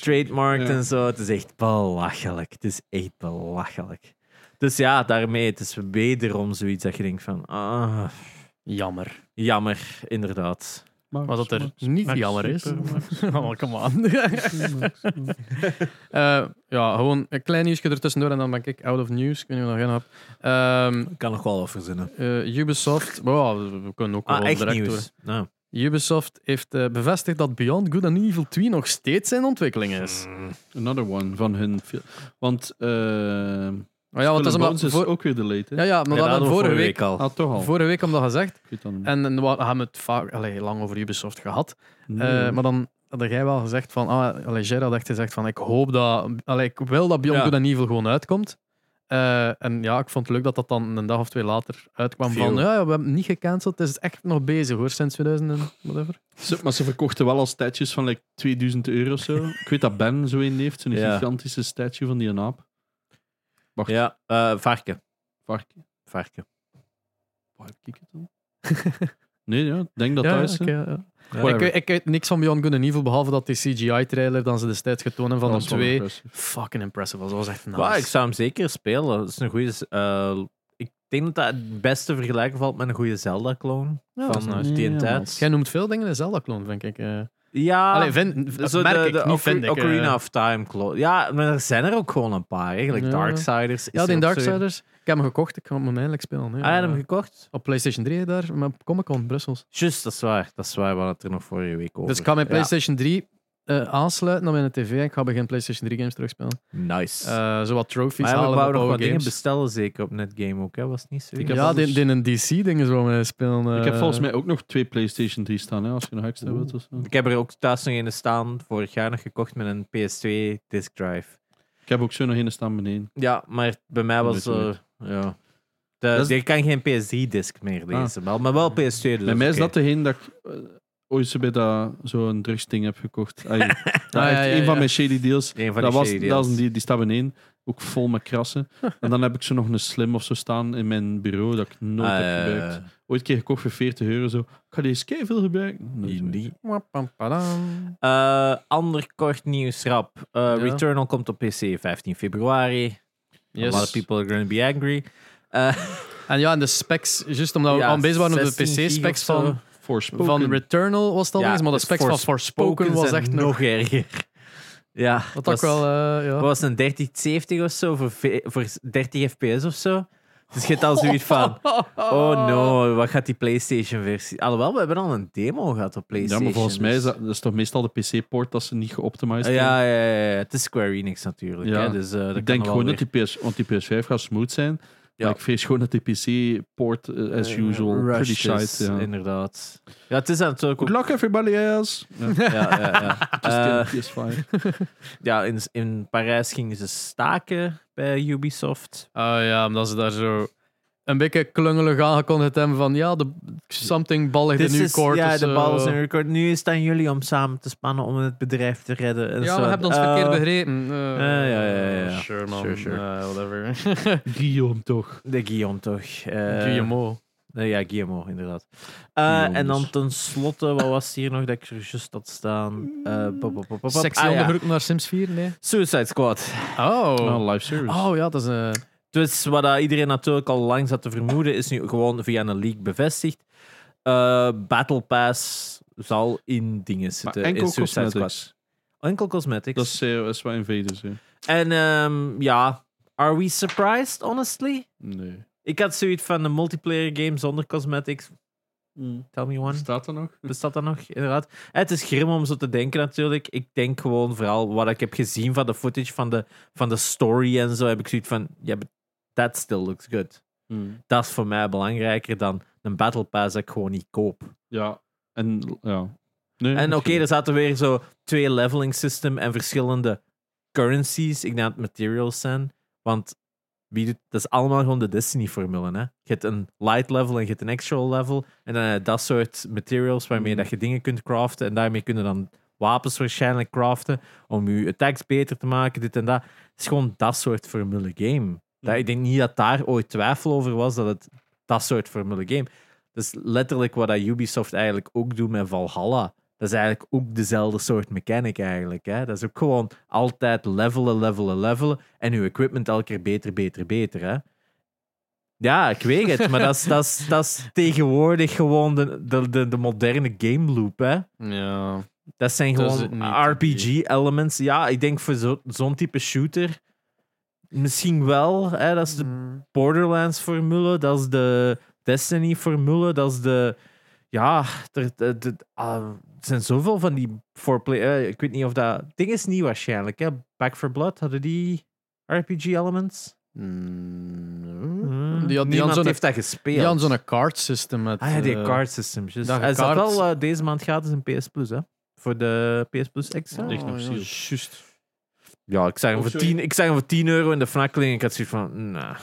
Speaker 2: trademarked
Speaker 3: Ja.
Speaker 2: en zo. Het is echt belachelijk. Het is echt belachelijk. Dus ja, daarmee, het is wederom zoiets dat je denkt van, ah,
Speaker 1: Jammer.
Speaker 2: jammer, inderdaad.
Speaker 1: Maar dat er niet
Speaker 3: Max,
Speaker 1: jammer is.
Speaker 3: super, Max.
Speaker 1: [LAUGHS] Oh, come on. Eh, ja, gewoon een klein nieuwsje ertussendoor en dan ben ik out of news. Ik weet niet of je nog geen hebt.
Speaker 2: Ik kan nog wel over verzinnen.
Speaker 1: Ehm, eh, Ubisoft. wow, we kunnen ook
Speaker 2: Ah,
Speaker 1: wel
Speaker 2: echt
Speaker 1: direct door.
Speaker 2: nieuws. Nou.
Speaker 1: Ubisoft heeft eh, bevestigd dat Beyond Good and Evil 2 nog steeds in ontwikkeling is.
Speaker 3: Another one van hun. fil- Want. eh
Speaker 1: Maar ja, want dat is omdat
Speaker 3: Bones is
Speaker 1: voor-
Speaker 3: ook weer delayed. Hè?
Speaker 1: ja, ja, maar dat hadden we vorige week,
Speaker 2: al.
Speaker 3: Ah, toch al.
Speaker 1: vorige week om dat gezegd.
Speaker 3: Ik weet dat niet.
Speaker 1: En, en we hadden het vaak, allee, lang over Ubisoft gehad.
Speaker 3: Nee.
Speaker 1: Eh, maar dan had jij wel gezegd van, ah, allee, Gerard had echt gezegd van, ik hoop dat, allee, ik wil dat Beyond
Speaker 2: Ja.
Speaker 1: Good and Evil gewoon uitkomt. Eh, en ja, ik vond het leuk dat dat dan een dag of twee later uitkwam
Speaker 2: Viel.
Speaker 1: van, ja, ja, we hebben het niet gecanceld, het is echt nog bezig hoor, sinds 2000 en whatever.
Speaker 3: Ze- maar ze verkochten wel al statues van like 2000 euro of zo. [LAUGHS] Ik weet dat Ben zo een heeft, zo'n
Speaker 2: Ja.
Speaker 3: gigantische statue van die naap.
Speaker 2: Ja, eh, varken.
Speaker 3: Varken.
Speaker 2: varken.
Speaker 3: Waar heb ik het dan? nee, ja, ik denk dat
Speaker 1: Ja,
Speaker 3: dat
Speaker 1: ja,
Speaker 3: is. hè.
Speaker 1: oké, ja, ja.
Speaker 2: Whatever.
Speaker 1: Ik, weet- ik weet niks van Beyond Good and Evil, behalve dat die CGI-trailer dan ze destijds getoond hebben
Speaker 3: Dat
Speaker 1: van
Speaker 3: is
Speaker 1: de
Speaker 3: wel
Speaker 1: twee.
Speaker 3: impressive.
Speaker 1: Fucking impressive, was. dat was echt nice.
Speaker 2: Ja, ik zou hem zeker spelen. Dat is een goede. eh, ik denk dat dat het beste vergelijken valt met een goede Zelda-clone.
Speaker 1: Ja, dat
Speaker 2: van eh,
Speaker 1: is nice.
Speaker 2: die
Speaker 3: Ja,
Speaker 2: tijd.
Speaker 1: Jij noemt veel dingen een Zelda-kloon, vind ik. eh.
Speaker 2: Ah. Ja,
Speaker 1: Allee, vind, dat merk ik, niet
Speaker 2: Ocar-
Speaker 1: vind ik. eh.
Speaker 2: Ocarina of Time clone. Ja, maar er zijn er ook gewoon een paar. Eigenlijk
Speaker 1: Ja.
Speaker 2: Darksiders. Is
Speaker 1: ja, die
Speaker 2: er ook zo-
Speaker 1: Darksiders. Ik heb hem gekocht, ik ga hem eindelijk spelen. hè. Eh,
Speaker 2: Ah, je hebt hem gekocht?
Speaker 1: op PlayStation 3 daar, maar op Comic-Con, Brussels.
Speaker 2: Juist, dat is waar. Dat is waar, we hadden het er nog vorige week over.
Speaker 1: Dus ik ga mijn
Speaker 2: Oh, Ja.
Speaker 1: PlayStation 3 eh, aansluiten aan mijn tv en ik ga begin PlayStation 3 games terugspelen.
Speaker 2: Nice.
Speaker 1: Eh zo wat trophies
Speaker 2: maar ja, we
Speaker 1: halen op
Speaker 2: wouden nog wat
Speaker 1: oude
Speaker 2: dingen
Speaker 1: games.
Speaker 2: bestellen, zeker op Netgame ook. Hè? Was het niet zo?
Speaker 3: Ik heb
Speaker 1: Ja,
Speaker 3: alles-
Speaker 2: dus-
Speaker 1: die, die een DC-dingen zo mee spelen.
Speaker 3: Ik heb
Speaker 1: eh.
Speaker 3: volgens mij ook nog twee PlayStation 3 staan, hè, als je nog extra
Speaker 2: Oeh.
Speaker 3: wilt. Of zo.
Speaker 2: Ik heb er ook thuis nog een staan, vorig jaar nog gekocht met een PS2 disk drive.
Speaker 3: Ik heb ook zo nog een staan beneden.
Speaker 2: Ja, maar bij mij was
Speaker 3: Nooit
Speaker 2: er.
Speaker 3: gehoord.
Speaker 2: ja.
Speaker 3: Dat
Speaker 2: De,
Speaker 3: is-
Speaker 2: Je kan geen PS3-disc meer lezen, wel, maar wel PS2. Dus
Speaker 3: Bij mij is
Speaker 2: oké.
Speaker 3: dat degene dat ik eh, ooit zo bij dat, zo'n drugsding heb gekocht.
Speaker 2: [LAUGHS]
Speaker 3: Ai,
Speaker 2: Ah,
Speaker 3: dat
Speaker 1: ja,
Speaker 3: echt
Speaker 1: ja,
Speaker 3: een van
Speaker 1: ja.
Speaker 3: mijn shady deals.
Speaker 2: een van
Speaker 3: dat
Speaker 2: die
Speaker 3: was,
Speaker 2: shady
Speaker 3: dat
Speaker 2: deals.
Speaker 3: was die, die staat beneden. Ook vol met
Speaker 2: [LAUGHS]
Speaker 3: krassen. en dan heb ik zo nog een slim of zo staan in mijn bureau dat ik nooit heb
Speaker 2: Eh,
Speaker 3: gebruikt. Ooit een keer gekocht voor 40 euro. Zo. Ik ga die eens veel gebruiken. Nee, zo.
Speaker 2: die-
Speaker 1: Wap, pam, padam.
Speaker 2: Eh, ander kort nieuws rap. Eh, Returnal komt op PC 15 februari. A lot of people are going to be angry. Eh,
Speaker 1: En ja, en de specs, juist omdat we
Speaker 2: ja, eh,
Speaker 1: aan bezig Nou, waren met de
Speaker 2: 16 gig of
Speaker 1: PC-specs
Speaker 2: zo.
Speaker 1: van,
Speaker 3: Forspoken.
Speaker 1: van Returnal was het al
Speaker 2: Ja,
Speaker 1: eens, maar de
Speaker 2: het
Speaker 1: specs van Forspoken was
Speaker 2: zijn
Speaker 1: echt nog...
Speaker 2: nog erger. [LAUGHS] Ja,
Speaker 1: Dat
Speaker 2: was-
Speaker 1: ook wel, eh, ja.
Speaker 2: Wat was het, een 3070 of zo voor, ve- voor 30 fps of zo? Dus je hebt al zoiets van. Oh no, wat gaat die PlayStation-versie? Alhoewel, we hebben al een demo gehad op
Speaker 3: Ja,
Speaker 2: PlayStation.
Speaker 3: maar volgens mij is
Speaker 2: dus-
Speaker 3: dat, dat is toch meestal de PC-poort dat ze niet geoptimized
Speaker 2: Ah,
Speaker 3: hebben.
Speaker 2: Ja, ja, ja, ja, het is Square Enix natuurlijk.
Speaker 3: Ja.
Speaker 2: Hè, dus, eh, dat
Speaker 3: Ik
Speaker 2: kan
Speaker 3: denk
Speaker 2: wel
Speaker 3: gewoon
Speaker 2: weer-
Speaker 3: dat die PS, want die PS5 gaat smooth zijn.
Speaker 2: Ja.
Speaker 3: Maar ik vrees gewoon dat die PC-poort, eh, as
Speaker 2: Eh,
Speaker 3: usual, pretty
Speaker 2: rushed is,
Speaker 3: shite. Ja.
Speaker 2: Inderdaad. Ja, het is natuurlijk
Speaker 3: Good
Speaker 2: ook...
Speaker 3: luck everybody else! [LAUGHS] Ja,
Speaker 2: Ja, ja, ja. Eh,
Speaker 3: just PS5.
Speaker 2: ja in, in Parijs gingen ze staken bij Ubisoft.
Speaker 1: Ah ja, omdat ze daar zo een beetje klungelig aangekondigd hebben van ja, de, something bal ligt in
Speaker 2: Dit
Speaker 1: uw
Speaker 2: is-
Speaker 1: court
Speaker 2: ja,
Speaker 1: of
Speaker 2: de
Speaker 1: zo.
Speaker 2: bal is in uw court. Nu is het aan jullie om samen te spannen om het bedrijf te redden. En
Speaker 1: Ja,
Speaker 2: zo.
Speaker 1: we hebben ons
Speaker 2: Eh,
Speaker 1: verkeerd begrepen. Eh,
Speaker 2: eh, ja, ja, ja, ja.
Speaker 1: Sure man,
Speaker 2: Sure, sure.
Speaker 1: Eh, whatever. [LAUGHS]
Speaker 3: [LAUGHS] Guillaume toch.
Speaker 2: De Guillaume toch. eh,
Speaker 1: Guillemot.
Speaker 2: eh, ja, Guillermo, inderdaad. Eh,
Speaker 3: Guillaume
Speaker 2: en
Speaker 3: dus.
Speaker 2: dan tenslotte, wat was hier nog dat ik er juist had staan? Eh, pop, pop, pop, pop, pop.
Speaker 1: Sexy
Speaker 2: Ah, ja.
Speaker 1: onderbroek naar Sims 4? Nee.
Speaker 2: Suicide Squad.
Speaker 1: Oh.
Speaker 3: Nou, live service.
Speaker 1: Oh ja, dat is een...
Speaker 2: Dus wat eh, iedereen natuurlijk al lang zat te vermoeden, is nu gewoon via een leak bevestigd. Eh, Battle Pass zal in dingen
Speaker 3: maar
Speaker 2: zitten.
Speaker 3: enkel
Speaker 2: in Suicide
Speaker 3: cosmetics.
Speaker 2: Squad. Enkel cosmetics.
Speaker 3: Dat is, eh, is wat invaders, hè.
Speaker 2: En ehm, ja, are we surprised, honestly?
Speaker 3: Nee.
Speaker 2: Ik had zoiets van een multiplayer game zonder cosmetics.
Speaker 1: Mm.
Speaker 2: Tell me one.
Speaker 3: Staat er nog?
Speaker 2: Bestaat dat nog? Inderdaad. Eh, Het is grim om zo te denken, natuurlijk. Ik denk gewoon vooral wat ik heb gezien van de footage van de, van de story en zo. Heb ik zoiets van: ja, but that still looks good.
Speaker 1: Mm.
Speaker 2: Dat is voor mij belangrijker dan een Battle Pass dat ik gewoon niet koop.
Speaker 3: Ja. En, ja. Nee,
Speaker 2: En oké,
Speaker 3: absoluut.
Speaker 2: er zaten weer zo twee leveling system en verschillende currencies. Ik denk dat het materials zijn. Want wie doet, dat is allemaal gewoon de Destiny-formule. hè. Je hebt een light level en je hebt een actual level. En dan heb je dat soort materials waarmee
Speaker 3: Mm.
Speaker 2: dat je dingen kunt craften. En daarmee kunnen dan wapens waarschijnlijk craften. Om je attacks beter te maken, dit en dat. Het is gewoon dat soort formule game. Dat, ik denk niet dat daar ooit twijfel over was dat het dat soort formule game. Dat is letterlijk wat dat Ubisoft eigenlijk ook doet met Valhalla. Dat is eigenlijk ook dezelfde soort mechanic eigenlijk. Hè? Dat is ook gewoon altijd levelen, levelen, levelen. En uw equipment elke keer beter, beter, beter. Hè? Ja, ik weet het. maar dat is, dat is, dat is tegenwoordig gewoon de, de, de, de moderne game loop. Hè?
Speaker 1: Ja.
Speaker 2: Dat zijn
Speaker 1: Dat is
Speaker 2: gewoon
Speaker 1: het niet,
Speaker 2: RPG-elements. Ja, ik denk voor zo- zo'n type shooter... Misschien wel. Hè? Dat is de
Speaker 1: Mm.
Speaker 2: Borderlands-formule, dat is de Destiny-formule, dat is de... Ja, er, er- er- ah, er zijn zoveel van die foreplay... eh, ik weet niet of dat... Ding is nieuw waarschijnlijk, hè? Back for Blood, hadden die RPG-elements?
Speaker 1: Mm.
Speaker 2: Hmm.
Speaker 1: Die had- die
Speaker 2: Niemand
Speaker 1: hadden zo'n-
Speaker 2: heeft dat gespeeld.
Speaker 1: Die hadden zo'n card system met...
Speaker 2: Ah ja, die
Speaker 1: eh,
Speaker 2: card systems. juist.
Speaker 1: dat
Speaker 2: Hij zat
Speaker 1: kaart-
Speaker 2: wel eh, deze maand gratis in PS Plus, hè? Voor de PS Plus Extra.
Speaker 1: Oh,
Speaker 3: Ligt nog
Speaker 1: ja,
Speaker 3: ziel.
Speaker 1: Juist.
Speaker 2: Ja, ik zei hem
Speaker 3: Oh,
Speaker 2: voor
Speaker 3: sorry.
Speaker 2: 10 ik zei hem voor 10 euro in de fnakkeling. Ik had zoiets van, nah.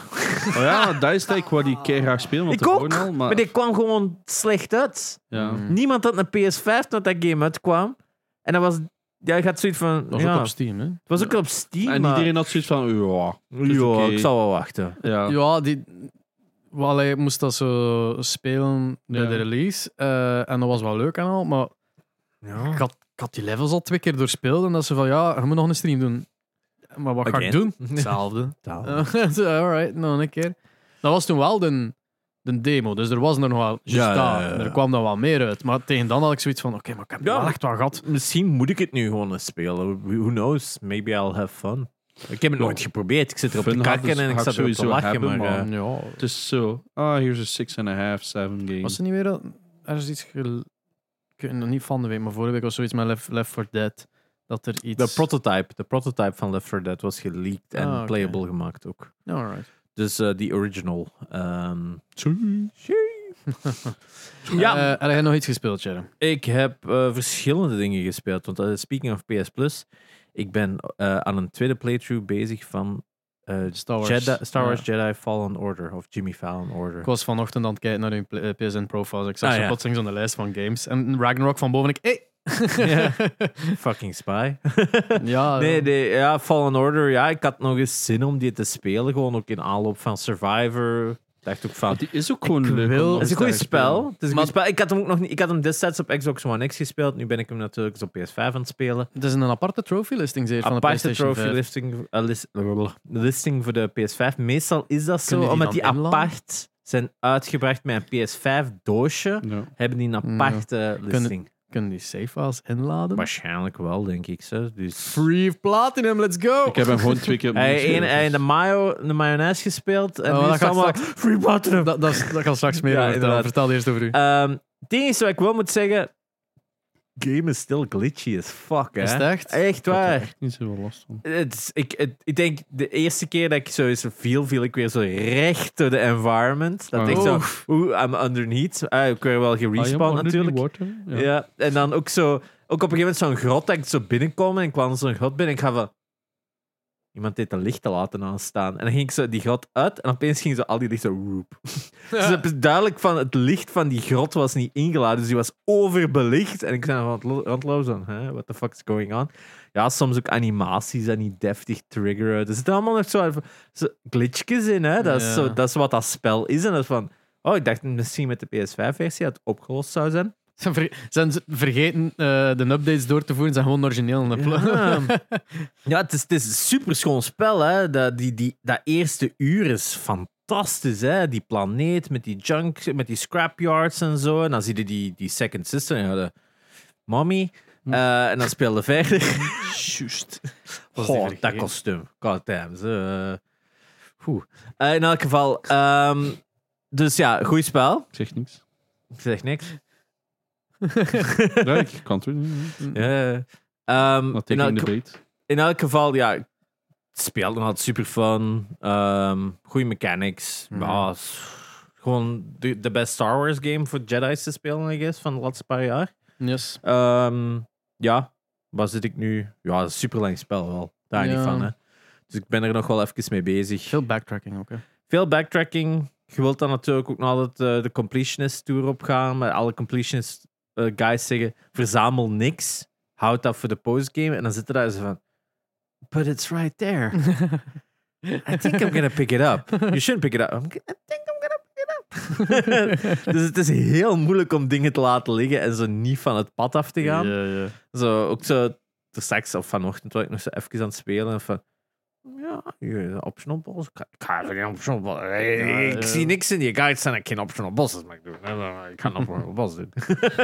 Speaker 3: Oh ja, dat is ik wat die keer graag spelen. Want
Speaker 2: Ik ook,
Speaker 3: Al, maar,
Speaker 2: Maar dit kwam gewoon slecht uit.
Speaker 3: ja.
Speaker 1: Mm.
Speaker 2: Niemand had een PS5 toen dat game uitkwam. En dat was... Ja, je had zoiets van...
Speaker 1: Dat was
Speaker 2: ja,
Speaker 1: ook op Steam, hè?
Speaker 2: het was ook op Steam,
Speaker 3: En
Speaker 2: maar-
Speaker 3: iedereen had zoiets van, ja, het is
Speaker 2: Ja,
Speaker 3: oké.
Speaker 2: ik zal wel wachten.
Speaker 3: ja.
Speaker 1: Ja, die... Wel, hij moest dat zo spelen bij
Speaker 3: Ja.
Speaker 1: de release. eh, en dat was wel leuk en al, maar ik had, ik had die levels al twee keer doorspeeld. En dat ze van, ja, je moet nog een stream doen. Maar wat ga ik
Speaker 2: Again. [LAUGHS]
Speaker 1: doen? Hetzelfde.
Speaker 2: Taal.
Speaker 1: Eh, [LAUGHS] zo, Alright, nog een keer. Dat was toen wel de, de demo, dus er was er nog wel... Just
Speaker 2: Ja, ja,
Speaker 1: dat.
Speaker 2: ja, ja.
Speaker 1: Er kwam dan wel meer uit. Maar tegen dan had ik zoiets van, oké, maar ik heb
Speaker 2: Ja.
Speaker 1: wel echt wat gehad.
Speaker 2: Misschien moet ik het nu gewoon eens spelen. Who knows? Maybe I'll have fun. Ik heb het nooit geprobeerd. Ik zit erop te
Speaker 3: Fun had
Speaker 2: kakken
Speaker 3: dus-
Speaker 2: en ik
Speaker 3: had
Speaker 2: zat erop te
Speaker 3: sowieso
Speaker 2: lachen.
Speaker 3: hebben,
Speaker 2: maar, eh,
Speaker 3: man.
Speaker 1: Ja,
Speaker 3: Het is zo, ah, here's a six and a half, seven game.
Speaker 1: Was er niet weer dat- er is iets gel- Ik weet nog niet van de week, maar vorige week was zoiets met Left, Left 4 Dead. Dat er iets...
Speaker 2: de, prototype, de prototype van Left 4 Dead was geleakt en
Speaker 1: Ah, oké.
Speaker 2: playable gemaakt ook.
Speaker 1: Alright.
Speaker 2: Dus eh, die original. ehm,
Speaker 1: Ja.
Speaker 2: Ja.
Speaker 1: heb Eh, jij nog iets gespeeld, Sharon?
Speaker 2: Ik heb eh, verschillende dingen gespeeld. Want eh, speaking of PS Plus, ik ben eh, aan een tweede playthrough bezig van eh,
Speaker 1: Star Wars.
Speaker 2: Jedi, Star Wars
Speaker 1: Ja.
Speaker 2: Jedi Fallen Order of Jimmy Fallon Order.
Speaker 1: Ik was vanochtend aan het kijken naar hun pl- eh, PSN profiles. Ik zag
Speaker 2: Ah,
Speaker 1: zo
Speaker 2: ja.
Speaker 1: plotseling zo'n lijst van games. En Ragnarok van boven. Ik, hey!
Speaker 2: [LAUGHS]
Speaker 1: [LAUGHS]
Speaker 2: Ja. Fucking spy.
Speaker 1: Oh, ja,
Speaker 2: [LAUGHS] nee, nee, ja, Fallen Order. Ja, ik had nog eens zin om die te spelen. Gewoon ook in aanloop van Survivor. Dacht ook van.
Speaker 3: Want die is ook gewoon
Speaker 1: Ik
Speaker 3: leuk. om
Speaker 1: wil-
Speaker 3: nog
Speaker 2: Het is een
Speaker 3: eens te
Speaker 2: goed
Speaker 3: gaan
Speaker 2: spel.
Speaker 3: spelen.
Speaker 2: Het is een
Speaker 1: Maar-
Speaker 2: goed spel. Ik had hem ook nog niet. Ik had hem destijds op Xbox One X gespeeld. Nu ben ik hem natuurlijk eens op PS5 aan het spelen.
Speaker 1: Het is een aparte trophy listing zeer van de
Speaker 2: aparte
Speaker 1: PlayStation
Speaker 2: trophy
Speaker 1: 5.
Speaker 2: listing, eh, lis- blablabla, listing voor de PS5. Meestal is dat zo,
Speaker 1: Kunnen die
Speaker 2: omdat
Speaker 1: dan
Speaker 2: die
Speaker 1: inladen?
Speaker 2: apart zijn uitgebracht met een PS5-doosje,
Speaker 3: Ja.
Speaker 2: hebben die een aparte listing.
Speaker 1: Kunnen die save files inladen?
Speaker 2: Waarschijnlijk wel, denk ik. Zo. Dus...
Speaker 1: Free platinum, let's go!
Speaker 3: Ik heb hem gewoon twee keer opnieuw
Speaker 2: Hij heeft
Speaker 3: gespeeld,
Speaker 2: één- hij heeft
Speaker 3: dus-
Speaker 2: de, mayo, de mayonaise gespeeld en
Speaker 1: Oh,
Speaker 2: nu
Speaker 1: dat
Speaker 2: is het
Speaker 1: gaat
Speaker 2: allemaal free platinum.
Speaker 1: [LAUGHS] dat, dat, is- dat kan straks meer
Speaker 2: Ja, Ah,
Speaker 1: over vertellen.
Speaker 2: inderdaad.
Speaker 1: Vertel eerst over u.
Speaker 2: Ehm, Het enige wat ik wel moet zeggen, game is stil glitchy as fuck, hè.
Speaker 1: Is het echt?
Speaker 2: Echt
Speaker 3: Ik had er
Speaker 2: waar.
Speaker 3: echt niet zoveel last van.
Speaker 2: Het is- ik, het- ik denk, de eerste keer dat ik zo eens viel, viel ik weer zo recht door de environment. Dat
Speaker 3: Oh.
Speaker 2: ik zo, oeh, I'm underneath. Ah, ik werd wel
Speaker 3: I am
Speaker 2: gerespawn
Speaker 3: under the
Speaker 2: natuurlijk.
Speaker 3: water.
Speaker 2: Ja.
Speaker 3: Ja.
Speaker 2: en dan ook zo, ook op een gegeven moment zo'n grot dat ik zo binnenkwam en ik kwam zo'n grot binnen en ik ga van, iemand heeft een licht te laten aanstaan. En dan ging ik zo die grot uit en opeens ging zo al die lichten zo, [LAUGHS] roep. Dus het is duidelijk van, het licht van die grot was niet ingeladen, dus die was overbelicht. En ik ben aan het lo- rondlopen zo, hè, what the fuck is going on? Ja, soms ook animaties en niet deftig triggeren. Er zitten allemaal nog zo, even- zo glitchjes in, hè. Dat is,
Speaker 1: Ja.
Speaker 2: zo, dat is wat dat spel is. En dat is van, oh, ik dacht misschien met de PS5-versie dat het opgelost zou zijn.
Speaker 1: Zijn, ver- zijn ze vergeten eh, de updates door te voeren? Zijn gewoon origineel in de pla-
Speaker 2: Ja, [LAUGHS] ja het, is, het is een superschoon spel. Hè. Dat, die, die, dat eerste uur is fantastisch. Hè. Die planeet met die junk, met die scrapyards en zo. En dan zie je die, die second sister en ja, de mommy. Eh, en dan speelde verder. Juist.
Speaker 1: Was die
Speaker 2: Goh, dat
Speaker 1: vergeten.
Speaker 2: kostuum. God damn. Ze, eh, oeh. Eh, in elk geval. ehm, dus ja, goed spel.
Speaker 3: Ik zeg niks.
Speaker 2: Ik zeg niks.
Speaker 3: Ja, ik kan het doen. ja.
Speaker 2: Eh, ehm,
Speaker 3: Dat
Speaker 2: in
Speaker 3: teken in
Speaker 2: elk-
Speaker 3: de beet.
Speaker 2: in elk geval, ja, het speelt nog altijd super fun. Ehm goede mechanics.
Speaker 1: Mhm.
Speaker 2: Ja, s- gewoon de, de best Star Wars game voor Jedi's te spelen, I guess, van de laatste paar jaar.
Speaker 1: [LAUGHS] Yes.
Speaker 2: Ehm, ja, waar zit ik nu? Ja, super lang spel wel. Daar
Speaker 1: Ja.
Speaker 2: niet van, hè. Dus ik ben er nog wel even mee bezig.
Speaker 1: Veel backtracking ook. Hè.
Speaker 2: Veel backtracking. Je wilt dan natuurlijk ook nog altijd eh, de completionist tour opgaan. Maar alle completionist eh, guys zeggen: verzamel niks. Houd dat voor de postgame. En dan zitten daar ze van: But it's right there. I think I'm gonna pick it up. You shouldn't pick it up. I'm g- [LAUGHS] I think I'm gonna pick it up. [LAUGHS] dus het is heel moeilijk om dingen te laten liggen en zo niet van het pad af te
Speaker 1: [LAUGHS]
Speaker 2: gaan.
Speaker 1: Ja, ja.
Speaker 2: Zo, ook zo ter seks of vanochtend was ik nog zo even aan het spelen. en Van, ja, hier, de optional boss. Ik ga- Ik ga even geen optional boss. Ik, ik
Speaker 1: ja.
Speaker 2: zie niks in die guide staan dat ik geen optional bosses mag doen. Ik kan optional boss doen.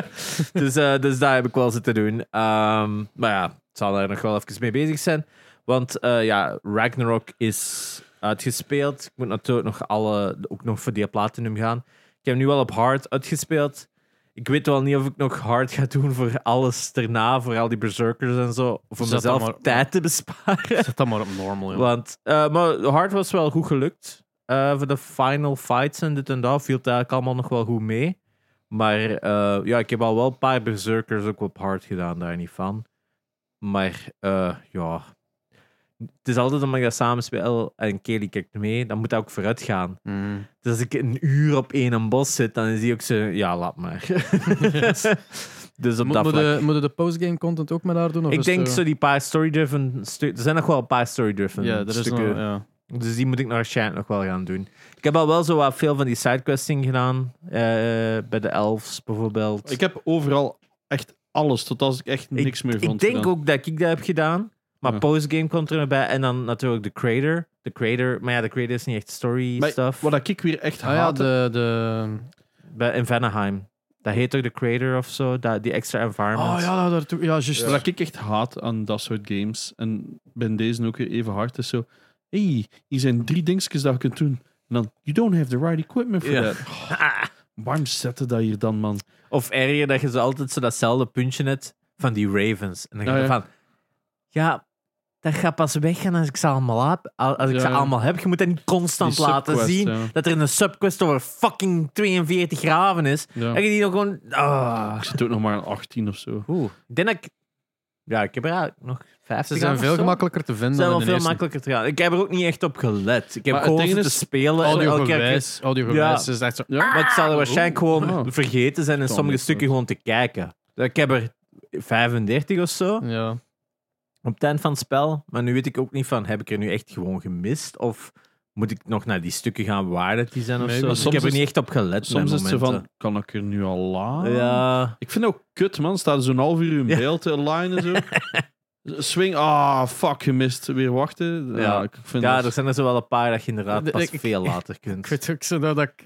Speaker 2: [LAUGHS] dus, eh, dus daar heb ik wel zitten doen. Ehm, maar ja, ik zal daar nog wel even mee bezig zijn. Want eh, ja, Ragnarok is uitgespeeld. Ik moet natuurlijk nog alle, ook nog voor die platinum gaan. Ik heb nu wel op hard uitgespeeld. Ik weet wel niet of ik nog hard ga doen voor alles erna, voor al die berserkers en zo. Voor
Speaker 1: Zet
Speaker 2: mezelf
Speaker 1: dat maar-
Speaker 2: tijd te besparen.
Speaker 1: Zet dat maar op normal. joh.
Speaker 2: Want, eh, maar hard was wel goed gelukt. Eh, voor de final fights en dit en dat viel het eigenlijk allemaal nog wel goed mee. Maar eh, ja, ik heb al wel een paar berserkers ook op hard gedaan, daar niet van. Maar eh, ja, het is altijd omdat ik dat samen speel en Kelly kijkt mee, dan moet dat ook vooruit gaan.
Speaker 1: Mm.
Speaker 2: Dus als ik een uur op één bos zit, dan is die ook zo... Ja, laat
Speaker 1: [LAUGHS]
Speaker 2: maar. [LAUGHS] dus op
Speaker 1: Moet-
Speaker 2: dat
Speaker 1: Moeten
Speaker 2: vlak.
Speaker 1: de, moet de postgame content ook met haar doen? Of
Speaker 2: Ik
Speaker 1: is
Speaker 2: denk
Speaker 1: het, eh,
Speaker 2: zo die paar story-driven... stu- er zijn nog wel een paar story-driven
Speaker 1: Ja, er is nog,
Speaker 2: stukken.
Speaker 1: ja.
Speaker 2: Dus die moet ik nog waarschijnlijk nog wel gaan doen. Ik heb al wel zo wat veel van die sidequesting gedaan. eh, bij de elves bijvoorbeeld.
Speaker 3: Ik heb overal echt alles, tot als ik echt
Speaker 2: Ik-
Speaker 3: niks meer vond.
Speaker 2: Ik denk
Speaker 3: gedaan.
Speaker 2: ook dat ik dat heb gedaan. Maar
Speaker 3: Ja.
Speaker 2: postgame komt er nog bij. En dan natuurlijk de creator. De creator. Maar ja, de creator is niet echt
Speaker 3: Maar
Speaker 2: story-stuff.
Speaker 3: Wat ik weer echt
Speaker 1: Ah ja,
Speaker 3: haat,
Speaker 1: de, de...
Speaker 2: Bij- In Vanaheim. Dat heet toch de creator of zo? Dat, die extra environment.
Speaker 1: Oh ja, daartoe. Ja, juist.
Speaker 3: Dus Wat ik echt haat aan dat soort games, en bij deze ook weer even hard, is zo... hey, hier zijn drie dingetjes dat je kunt doen. En dan, you don't have the right equipment for
Speaker 2: Ja.
Speaker 3: that. Oh,
Speaker 2: [LAUGHS]
Speaker 3: waarom zetten dat hier dan, man?
Speaker 2: Of erger dat je zo altijd zo datzelfde puntje hebt van die Ravens. En dan ga
Speaker 3: Ah,
Speaker 2: je
Speaker 3: ja.
Speaker 2: van... Ja, dat gaat pas weggaan als ik ze allemaal heb. Al- Als ik
Speaker 3: Ja,
Speaker 2: ze
Speaker 3: ja.
Speaker 2: allemaal heb. Je moet dat niet constant
Speaker 3: Die
Speaker 2: laten
Speaker 3: subquest,
Speaker 2: zien.
Speaker 3: ja.
Speaker 2: Dat er een subquest over fucking 42 graven is.
Speaker 3: Ja.
Speaker 2: Dat je die nog gewoon... ah.
Speaker 3: Ik zit ook nog maar aan 18 of zo.
Speaker 2: Oeh. Ik denk dat ik... Ja, ik heb er eigenlijk nog 50
Speaker 1: Ze zijn
Speaker 2: aan of
Speaker 1: veel
Speaker 2: zo.
Speaker 1: gemakkelijker te vinden
Speaker 2: Ze zijn
Speaker 1: dan
Speaker 2: wel
Speaker 1: in
Speaker 2: veel
Speaker 1: de eerste.
Speaker 2: makkelijker te gaan. Ik heb er ook niet echt op gelet. Ik heb
Speaker 3: Maar het
Speaker 2: gewoon
Speaker 3: ding
Speaker 2: zitten
Speaker 3: is,
Speaker 2: spelen. en elke keer-
Speaker 1: Audiogewijs, audiogewijs is echt zo...
Speaker 3: Ja.
Speaker 2: Maar ik zal er waarschijnlijk gewoon
Speaker 3: Oh.
Speaker 2: vergeten zijn in
Speaker 3: Kan
Speaker 2: sommige
Speaker 3: best
Speaker 2: stukken
Speaker 3: ook.
Speaker 2: gewoon te kijken. Ik heb er 35 of zo
Speaker 1: Ja.
Speaker 2: op het eind van het spel. Maar nu weet ik ook niet van, heb ik er nu echt gewoon gemist? Of moet ik nog naar die stukken gaan waar dat die zijn of
Speaker 3: Nee,
Speaker 2: zo?
Speaker 3: maar
Speaker 2: Dus ik
Speaker 3: soms
Speaker 2: heb er
Speaker 3: is-
Speaker 2: niet echt op gelet.
Speaker 3: Soms
Speaker 2: bij
Speaker 3: is het zo van,
Speaker 2: momenten.
Speaker 3: kan ik er nu al laat?
Speaker 2: Ah. Ja,
Speaker 3: Ik vind het ook kut, man. Staat er zo'n half uur in
Speaker 2: Ja.
Speaker 3: beeld te line en [LAUGHS] zo. Swing, ah, fuck, gemist. Weer wachten. Ja,
Speaker 2: Ja.
Speaker 3: ik vind
Speaker 2: ja,
Speaker 3: dat-
Speaker 2: er zijn er zo wel een paar dat je inderdaad
Speaker 1: De-
Speaker 2: pas
Speaker 1: ik-
Speaker 2: veel later kunt.
Speaker 1: Ik weet ook zo dat ik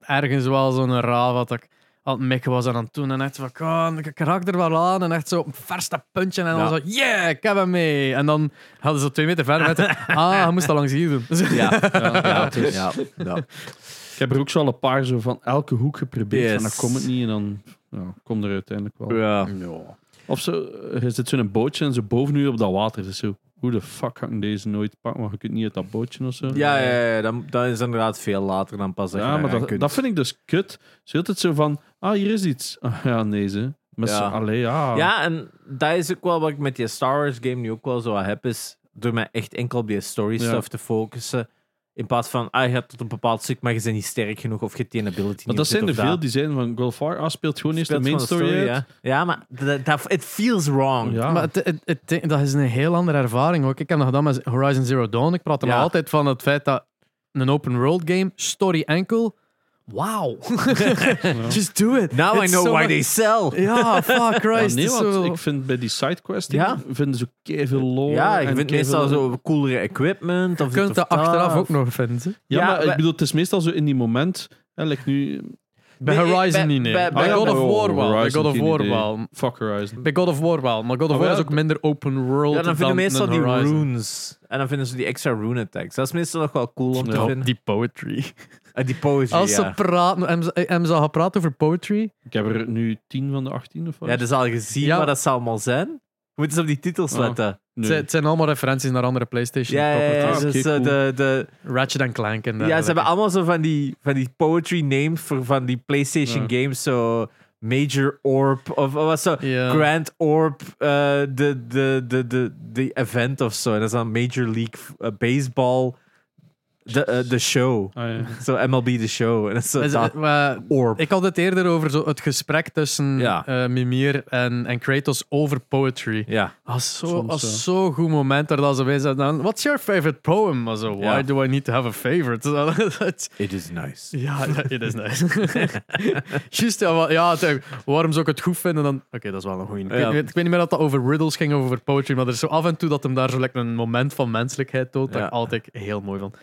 Speaker 1: ergens wel zo'n raaf had. Dat ik aan het mikken was en aan het doen. En echt van, oh, ik raak er wel aan. En echt zo op het verste puntje. En dan
Speaker 2: Ja.
Speaker 1: zo, yeah, ik heb hem mee. En dan hadden ze twee meter verder. en
Speaker 2: [LAUGHS]
Speaker 1: echt, ah, hij moest al langs hier doen.
Speaker 2: Ja, ja, ja,
Speaker 3: het is-
Speaker 2: ja, ja.
Speaker 3: Ik heb er ook zo al een paar zo van elke hoek geprobeerd.
Speaker 2: Yes.
Speaker 3: En dan komt het niet en dan ja, kom er uiteindelijk wel.
Speaker 2: Ja.
Speaker 3: Of zo, eh, je zit zo in een bootje en ze boven u op dat water. Dus zo, hoe de fuck kan ik deze nooit pakken? Want je kunt niet uit dat bootje of zo.
Speaker 2: Ja, ja, ja, ja, dan, dan is inderdaad veel later dan pas.
Speaker 3: Ja, maar dat, dat vind ik dus kut. Ze hield het zo van, ah, hier is iets. Ah, ja, nee, ze. Met
Speaker 2: Ja.
Speaker 3: ja. Allee, ja.
Speaker 2: Ja, en dat is ook wel wat ik met die Star Wars game nu ook wel zo wat heb, is door mij echt enkel op die story
Speaker 3: Ja.
Speaker 2: stuff te focussen. In plaats van, ah, je hebt tot een bepaald stuk, maar je bent niet sterk genoeg of je hebt die ability
Speaker 3: Maar
Speaker 2: niet.
Speaker 3: dat
Speaker 2: of dit
Speaker 3: zijn er
Speaker 2: of
Speaker 3: veel die zijn van, Golfar, ah, speelt gewoon eerst de
Speaker 2: Speelt
Speaker 3: main
Speaker 2: gewoon
Speaker 3: story, uit.
Speaker 2: ja. ja, maar dat, dat, it feels wrong.
Speaker 3: Ja.
Speaker 1: Maar het, het- het ding- dat is een heel andere ervaring ook. Ik heb dat gedaan met Horizon Zero Dawn. Ik praat er
Speaker 2: Ja.
Speaker 1: nog altijd van het feit dat een open world game, story enkel. Wauw. Just do it.
Speaker 2: Now I
Speaker 1: It's
Speaker 2: know
Speaker 1: so
Speaker 2: why
Speaker 1: much-
Speaker 2: they sell.
Speaker 1: [LAUGHS] Ja, fuck
Speaker 3: Maar
Speaker 1: Christ.
Speaker 3: Ah, nee,
Speaker 1: het is
Speaker 3: want
Speaker 1: zo-
Speaker 3: ik vind bij die sidequests,
Speaker 2: Ja.
Speaker 3: vinden ze veel lore.
Speaker 2: Ja, ik
Speaker 3: en
Speaker 2: vind
Speaker 3: keiveel-
Speaker 2: meestal zo coolere equipment. Of
Speaker 1: Je
Speaker 2: dit
Speaker 1: kunt
Speaker 2: of
Speaker 1: dat achteraf
Speaker 2: of-
Speaker 1: ook nog vinden.
Speaker 3: Ja,
Speaker 2: Ja,
Speaker 3: maar
Speaker 2: wij-
Speaker 3: ik bedoel, het is meestal zo in die moment. Hè, like nu... Ah,
Speaker 1: Bij
Speaker 2: Nee,
Speaker 1: Horizon
Speaker 2: bij-
Speaker 1: niet, nee. Oh
Speaker 2: bij-
Speaker 1: Bij,
Speaker 2: bij-
Speaker 1: God
Speaker 2: bij-
Speaker 1: of War wel. Bij
Speaker 3: oh, Horizon,
Speaker 1: God of
Speaker 3: geen
Speaker 1: War
Speaker 3: idee.
Speaker 1: wel.
Speaker 3: Fuck Horizon.
Speaker 1: Bij God of War wel. Maar God of
Speaker 3: Ah,
Speaker 1: War
Speaker 3: ja,
Speaker 1: is ook
Speaker 3: dat-
Speaker 1: minder open world
Speaker 2: Ja, dan vinden we meestal
Speaker 1: een
Speaker 2: die
Speaker 1: Horizon.
Speaker 2: runes. En dan vinden ze die extra rune attacks. Dat is meestal nog wel cool om te
Speaker 3: Ja.
Speaker 2: vinden.
Speaker 1: Die poetry.
Speaker 2: Eh, die poetry,
Speaker 1: [LAUGHS] Als ze
Speaker 2: ja.
Speaker 1: praten, hebben ze- hebben ze al gepraat over poetry?
Speaker 3: Ik heb er nu 10 van de 18 of wat?
Speaker 2: Ja, dat is al gezien
Speaker 1: Ja. Oh.
Speaker 2: wat dat zou allemaal zijn. Je moet eens op die titels
Speaker 3: Ah.
Speaker 2: letten.
Speaker 1: Het
Speaker 3: nee.
Speaker 1: zijn- Het zijn allemaal referenties naar andere PlayStation
Speaker 2: Ja, ja, ja,
Speaker 1: properties.
Speaker 3: Ah, oké,
Speaker 2: dus, eh,
Speaker 3: cool.
Speaker 2: de, de,
Speaker 1: Ratchet en Clank en
Speaker 2: ja, ze hebben allemaal zo van die, van die poetry names voor van die PlayStation
Speaker 3: Ja.
Speaker 2: games. Zo Major Orb of wat zo.
Speaker 1: Ja.
Speaker 2: Grand Orb, eh, de, de, de, de, de event of zo. En dat is dan Major League eh, Baseball, de, eh, de show.
Speaker 3: Ah, ja.
Speaker 2: Zo MLB de show. En dat is zo
Speaker 1: Dus,
Speaker 2: dat
Speaker 1: eh, maar
Speaker 2: orb.
Speaker 1: ik had het eerder over zo het gesprek tussen
Speaker 2: Ja.
Speaker 1: eh, Mimir en, en Kratos over poetry.
Speaker 2: ja.
Speaker 1: Als zo,
Speaker 3: Soms,
Speaker 1: als
Speaker 3: ja.
Speaker 1: zo'n goed moment daar dat ze bij zijn. Dan, What's your favorite poem? Maar zo, why
Speaker 2: Ja.
Speaker 1: do I need to have a favorite? [LAUGHS] Zo, dat- dat-
Speaker 2: It is nice.
Speaker 1: ja, ja, it is nice. [LAUGHS] Juist, ja, maar- ja, het- eh, waarom zou ik het goed vinden dan... Oké, dat is wel een goeie. Ik,
Speaker 2: Ja.
Speaker 1: weet, ik weet niet meer dat dat over riddles ging of over poetry, maar er is zo af en toe dat hem daar zo lekker een moment van menselijkheid toont, dat
Speaker 2: Ja.
Speaker 1: ik altijd heel mooi vond.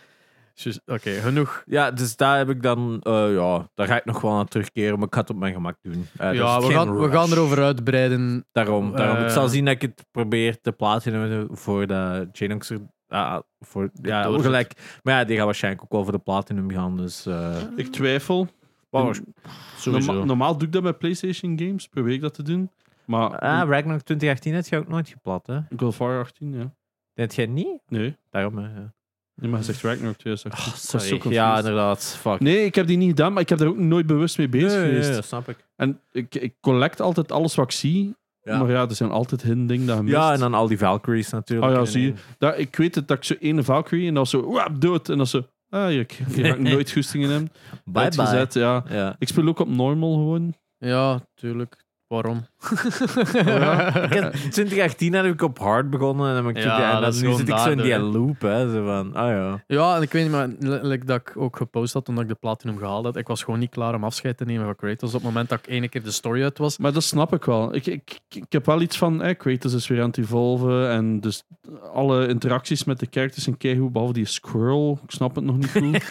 Speaker 1: Juist, Oké, genoeg.
Speaker 2: Ja, dus daar heb ik dan, eh, ja, daar ga ik nog wel naar terugkeren, maar ik ga het op mijn gemak doen. Eh, er
Speaker 1: ja,
Speaker 2: is
Speaker 1: we
Speaker 2: geen
Speaker 1: gaan, we
Speaker 2: rush.
Speaker 1: gaan erover uitbreiden.
Speaker 2: Daarom, daarom. ik
Speaker 1: Eh.
Speaker 2: zal zien dat ik het probeer te platinum voor de Genox. ah, voor, ja,
Speaker 1: doorzet.
Speaker 2: gelijk. Maar ja, die gaat waarschijnlijk ook wel voor de platinum gaan, dus... eh,
Speaker 3: Ik twijfel.
Speaker 2: wow,
Speaker 3: Norma- normaal doe ik dat bij PlayStation games, probeer ik dat te doen. Maar
Speaker 2: Ah, Ragnarok 2018 had je ook nooit geplat, hè?
Speaker 3: Golfar 18, ja.
Speaker 2: Dat jij niet?
Speaker 3: Nee.
Speaker 2: Daarom, hè. ja.
Speaker 3: Nee, maar hij zegt Ragnarok 2018.
Speaker 2: Oh, Sorry.
Speaker 3: zo confused.
Speaker 2: Ja, inderdaad. Fuck.
Speaker 3: Nee, ik heb die niet gedaan, maar ik heb daar ook nooit bewust mee bezig geweest.
Speaker 2: snap ik.
Speaker 3: En ik, ik collect altijd alles wat ik zie,
Speaker 2: Ja.
Speaker 3: maar ja, er zijn altijd hidden dingen dat je mist.
Speaker 2: Ja, en dan al die Valkyries natuurlijk.
Speaker 3: Ah ja,
Speaker 2: En-
Speaker 3: zie je. Daar, ik weet het, dat ik zo ene Valkyrie en dan zo, wap, dood. En dan zo, ah, je,
Speaker 2: [LAUGHS]
Speaker 3: je ga ik nooit goesting in hem.
Speaker 2: Bye bye.
Speaker 3: Uitgezet, ja.
Speaker 2: Ja.
Speaker 3: Ik speel ook op normal gewoon.
Speaker 1: Ja, tuurlijk. Waarom?
Speaker 2: [LAUGHS] Oh, Ik heb- 2018 heb ik op hard begonnen en, dan heb ik
Speaker 1: Ja,
Speaker 2: en dan
Speaker 1: dat is
Speaker 2: nu
Speaker 1: gewoon
Speaker 2: zit ik zo in die
Speaker 1: daardoor,
Speaker 2: loop, hè. Zo van, ah ja.
Speaker 1: ja, en ik weet niet, maar letterlijk dat ik ook gepost had toen ik de platinum gehaald had. Ik was gewoon niet klaar om afscheid te nemen van Kratos op het moment dat ik ene keer de story uit was.
Speaker 3: Maar dat snap ik wel. Ik, ik, ik ik heb wel iets van, eh, Kratos is weer aan het evolven en dus alle interacties met de characters zijn keigoed, behalve die squirrel. Ik snap het nog
Speaker 2: [LAUGHS]
Speaker 3: niet goed.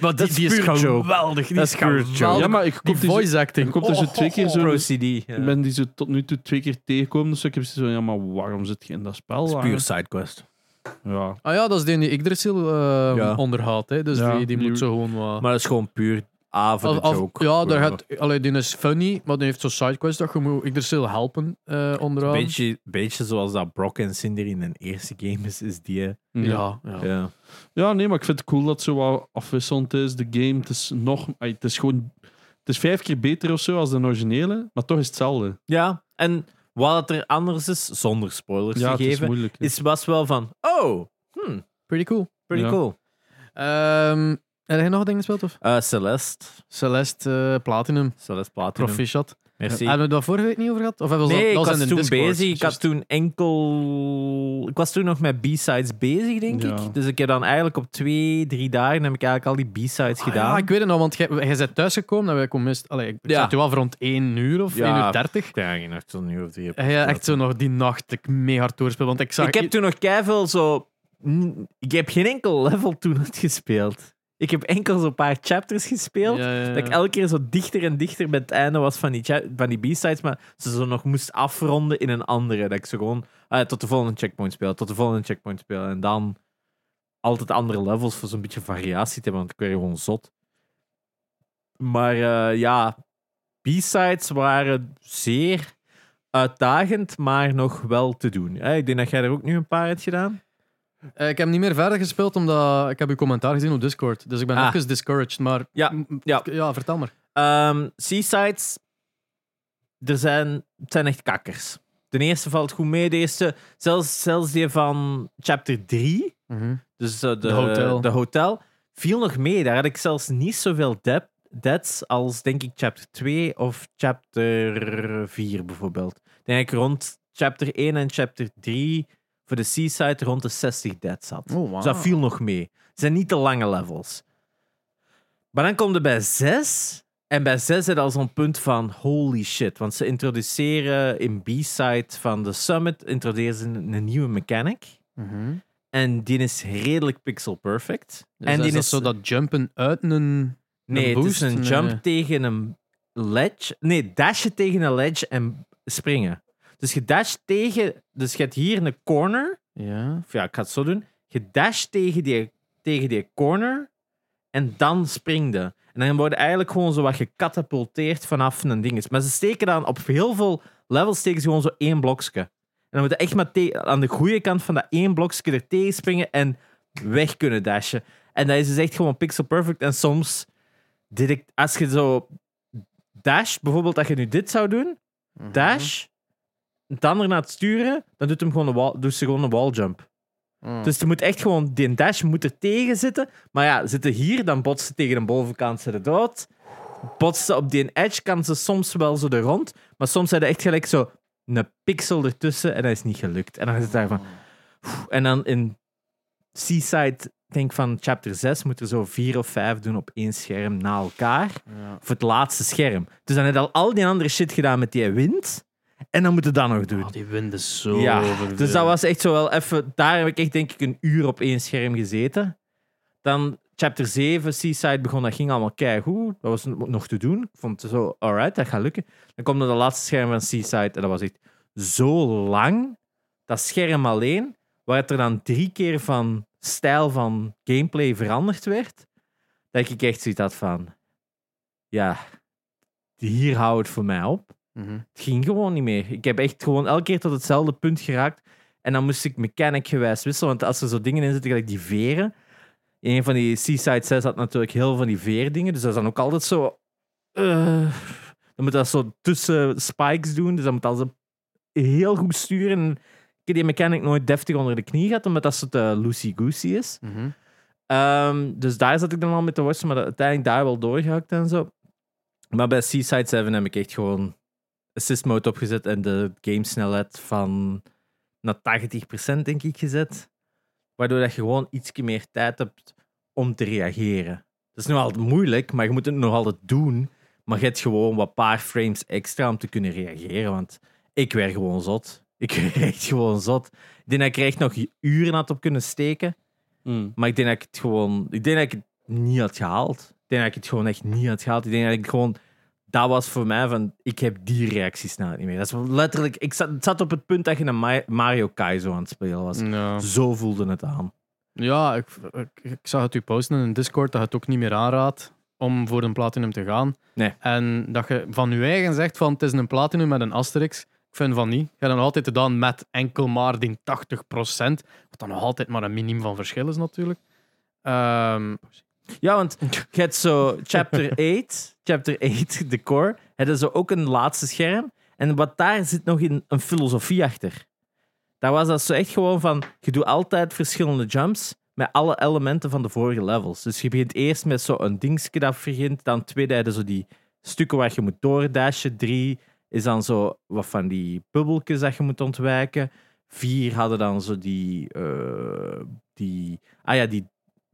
Speaker 1: Maar
Speaker 2: Dat is pure joke.
Speaker 1: geweldig. Die
Speaker 2: Dat is pure joke.
Speaker 3: ja, maar ik
Speaker 1: Die
Speaker 3: kom die, zo-
Speaker 1: voice
Speaker 3: ik
Speaker 1: acting.
Speaker 3: kom er zo twee keer zo...
Speaker 2: Pro CD.
Speaker 3: Ik ben die zo tot nu toe twee keer tegengekomen, dus ik heb zoiets van, ja, maar waarom zit je in dat spel?
Speaker 2: Puur sidequest.
Speaker 3: Ja.
Speaker 1: Ah ja, dat is die die Yggdrasil eh
Speaker 2: Ja.
Speaker 1: onderhoudt. Hè. Dus
Speaker 3: Ja,
Speaker 1: die, die
Speaker 3: die-
Speaker 1: moet zo gewoon wat...
Speaker 2: Maar dat is gewoon puur A voor de
Speaker 1: Als- als-
Speaker 2: joke.
Speaker 1: ja, daar gaat, allee, die is funny, maar die heeft zo'n sidequest dat je moet Yggdrasil helpen eh onderhouden.
Speaker 2: Beetje, beetje zoals dat Brock en Cinder in hun eerste game is, is die. hè.
Speaker 1: Ja, ja.
Speaker 2: Ja.
Speaker 3: Ja, nee, maar ik vind het cool dat het zo wat afwisselend is. De game, het is nog... ai, Het is gewoon... Het is vijf keer beter of zo als de originele, maar toch is het hetzelfde.
Speaker 2: ja, en wat er anders is, zonder spoilers
Speaker 3: Ja,
Speaker 2: te
Speaker 3: het is
Speaker 2: geven,
Speaker 3: moeilijk. hè.
Speaker 2: Dus is, was wel van, oh, hmm,
Speaker 1: Pretty cool.
Speaker 2: pretty
Speaker 3: Ja.
Speaker 2: cool.
Speaker 1: Ehm, heb jij nog dingen gespeeld? Of?
Speaker 2: Eh, Celeste,
Speaker 1: Celeste eh, Platinum.
Speaker 2: Celeste Platinum.
Speaker 1: Proficiat.
Speaker 2: Merci.
Speaker 1: Hebben we Ah, dat vorige week niet over gehad? Of hebben we
Speaker 2: nee,
Speaker 1: dat,
Speaker 2: ik
Speaker 1: dat
Speaker 2: was
Speaker 1: in de
Speaker 2: toen
Speaker 1: Discord,
Speaker 2: bezig. Ik had
Speaker 1: juist.
Speaker 2: toen enkel... Ik was toen nog met B-sides bezig, denk
Speaker 3: Ja.
Speaker 2: ik. Dus ik heb dan eigenlijk op twee, drie dagen heb ik eigenlijk al die B-sides
Speaker 1: Ah,
Speaker 2: gedaan.
Speaker 1: Ja, ik weet het nog, want jij, jij bent thuisgekomen en wij komen meest... Allee, ik
Speaker 2: Ja.
Speaker 1: zat toen wel voor rond 1 uur of
Speaker 2: Ja.
Speaker 1: 1 uur 30.
Speaker 2: Ja, ik dacht zo'n uur of drie. heb
Speaker 1: En jij echt zo nog die nacht ik mega hard doorspeel, want ik zag...
Speaker 2: ik heb toen nog keiveel zo... Mm, Ik heb geen enkel level toen gespeeld. Ik heb enkel zo'n paar chapters gespeeld.
Speaker 1: Ja, ja, ja.
Speaker 2: Dat ik elke keer zo dichter en dichter bij het einde was van die, cha- van die B-sides, maar ze zo nog moest afronden in een andere. Dat ik ze gewoon ah, tot de volgende checkpoint speel, tot de volgende checkpoint speel. En dan altijd andere levels voor zo'n beetje variatie te hebben, want ik werd gewoon zot. Maar eh, ja, B-sides waren zeer eh, uitdagend, maar nog wel te doen. Eh, ik denk dat jij er ook nu een paar hebt gedaan.
Speaker 1: Eh, ik heb niet meer verder gespeeld, omdat ik heb uw commentaar gezien op Discord. Dus ik ben
Speaker 2: Ah.
Speaker 1: even discouraged, maar...
Speaker 2: Ja,
Speaker 1: M- m-
Speaker 2: ja.
Speaker 1: ja vertel maar.
Speaker 2: Ehm seasides, er zijn, het zijn echt kakkers. De eerste valt goed mee. De eerste, zelfs, zelfs die van chapter 3,
Speaker 1: Mhm.
Speaker 2: dus eh, de,
Speaker 1: De hotel.
Speaker 2: de hotel, viel nog mee. Daar had ik zelfs niet zoveel dep- deaths als, denk ik, chapter 2 of chapter 4 bijvoorbeeld. Ik Denk ik rond chapter 1 en chapter 3 voor de seaside rond de 60 deaths had.
Speaker 1: Oh, wow.
Speaker 2: Dus dat viel nog mee. Het zijn niet te lange levels. Maar dan komt er bij 6. En bij 6 zit al zo'n punt van holy shit. Want ze introduceren in B-side van de summit introduceren ze een, een nieuwe mechanic.
Speaker 1: Mhm.
Speaker 2: En die is redelijk pixel perfect.
Speaker 1: Dus
Speaker 2: en
Speaker 1: en
Speaker 2: die
Speaker 1: is dat zo dat jumpen uit een...
Speaker 2: Nee,
Speaker 1: een
Speaker 2: het is
Speaker 1: boost? eh,
Speaker 2: een jump
Speaker 1: Nee.
Speaker 2: tegen een ledge. Nee, dashen tegen een ledge en springen. Dus je dasht tegen... Dus je hebt hier een corner.
Speaker 1: Ja.
Speaker 2: Of ja, ik ga het zo doen. Je dasht tegen die, tegen die corner en dan springde. En dan worden eigenlijk gewoon zo wat gecatapulteerd vanaf een ding. Maar ze steken dan op heel veel levels steken ze gewoon zo één blokje. En dan moet je echt maar te- aan de goede kant van dat één blokje er tegen springen en weg kunnen dashen. En dat is dus echt gewoon pixel perfect. En soms, did ik, als je zo dash, bijvoorbeeld dat je nu dit zou doen, dash, dan ernaar het sturen, dan doet, hem gewoon een wall, doet ze gewoon een walljump.
Speaker 1: Mhm.
Speaker 2: Dus je moet echt gewoon, die dash moet er tegen zitten. Maar ja, zitten hier, dan botsen tegen de bovenkant, ze de dood. Botsen op die edge, kan ze soms wel zo er rond. Maar soms zijn er echt gelijk zo een pixel ertussen en dat is niet gelukt. En dan is het daarvan. oef. En dan in Seaside, denk van chapter 6, moet er zo vier of vijf doen op één scherm na elkaar
Speaker 1: Ja.
Speaker 2: voor het laatste scherm. Dus dan heb je al al die andere shit gedaan met die wind. En dan moet je dat nog doen.
Speaker 1: Oh, die wind is zo
Speaker 2: ja,
Speaker 1: vervelend.
Speaker 2: dus dat was echt zo wel even... Daar heb ik echt denk ik een uur op één scherm gezeten. Dan chapter 7, Seaside begon, dat ging allemaal keigoed. Dat was n- nog te doen. Ik vond het zo, alright, dat gaat lukken. Dan kwam er de laatste scherm van Seaside en dat was echt zo lang. Dat scherm alleen, waar het er dan drie keer van stijl van gameplay veranderd werd, dat ik echt zoiets had van... Ja, hier houdt het voor mij op.
Speaker 1: Mhm.
Speaker 2: Het ging gewoon niet meer. Ik heb echt gewoon elke keer tot hetzelfde punt geraakt. En dan moest ik mechanic gewijs wisselen. Want als er zo dingen in zitten, gelijk die veren. In een van die Seaside 6 had natuurlijk heel veel van die veerdingen. Dus dat is dan ook altijd zo. eh, dan moet dat zo tussen spikes doen. Dus dan moet dat zo heel goed sturen. En ik heb die mechanic nooit deftig onder de knie gehad, omdat dat zo te loosey-goosey is.
Speaker 1: Mhm.
Speaker 2: Ehm, dus daar zat ik dan al mee te worstelen, maar dat- uiteindelijk daar wel doorgehakt en zo. Maar bij Seaside 7 heb ik echt gewoon assist mode opgezet en de gamesnelheid van naar 80% denk ik gezet. Waardoor dat je gewoon iets meer tijd hebt om te reageren. Dat is nog altijd moeilijk, maar je moet het nog altijd doen. Maar je hebt gewoon wat paar frames extra om te kunnen reageren, want ik werd gewoon zot. Ik werd echt gewoon zot. Ik denk dat ik er echt nog uren had op kunnen steken.
Speaker 3: Mm.
Speaker 2: Maar ik denk dat ik het gewoon... Ik denk dat ik het niet had gehaald. Ik denk dat ik het gewoon echt niet had gehaald. Ik denk dat ik gewoon... Dat was voor mij van... Ik heb die reactiesnelheid niet meer. Dat is wel letterlijk... Ik zat, het zat op het punt dat je een Ma- Mario Kaizo aan het spelen was.
Speaker 1: Ja.
Speaker 2: Zo voelde het aan.
Speaker 1: Ja, ik, ik, ik zag het u posten in Discord dat je het ook niet meer aanraadt om voor een platinum te gaan.
Speaker 2: Nee.
Speaker 1: En dat je van je eigen zegt van het is een platinum met een asterix. Ik vind van niet. Je hebt dan altijd gedaan met enkel maar die 80%, wat dan nog altijd maar een minimum van verschil is natuurlijk. Ehm,
Speaker 2: Ja, want je hebt zo chapter 8, chapter 8, de core, het is zo ook een laatste scherm. En wat daar zit nog in een filosofie achter. Daar was dat zo echt gewoon van, je doet altijd verschillende jumps met alle elementen van de vorige levels. Dus je begint eerst met zo'n dingetje dat begint, dan tweede heb je zo die stukken waar je moet doordashen. Drie is dan zo wat van die bubbeltjes dat je moet ontwijken. Vier hadden dan zo die, eh, die, ah ja, die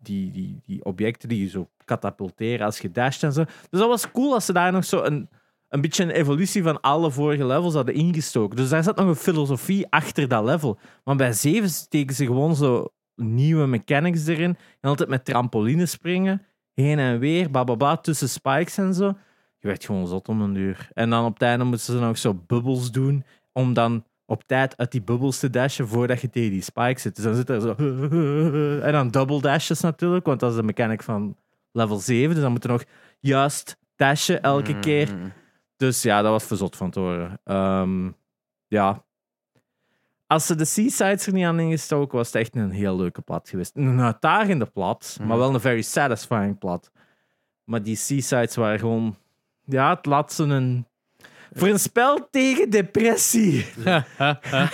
Speaker 2: die, die, die objecten die je zo katapulteren als je dasht en zo. Dus dat was cool als ze daar nog zo een, een beetje een evolutie van alle vorige levels hadden ingestoken. Dus daar zat nog een filosofie achter dat level. Maar bij 7 steken ze gewoon zo nieuwe mechanics erin. En altijd met trampolines springen, heen en weer, bababa, tussen spikes en zo. Je werd gewoon zot om een uur. En dan op het einde moesten ze nog zo bubbels doen om dan op tijd uit die bubbels te dashen voordat je tegen die spikes zit. Dus dan zit er zo... [LAUGHS] En dan double dashes natuurlijk, want dat is de mechanic van level 7. Dus dan moet er nog
Speaker 1: Mhm. Hmm.
Speaker 2: juist dashen elke keer. Dus ja, dat was verzot van het horen. Ehm, ja. Als ze de Seasides er niet aan ingestoken, was het echt een heel leuke plat geweest. Een uitdagende plat,
Speaker 1: Mhm.
Speaker 2: maar wel een very satisfying plat. Maar die Seasides waren gewoon... Ja, het laat ze een... Voor een spel
Speaker 1: [LAUGHS]
Speaker 2: tegen depressie.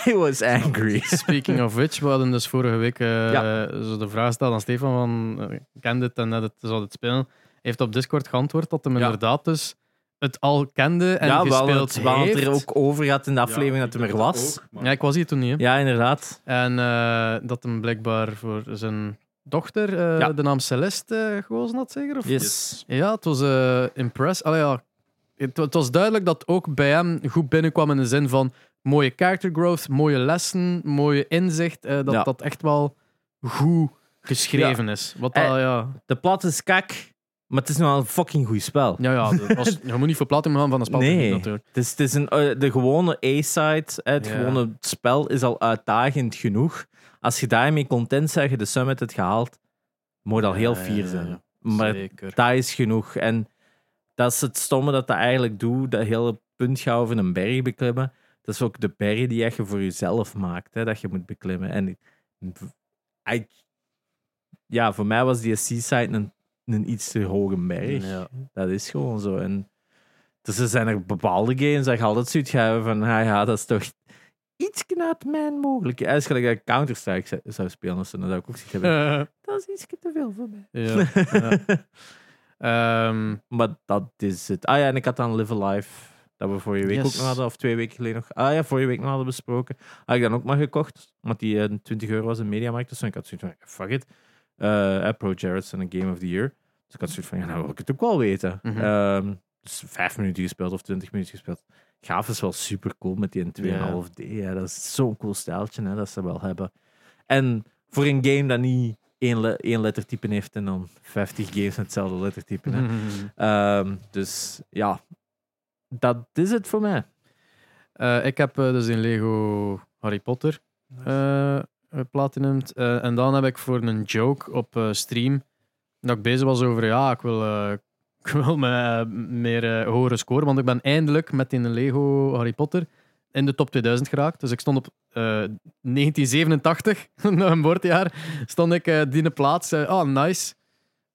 Speaker 2: I was angry.
Speaker 1: Speaking of which, we hadden dus vorige week eh,
Speaker 2: Ja.
Speaker 1: zo de vraag gesteld aan Stefan van eh, kende het en net het, zou het spelen. Hij heeft op Discord geantwoord dat hem
Speaker 2: Ja.
Speaker 1: inderdaad dus het al kende en
Speaker 2: ja, wel
Speaker 1: gespeeld
Speaker 2: het, wel het
Speaker 1: heeft.
Speaker 2: er ook over had in de aflevering
Speaker 3: Ja,
Speaker 2: dat het
Speaker 3: ik
Speaker 2: er
Speaker 3: dacht
Speaker 2: was.
Speaker 3: ook, maar-
Speaker 1: Ja, ik was hier toen niet. hè.
Speaker 2: Ja, inderdaad.
Speaker 1: En eh, dat hem blijkbaar voor zijn dochter eh,
Speaker 2: Ja.
Speaker 1: de naam Celeste eh, gekozen had, zeker? Of?
Speaker 2: Yes.
Speaker 1: Ja, het was eh impress. Allee, ja. het, het was duidelijk dat ook bij hem goed binnenkwam in de zin van mooie character growth, mooie lessen, mooie inzicht. eh, dat
Speaker 2: Ja.
Speaker 1: dat echt wel goed geschreven is. Wat dat,
Speaker 2: Eh,
Speaker 1: ja,
Speaker 2: De plat is kak, maar het is nou een fucking goed spel.
Speaker 1: ja, ja dat was,
Speaker 2: [LAUGHS]
Speaker 1: je moet niet voor platinum gaan van een spel.
Speaker 2: Nee.
Speaker 1: natuurlijk.
Speaker 2: Het is, het is een, eh, de gewone A-side, eh, het
Speaker 1: Ja.
Speaker 2: gewone spel is al uitdagend genoeg. Als je daarmee content zegt, je de summit het gehaald, moet je al heel
Speaker 1: Ja,
Speaker 2: fier
Speaker 1: ja,
Speaker 2: zijn.
Speaker 1: ja.
Speaker 2: Maar
Speaker 1: Zeker.
Speaker 2: dat is genoeg. En dat is het stomme dat dat eigenlijk doet, dat hele punt gaan over een berg beklimmen. Dat is ook de berg die echt je voor jezelf maakt, hè, dat je moet beklimmen. En I- ja, voor mij was die seaside een, een iets te hoge berg.
Speaker 1: Ja.
Speaker 2: Dat is gewoon zo. En dus er zijn er bepaalde games dat je altijd zoiets gaat hebben van, ah ja, dat is toch iets uit mijn mogelijk. Als gelijk dat ik Counter-Strike zou- zou spelen, of zo, dan zou ik ook zoiets hebben.
Speaker 1: Eh,
Speaker 2: [LAUGHS] Dat is iets te veel voor mij.
Speaker 1: ja. ja. Ehm,
Speaker 2: Maar dat is het. Ah ja, en ik had dan Live Alive, dat we vorige week
Speaker 1: Yes.
Speaker 2: ook nog hadden, of twee weken geleden nog. Ah ja, vorige week nog hadden besproken. Had ik dan ook maar gekocht, want die eh, 20 euro was in Mediamarkt. Dus ik had zoiets van, fuck it. Eh, eh, Pro Jarrett's en een Game of the Year. Dus ik had zoiets van, ja, nou wil ik het ook wel weten.
Speaker 1: Mhm.
Speaker 2: Ehm, dus vijf minuten gespeeld of 20 minuten gespeeld. Gaaf is wel super cool met die 2,5D. hè. Dat is zo'n cool stijltje hè, dat ze wel hebben. En voor een game dat niet één, le- één lettertype heeft en dan 50 games met hetzelfde
Speaker 1: Mhm.
Speaker 2: lettertype. Hè. [LAUGHS] Ehm, dus ja, dat is het voor mij.
Speaker 1: Eh, ik heb eh, dus in Lego Harry Potter eh platinumd. Eh, en dan heb ik voor een joke op eh, stream dat ik bezig was over ja, ik wil, eh, [LAUGHS] ik wil me, eh, meer eh, hogere score. Want ik ben eindelijk met in een Lego Harry Potter in de top 2000 geraakt. Dus ik stond op eh, [LAUGHS] 1987, een woordjaar, stond ik eh die plaats. Eh, oh, nice.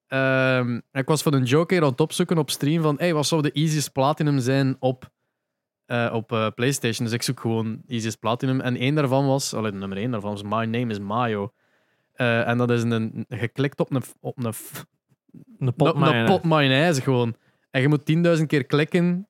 Speaker 1: Ehm, ik was van een joke hier aan het opzoeken op stream van hey, wat zou de easiest platinum zijn op eh, op eh, PlayStation. Dus ik zoek gewoon Easiest Platinum. En één daarvan was, allee, nummer één daarvan was My Name is Mayo. Eh, en dat is een, geklikt op een, op een, f-
Speaker 2: Een
Speaker 1: op een pot mayonaise gewoon. En je moet 10.000 keer klikken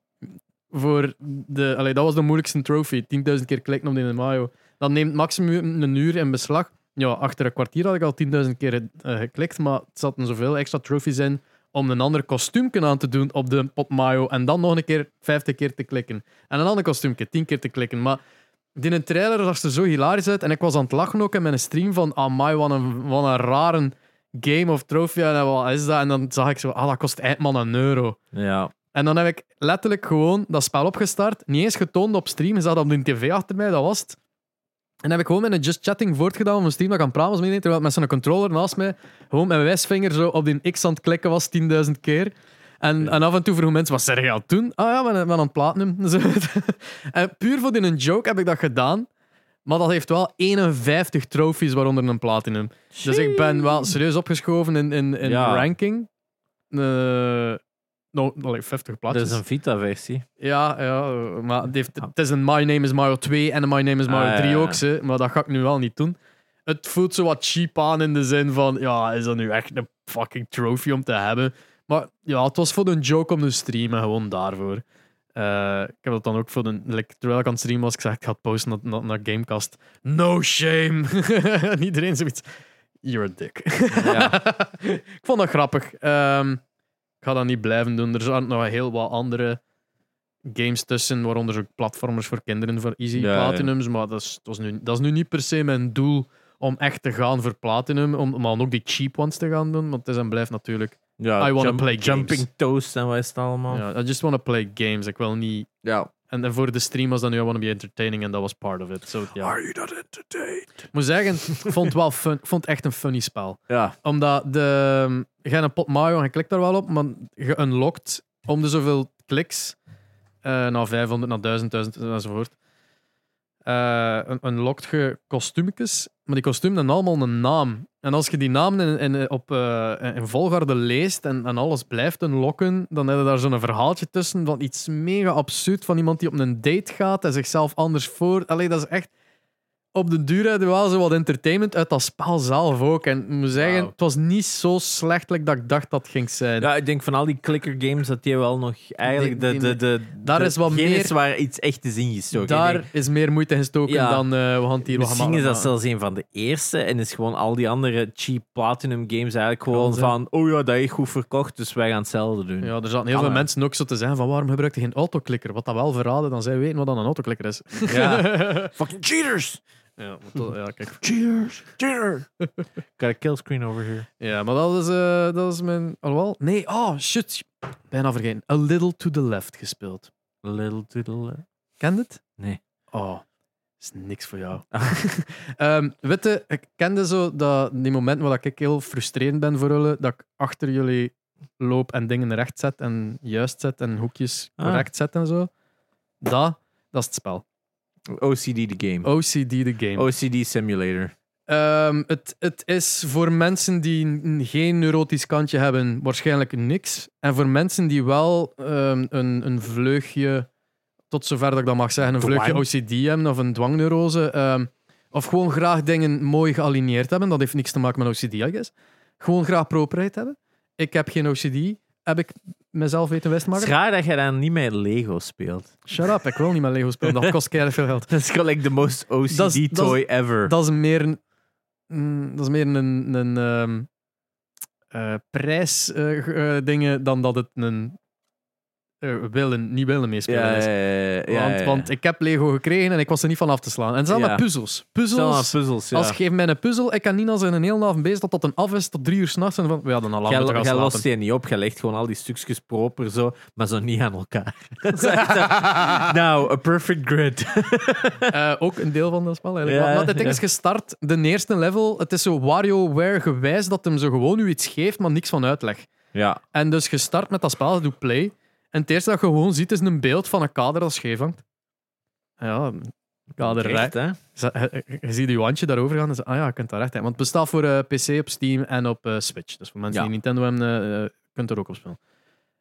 Speaker 1: voor de... Allee, dat was de moeilijkste trophy. 10.000 keer klikken op die mayo. Dat neemt maximum een uur in beslag. Ja, achter een kwartier had ik al 10.000 keer eh, geklikt, maar het zaten zoveel extra trophies in om een ander kostuumje aan te doen op de pot mayo en dan nog een keer 50 keer te klikken. En een ander kostuumje 10 keer te klikken. Maar die een trailer zag ze zo hilarisch uit en ik was aan het lachen ook in mijn stream van amai, wat een, wat een rare game of trofee en wat is dat? En dan zag ik zo, ah, dat kost eindman een euro.
Speaker 2: Ja.
Speaker 1: En dan heb ik letterlijk gewoon dat spel opgestart. Niet eens getoond op stream. Ze zat op de tv achter mij, dat was het. En dan heb ik gewoon met een just chatting voortgedaan van stream dat ik aan het praten was met iedereen, terwijl ik met zo'n controller naast mij gewoon met mijn wijsvinger zo op die X aan het klikken was 10.000 keer. En, en af en toe vroegen mensen, wat zeg je al toen? Ah ja, met, met een platinum. [LAUGHS] Zo. en puur voor die een joke heb ik dat gedaan. Maar dat heeft wel 51 trofies, waaronder een platinum. Dus ik ben wel serieus opgeschoven in, in, in
Speaker 2: Ja.
Speaker 1: ranking. Eh nou, allee, 50
Speaker 2: Dat
Speaker 1: plaatjes.
Speaker 2: is een Vita-versie.
Speaker 1: Ja, ja, eh, maar het, heeft, het is een My Name is Mario 2 en een My Name is Mario
Speaker 2: Ah, ja,
Speaker 1: 3
Speaker 2: ja.
Speaker 1: ook, ze, maar dat ga ik nu wel niet doen. Het voelt zo wat cheap aan in de zin van, ja, is dat nu echt een fucking trophy om te hebben? Maar ja, het was voor een joke om te streamen, gewoon daarvoor. Eh, ik heb dat dan ook voor de, like, terwijl ik aan het streamen was, ik zeg, ik ga het posten naar, naar, naar Gamecast. No shame! [LAUGHS] en iedereen zoiets, you're a dick.
Speaker 2: Ja.
Speaker 1: [LAUGHS] ik vond dat grappig. Ehm, ik ga dat niet blijven doen. Er zijn nog heel wat andere games tussen, waaronder ook platformers voor kinderen voor Easy
Speaker 2: Ja, ja.
Speaker 1: Platinums. Maar dat is, dat, is nu, dat is nu niet per se mijn doel om echt te gaan voor Platinum, om, maar om ook die cheap ones te gaan doen. Want het is en blijft natuurlijk.
Speaker 2: ja
Speaker 1: I wanna play games.
Speaker 2: Jumping Toast en wat is het allemaal?
Speaker 1: Ja, I just want to play games. Ik wil niet.
Speaker 2: Ja.
Speaker 1: En en voor de stream was dat nu I want to be entertaining en dat was part of it. So, ja.
Speaker 2: Are you not entertained?
Speaker 1: Ik moet zeggen, ik vond het wel fun, ik vond het echt een funny spel.
Speaker 2: Ja.
Speaker 1: Omdat de, je hebt een pot Mario en je klikt daar wel op, maar je unlockt om de zoveel kliks eh naar 500, naar 1000, 1000 enzovoort. eh, een, een lokt je kostuumjes, maar die kostuums hebben allemaal een naam. En als je die namen in, in, eh, op, eh, in volgorde leest en, en alles blijft een lokken, dan heb je daar zo'n verhaaltje tussen van iets mega absurd van iemand die op een date gaat en zichzelf anders voor... Allee, dat is echt... Op de duur hadden we wel zo wat entertainment uit dat spel zelf ook. En ik moet zeggen,
Speaker 2: Wauw.
Speaker 1: het was niet zo slechtelijk dat ik dacht dat het ging zijn.
Speaker 2: Ja, ik denk van al die clicker games dat die wel nog eigenlijk
Speaker 1: Die-
Speaker 2: de, de,
Speaker 1: die-
Speaker 2: de,
Speaker 1: daar
Speaker 2: de-
Speaker 1: is wat
Speaker 2: geen
Speaker 1: meer-
Speaker 2: is waar iets echt is ingestoken. Ik
Speaker 1: Daar
Speaker 2: denk,
Speaker 1: is meer moeite in gestoken
Speaker 2: Ja.
Speaker 1: dan eh, we gaan het hier wat
Speaker 2: Misschien is
Speaker 1: gaan
Speaker 2: dat zelfs een van de eerste en is gewoon al die andere cheap platinum games eigenlijk gewoon
Speaker 1: zijn.
Speaker 2: van oh ja, dat is goed verkocht, dus wij gaan hetzelfde doen.
Speaker 1: Ja, er zaten heel
Speaker 2: Kan,
Speaker 1: veel
Speaker 2: hè.
Speaker 1: mensen ook zo te zeggen van waarom gebruik je geen autoclicker? Wat dat wel verraden, dan zij weten wat dan een autoclicker is.
Speaker 2: Ja. Fucking
Speaker 1: [LAUGHS]
Speaker 2: cheaters!
Speaker 1: ja, maar dat- ja, kijk.
Speaker 3: Cheers!
Speaker 1: [LAUGHS]
Speaker 2: Cheater! Got a kill screen over here.
Speaker 1: ja, maar dat is, eh, dat is mijn... Alhoewel, nee, oh shit. Bijna vergeten. A Little to the Left gespeeld.
Speaker 2: Little doodle.
Speaker 1: Kent het?
Speaker 2: Nee.
Speaker 1: Oh, is niks voor jou. [LAUGHS] Ehm weet je, ik kende zo dat, die momenten waar ik heel frustrerend ben voor jullie, dat ik achter jullie loop en dingen recht zet en juist zet en hoekjes
Speaker 2: Ah.
Speaker 1: correct zet en zo. Dat, dat is het spel.
Speaker 2: OCD the Oh, game.
Speaker 1: OCD the game.
Speaker 2: OCD simulator.
Speaker 1: Ehm, het, het is voor mensen die n- geen neurotisch kantje hebben, waarschijnlijk niks. En voor mensen die wel ehm, een, een vleugje, tot zover dat ik dat mag zeggen, een vleugje
Speaker 2: Dwang.
Speaker 1: OCD hebben of een dwangneurose. ehm, of gewoon graag dingen mooi gealineerd hebben. Dat heeft niks te maken met OCD, I guess. Gewoon graag properheid hebben. Ik heb geen OCD. Heb ik mezelf weten
Speaker 2: Het is
Speaker 1: westmaken?
Speaker 2: raar dat jij dan niet met Lego speelt.
Speaker 1: Shut up, ik wil niet met Lego spelen. Dat kost keihard veel geld.
Speaker 2: [LAUGHS] Dat is gelijk de most OCD
Speaker 1: Dat is- dat is-
Speaker 2: toy ever.
Speaker 1: Dat is meer een, mm, dat is meer een, een ehm, eh, prijs eh, g- eh, dingen dan dat het een eh, willen, niet willen meespelen
Speaker 2: ja,
Speaker 1: is.
Speaker 2: ja, ja, ja, ja,
Speaker 1: want,
Speaker 2: ja.
Speaker 1: want ik heb Lego gekregen en ik was er niet van af te slaan. En zelfs
Speaker 2: Ja.
Speaker 1: met puzzels.
Speaker 2: Het zijn allemaal
Speaker 1: Puzzels.
Speaker 2: puzzels, ja.
Speaker 1: Als ik geef mij een puzzel, ik kan niet als in een hele avond bezig dat dat een af is tot drie uur s'nachts. En van, ja, dan al lang
Speaker 2: Jij-
Speaker 1: moeten gaan
Speaker 2: jij
Speaker 1: slapen.
Speaker 2: lost die niet op, jij legt gewoon al die stukjes proper zo, maar zo niet aan elkaar. [LAUGHS] Dat is echt zo- [LAUGHS] nou, a perfect grid.
Speaker 1: Eh, ook een deel van dat spel eigenlijk.
Speaker 2: Ja,
Speaker 1: Want het ding
Speaker 2: ja.
Speaker 1: is gestart, de eerste level, het is zo WarioWare gewijs dat hem zo gewoon u iets geeft, maar niks van uitleg.
Speaker 2: [LAUGHS] Ja,
Speaker 1: En dus je start met dat spel, je doet play. En het eerste dat je gewoon ziet is een beeld van een kader dat scheef hangt. Ja, kader recht.
Speaker 2: Echt, hè?
Speaker 1: Je, je- je ziet je handje daarover gaan en ze, ah ja, je kunt daar recht hebben. Want het bestaat voor eh, PC op Steam en op eh, Switch. Dus voor mensen
Speaker 2: Ja.
Speaker 1: die Nintendo hebben, eh, eh, kunt er ook op spelen.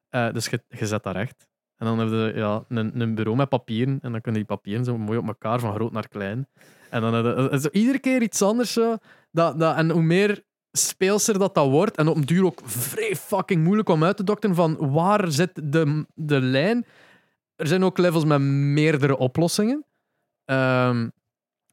Speaker 1: Eh, dus je, je zet dat recht. En dan heb je ja, een, een bureau met papieren. En dan kunnen die papieren zo mooi op elkaar, van groot naar klein. En dan heb je- eh, zo iedere keer iets anders. Zo, dat, dat, en hoe meer speelser dat dat wordt. En op een duur ook vrij fucking moeilijk om uit te dokteren van waar zit de, de lijn. Er zijn ook levels met meerdere oplossingen. Ehm,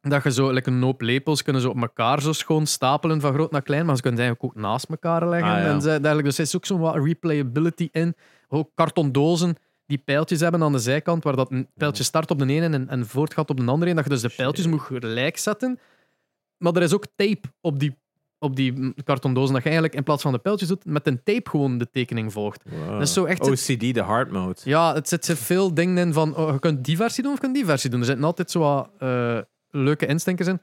Speaker 1: dat je zo, like een hoop lepels kunnen ze op elkaar zo schoon stapelen van groot naar klein, maar ze kunnen ze eigenlijk ook naast elkaar leggen.
Speaker 2: Ah, ja.
Speaker 1: en ze, dergelijke. Dus er is ook zo'n wat replayability in. Ook kartondozen die pijltjes hebben aan de zijkant, waar dat een pijltje start op de ene en, en voortgaat op de andere. En dat je dus de pijltjes moet gelijk zetten. Maar er is ook tape op die, op die mm, kartondozen, dat je eigenlijk in plaats van de pijltjes doet, met een tape gewoon de tekening volgt. Dat is zo echt-
Speaker 2: OCD, de hard mode.
Speaker 1: Ja, het zit veel dingen in van oh, je kunt die versie doen of je kunt die versie doen. Er zitten altijd zo wat, eh, leuke instinkers in.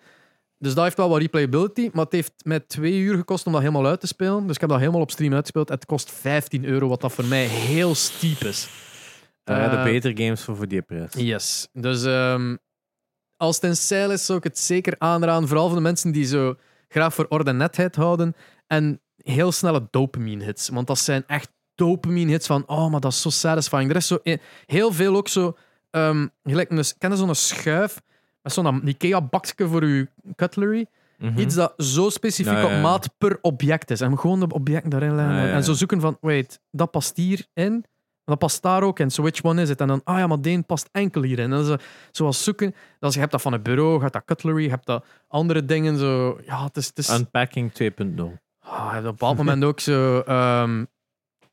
Speaker 1: Dus dat heeft wel wat replayability, maar het heeft mij twee uur gekost om dat helemaal uit te spelen. Dus ik heb dat helemaal op stream uitgespeeld. Het kost 15 euro, wat dat voor mij heel steep is.
Speaker 2: Daar
Speaker 1: Eh,
Speaker 2: hebben beter games voor voor die prijs.
Speaker 1: Yes. Dus ehm, als het in stijl is, zou ik het zeker aanraden. Vooral voor de mensen die zo graag voor orde en netheid houden. En heel snelle dopamine hits. Want dat zijn echt dopamine hits van, oh, maar dat is zo satisfying. Er is zo e- heel veel ook zo, ehm gelijk, een- ken je zo'n schuif met zo'n Ikea-bakje voor je cutlery?
Speaker 2: Mhm.
Speaker 1: Iets dat zo specifiek
Speaker 2: Ja, ja, ja.
Speaker 1: op maat per object is. En gewoon de objecten daarin leggen.
Speaker 2: Ja, ja, ja.
Speaker 1: En zo zoeken van, wait, dat past hierin. Dat past daar ook in. So which one is it? En dan, ah ja, maar die past enkel hierin. En dan zo, zoals zoeken. Dat is, je hebt dat van het bureau, je hebt dat cutlery, je hebt dat andere dingen. Zo, ja, het is... Het is
Speaker 2: Unpacking 2.0.
Speaker 1: Ah, je hebt op een bepaald moment ook zo... ehm,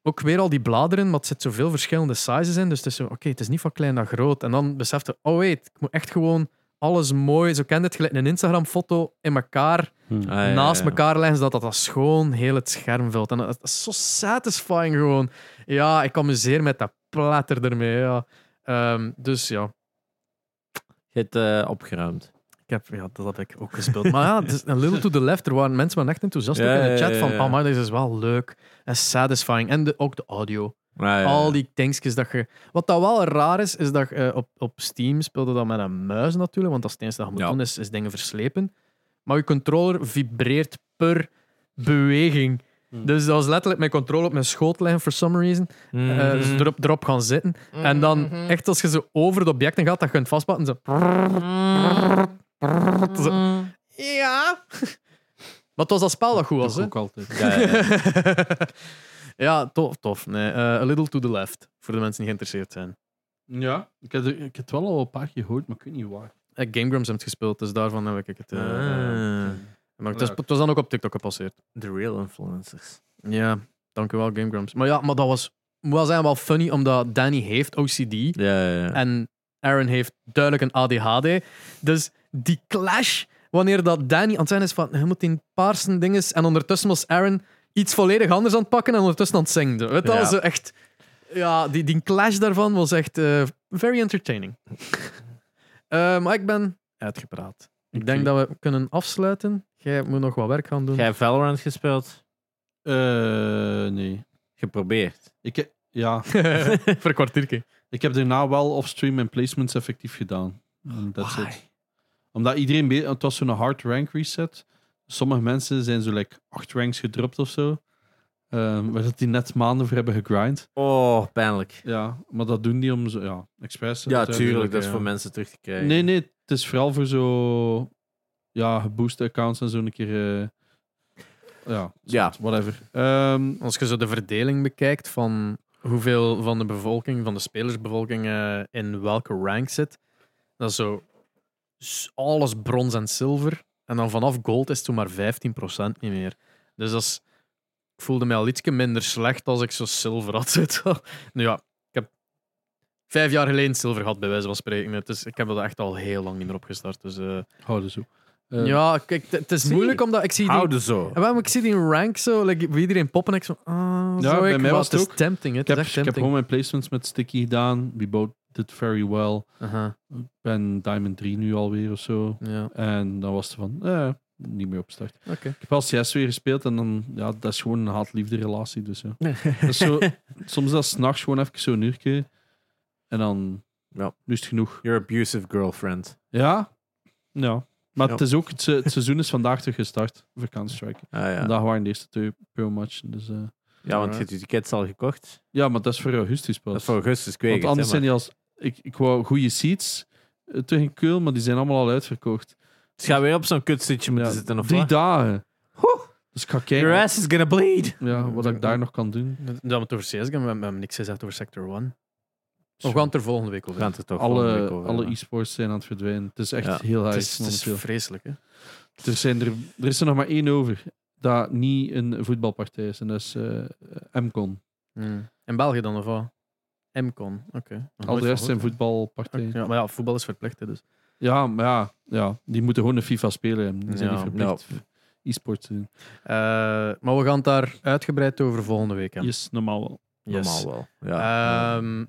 Speaker 1: ook weer al die bladeren, maar het zit zoveel verschillende sizes in. Dus het is zo, oké, het is niet van klein naar groot. En dan besefte oh wait, ik moet echt gewoon alles mooi... Zo kent het, gelijk een Instagram-foto in elkaar
Speaker 2: Ah, ja,
Speaker 1: naast
Speaker 2: ja.
Speaker 1: elkaar leggen, zodat dat, dat schoon heel het scherm vult. En dat, dat is zo satisfying gewoon. Ja, ik amuseer met dat platter ermee. Ja. Ehm, dus ja,
Speaker 2: Je hebt eh, opgeruimd.
Speaker 1: ik heb, ja, dat heb ik ook gespeeld.
Speaker 2: [LAUGHS]
Speaker 1: maar ja, het is een little to the left. Er waren mensen wel echt enthousiast
Speaker 2: Ja,
Speaker 1: ook in
Speaker 2: ja,
Speaker 1: de chat
Speaker 2: ja,
Speaker 1: van,
Speaker 2: ja.
Speaker 1: oh maar dit is wel leuk en satisfying. En de, ook de audio.
Speaker 2: Ah, Ja, ja.
Speaker 1: Al die tankjes dat je... Wat dat wel raar is, is dat je, eh, op, op Steam speelde dat met een muis natuurlijk, want dat is het enige dat je moet
Speaker 2: Ja.
Speaker 1: doen, is, is dingen verslepen. Maar je controller vibreert per beweging.
Speaker 3: Hmm.
Speaker 1: Dus dat was letterlijk mijn controller op mijn schoot liggen, for some reason.
Speaker 2: Mhm.
Speaker 1: Eh, dus erop, erop gaan zitten. En dan echt als je zo over de objecten gaat, dat je kunt vastpakken. Zo. [LAUGHS] Zo. Ja. [LAUGHS] Wat was dat spel dat goed was,
Speaker 3: Dat
Speaker 1: hè?
Speaker 3: ook altijd.
Speaker 2: Ja, ja, ja.
Speaker 1: Eh, [LAUGHS] ja, tof, tof. Nee, eh, a little to the left, voor de mensen die geïnteresseerd zijn.
Speaker 3: Ja, ik heb, er- ik heb het wel al een paar keer gehoord, maar ik weet niet waar.
Speaker 1: Eh, Game Grumps heeft gespeeld, dus daarvan heb ik het. eh,
Speaker 2: Ah,
Speaker 1: maar het, is,
Speaker 3: leuk.
Speaker 1: het was dan ook op TikTok gepasseerd.
Speaker 2: De real influencers.
Speaker 1: Ja, dankjewel Game Grumps. Maar ja, maar dat was, moet wel zijn, wel funny, omdat Danny heeft OCD
Speaker 2: Ja, ja, ja.
Speaker 1: en Aaron heeft duidelijk een ADHD. Dus die clash, wanneer dat Danny aan het zijn is van, je moet die paarse dinges, en ondertussen was Aaron iets volledig anders aan het pakken en ondertussen aan het zingen. Weet je wel,
Speaker 2: Ja.
Speaker 1: zo echt... Ja, die, die clash daarvan was echt eh, very [LAUGHS] entertaining. Eh, maar ik ben uitgepraat. Ik denk
Speaker 3: Oké.
Speaker 1: dat we kunnen afsluiten. Jij moet nog wat werk gaan doen.
Speaker 2: Jij hebt Valorant gespeeld?
Speaker 3: Eh, nee.
Speaker 2: Geprobeerd.
Speaker 3: Ik heb, Eh,
Speaker 1: [LAUGHS]
Speaker 3: ja,
Speaker 1: Voor een kwartiertje.
Speaker 3: ik heb daarna wel off-stream en placements effectief gedaan. En That's
Speaker 2: Why?
Speaker 3: it. Omdat iedereen... be- Het was zo'n hard rank reset. Sommige mensen zijn zo like acht ranks gedropt of zo. Ehm, waar dat die net maanden voor hebben gegrind.
Speaker 2: Oh, pijnlijk.
Speaker 3: Ja, maar dat doen die om zo... Ja, expres.
Speaker 2: Ja,
Speaker 3: uiteindelijk.
Speaker 2: tuurlijk. Dat is
Speaker 1: ja.
Speaker 2: voor mensen terug te krijgen.
Speaker 3: Nee, nee. Het is vooral voor zo... Ja, geboost accounts en zo een keer... eh, ja,
Speaker 2: Ja.
Speaker 3: whatever. Ehm,
Speaker 1: Als je zo de verdeling bekijkt van hoeveel van de bevolking, van de spelersbevolking, eh, in welke rank zit, dat is zo s- alles brons en zilver. En dan vanaf gold is het toen maar 15% niet meer. Dus dat is, ik voelde mij al ietsje minder slecht als ik zo zilver had zitten. [LAUGHS] nu ja, ik heb vijf jaar geleden zilver gehad, bij wijze van spreken. Het is, ik heb dat echt al heel lang niet meer opgestart. Dus, eh,
Speaker 3: houden zo. Eh,
Speaker 1: ja, kijk, t- het is
Speaker 2: zie.
Speaker 1: moeilijk omdat ik zie die
Speaker 2: Houden zo.
Speaker 1: en waarom ik zie die in rank zo, like, bij iedereen poppen en ik zo, ah,
Speaker 3: Ja,
Speaker 1: zo
Speaker 3: bij
Speaker 1: ik, maar
Speaker 3: mij was
Speaker 1: het
Speaker 3: het
Speaker 1: is
Speaker 3: ook.
Speaker 1: tempting,
Speaker 3: Ik
Speaker 1: het
Speaker 3: heb,
Speaker 1: is echt
Speaker 3: ik heb
Speaker 1: tempting.
Speaker 3: gewoon mijn placements met Sticky gedaan. We both did very well.
Speaker 1: Aha,
Speaker 3: Ik ben Diamond 3 nu alweer of zo.
Speaker 1: ja.
Speaker 3: En dan was het van, eh, niet meer opstart.
Speaker 1: Oké.
Speaker 3: Ik heb al CS weer gespeeld en dan, ja, dat is gewoon een haat-liefde relatie. Dus,
Speaker 2: [LAUGHS]
Speaker 3: ja. Dat is zo, soms is dat s'nachts gewoon even zo'n uurtje. En dan,
Speaker 2: Ja.
Speaker 3: nu is het genoeg.
Speaker 2: Your abusive girlfriend.
Speaker 3: Ja? Ja. Maar
Speaker 2: Ja.
Speaker 3: het is ook, het, se- het seizoen is vandaag terug gestart voor Counter-Strike.
Speaker 2: Ah, ja.
Speaker 3: Vandaag waren de eerste twee pro match. Dus, eh,
Speaker 2: ja, want je hebt je tickets al gekocht.
Speaker 3: ja, maar dat is voor augustus pas.
Speaker 2: Dat is voor augustus, kweek.
Speaker 3: Want anders zijn die als... Ik, ik wou goede seats eh, terug in Keul, maar die zijn allemaal al uitverkocht.
Speaker 2: Dus ga weer op zo'n kutsitje moeten
Speaker 3: Ja,
Speaker 2: zitten of
Speaker 3: Drie
Speaker 2: wat?
Speaker 3: dagen.
Speaker 2: Hoe?
Speaker 3: Dus ik ga
Speaker 2: Your
Speaker 3: kijken
Speaker 2: ass is gonna bleed.
Speaker 3: ja, wat ik daar nog kan doen.
Speaker 1: Dat we het over CS gaan, we hebben- we hebben niks gezegd over Sector 1. We gaan het er volgende week
Speaker 2: We
Speaker 1: over
Speaker 2: gaan
Speaker 1: hebben.
Speaker 2: het er toch volgende
Speaker 3: Alle,
Speaker 2: week over
Speaker 3: alle
Speaker 2: hebben.
Speaker 3: e-sports zijn aan het verdwijnen. Het is echt
Speaker 2: Ja,
Speaker 3: heel
Speaker 1: Het is, het is
Speaker 3: erg momenteel.
Speaker 1: vreselijk, hè.
Speaker 3: Er, zijn er, er is er nog maar één over dat niet een voetbalpartij is. En dat is eh, MCON.
Speaker 1: Hmm. In België dan, of wat? MCON, oké. Nog
Speaker 3: Al
Speaker 1: nooit
Speaker 3: de rest zijn
Speaker 1: van gehoord, hè.
Speaker 3: voetbalpartijen.
Speaker 1: Ja, maar ja, voetbal is verplicht, hè, dus.
Speaker 3: Ja, maar ja, ja, die moeten gewoon een FIFA spelen. en Die zijn
Speaker 1: Ja,
Speaker 3: niet verplicht e-sports te doen.
Speaker 1: Eh, maar we gaan het daar uitgebreid over volgende week hebben.
Speaker 3: Yes, normaal wel.
Speaker 1: Yes.
Speaker 2: Normaal wel. Ja.
Speaker 1: Ehm,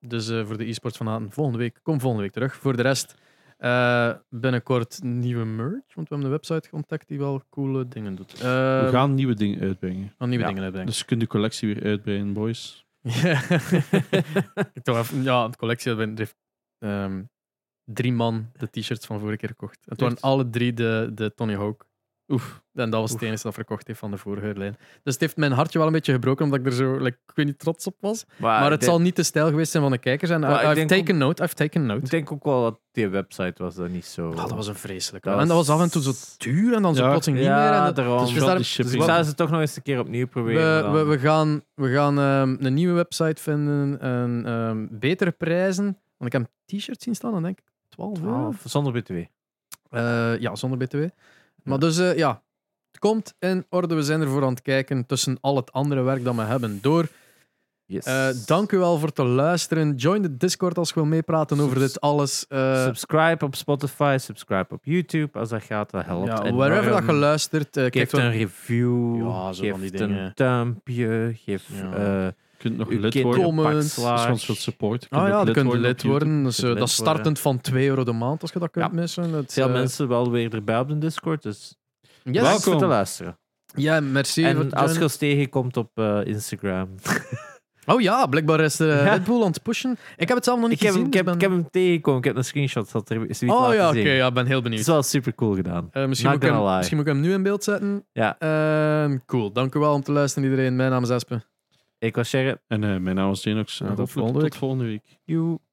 Speaker 1: dus eh, voor de e-sports van volgende week. Kom volgende week terug. Voor de rest, eh, binnenkort nieuwe merch. Want we hebben een website contact die wel coole dingen doet. Eh,
Speaker 3: We gaan nieuwe dingen uitbrengen.
Speaker 1: nog nieuwe
Speaker 2: ja.
Speaker 1: dingen uitbrengen.
Speaker 3: Dus je kunt de collectie weer uitbreiden,
Speaker 1: Dus
Speaker 3: boys.
Speaker 1: Ja. [LAUGHS] Ik toch even- ja, de collectie hebben heeft ehm, drie man de t-shirts van vorige keer gekocht. Het waren
Speaker 3: Echt?
Speaker 1: alle drie de, de Tony Hawk.
Speaker 3: Oef.
Speaker 1: En dat was het enige dat verkocht heeft van de vorige lijn. Dus het heeft mijn hartje wel een beetje gebroken, omdat ik er zo, like, ik weet niet, trots op was. Maar het
Speaker 2: Ah, ik
Speaker 1: zal niet de stijl geweest zijn van de kijkers. En I-
Speaker 2: Maar ik
Speaker 1: I've
Speaker 2: denk
Speaker 1: taken
Speaker 2: ook-
Speaker 1: note, I've taken
Speaker 2: denk-
Speaker 1: note.
Speaker 2: Ik denk ook wel dat die website was dat niet zo...
Speaker 1: Ah, dat was een vreselijk.
Speaker 2: Dat
Speaker 1: En dat was af en toe
Speaker 2: was-
Speaker 1: zo duur en dan zo
Speaker 3: Ja.
Speaker 1: plotseling niet
Speaker 2: ja,
Speaker 1: meer. En dat-
Speaker 2: daarom.
Speaker 1: dus
Speaker 2: Dus,
Speaker 1: we staan-
Speaker 3: Dus
Speaker 2: ik zou ze toch nog eens een keer opnieuw proberen.
Speaker 1: we,
Speaker 2: dan.
Speaker 1: we, we gaan, we gaan ehm, een nieuwe website vinden en ehm, betere prijzen. Want ik heb t-shirts zien staan, dan denk ik 12
Speaker 3: Ah,
Speaker 1: euro.
Speaker 2: Twaalf, zonder btw.
Speaker 1: Eh, ja, zonder BTW. Maar dus eh, ja, het komt in orde. We zijn ervoor aan het kijken tussen al het andere werk dat we hebben door.
Speaker 2: Yes.
Speaker 1: Eh, dank u wel voor het luisteren. Join de Discord als je wil meepraten over
Speaker 2: Subs-
Speaker 1: dit alles. Eh,
Speaker 2: subscribe op Spotify, subscribe op YouTube als dat gaat, dat helpt.
Speaker 1: ja,
Speaker 2: enorm.
Speaker 1: wherever dat je luistert, eh,
Speaker 2: Geef
Speaker 1: kijk
Speaker 2: een
Speaker 1: dan.
Speaker 2: review,
Speaker 1: Ja, zo
Speaker 2: geef
Speaker 1: van die dingen.
Speaker 2: een duimpje, geef...
Speaker 1: Ja.
Speaker 2: eh,
Speaker 3: Je kunt nog
Speaker 2: uw
Speaker 3: lid
Speaker 2: kind
Speaker 3: worden.
Speaker 1: op
Speaker 2: op
Speaker 1: comments.
Speaker 2: backslash.
Speaker 3: Als je ons wilt supporten.
Speaker 1: Ah
Speaker 3: kun je
Speaker 1: ja,
Speaker 3: ook
Speaker 1: dan kun je
Speaker 3: worden
Speaker 1: lid
Speaker 3: op YouTube.
Speaker 1: worden. Dus, eh,
Speaker 2: Je kunt
Speaker 1: dat is
Speaker 2: lid worden.
Speaker 1: startend van 2 euro de maand als je dat kunt
Speaker 2: Ja.
Speaker 1: missen. Dat,
Speaker 2: Veel
Speaker 1: eh,
Speaker 2: mensen wel weer erbij op de Discord, dus
Speaker 1: yes.
Speaker 2: dank
Speaker 3: Welkom.
Speaker 2: voor te luisteren.
Speaker 1: Ja, merci. voor
Speaker 2: En
Speaker 1: het
Speaker 2: als je
Speaker 1: joinen.
Speaker 2: ons tegenkomt op eh, Instagram,
Speaker 1: Oh ja, blijkbaar is de
Speaker 2: Ja.
Speaker 1: Red Bull aan het pushen. Ik heb het zelf nog niet
Speaker 2: Ik heb, hem-
Speaker 1: gezien.
Speaker 2: ik, heb,
Speaker 1: dus
Speaker 2: ik
Speaker 1: ben-
Speaker 2: heb hem tegengekomen, ik heb een screenshot dat er zoiets
Speaker 1: Oh
Speaker 2: laten
Speaker 1: ja, oké,
Speaker 2: zien.
Speaker 1: ja, ik ben heel
Speaker 2: Het is
Speaker 1: benieuwd.
Speaker 2: wel super cool gedaan.
Speaker 1: Eh, misschien, moet
Speaker 2: Not
Speaker 1: ik
Speaker 2: gonna
Speaker 1: hem,
Speaker 2: lie.
Speaker 1: misschien moet ik hem nu in beeld zetten.
Speaker 2: Ja.
Speaker 1: Ehm, cool, dank u wel om te luisteren iedereen. Mijn naam is Espe.
Speaker 2: Ik was Sherry.
Speaker 3: En eh, mijn naam is Denox.
Speaker 1: Ja,
Speaker 3: En
Speaker 1: tot
Speaker 3: hopelijk
Speaker 1: volgende
Speaker 3: tot volgende week.
Speaker 2: Joe.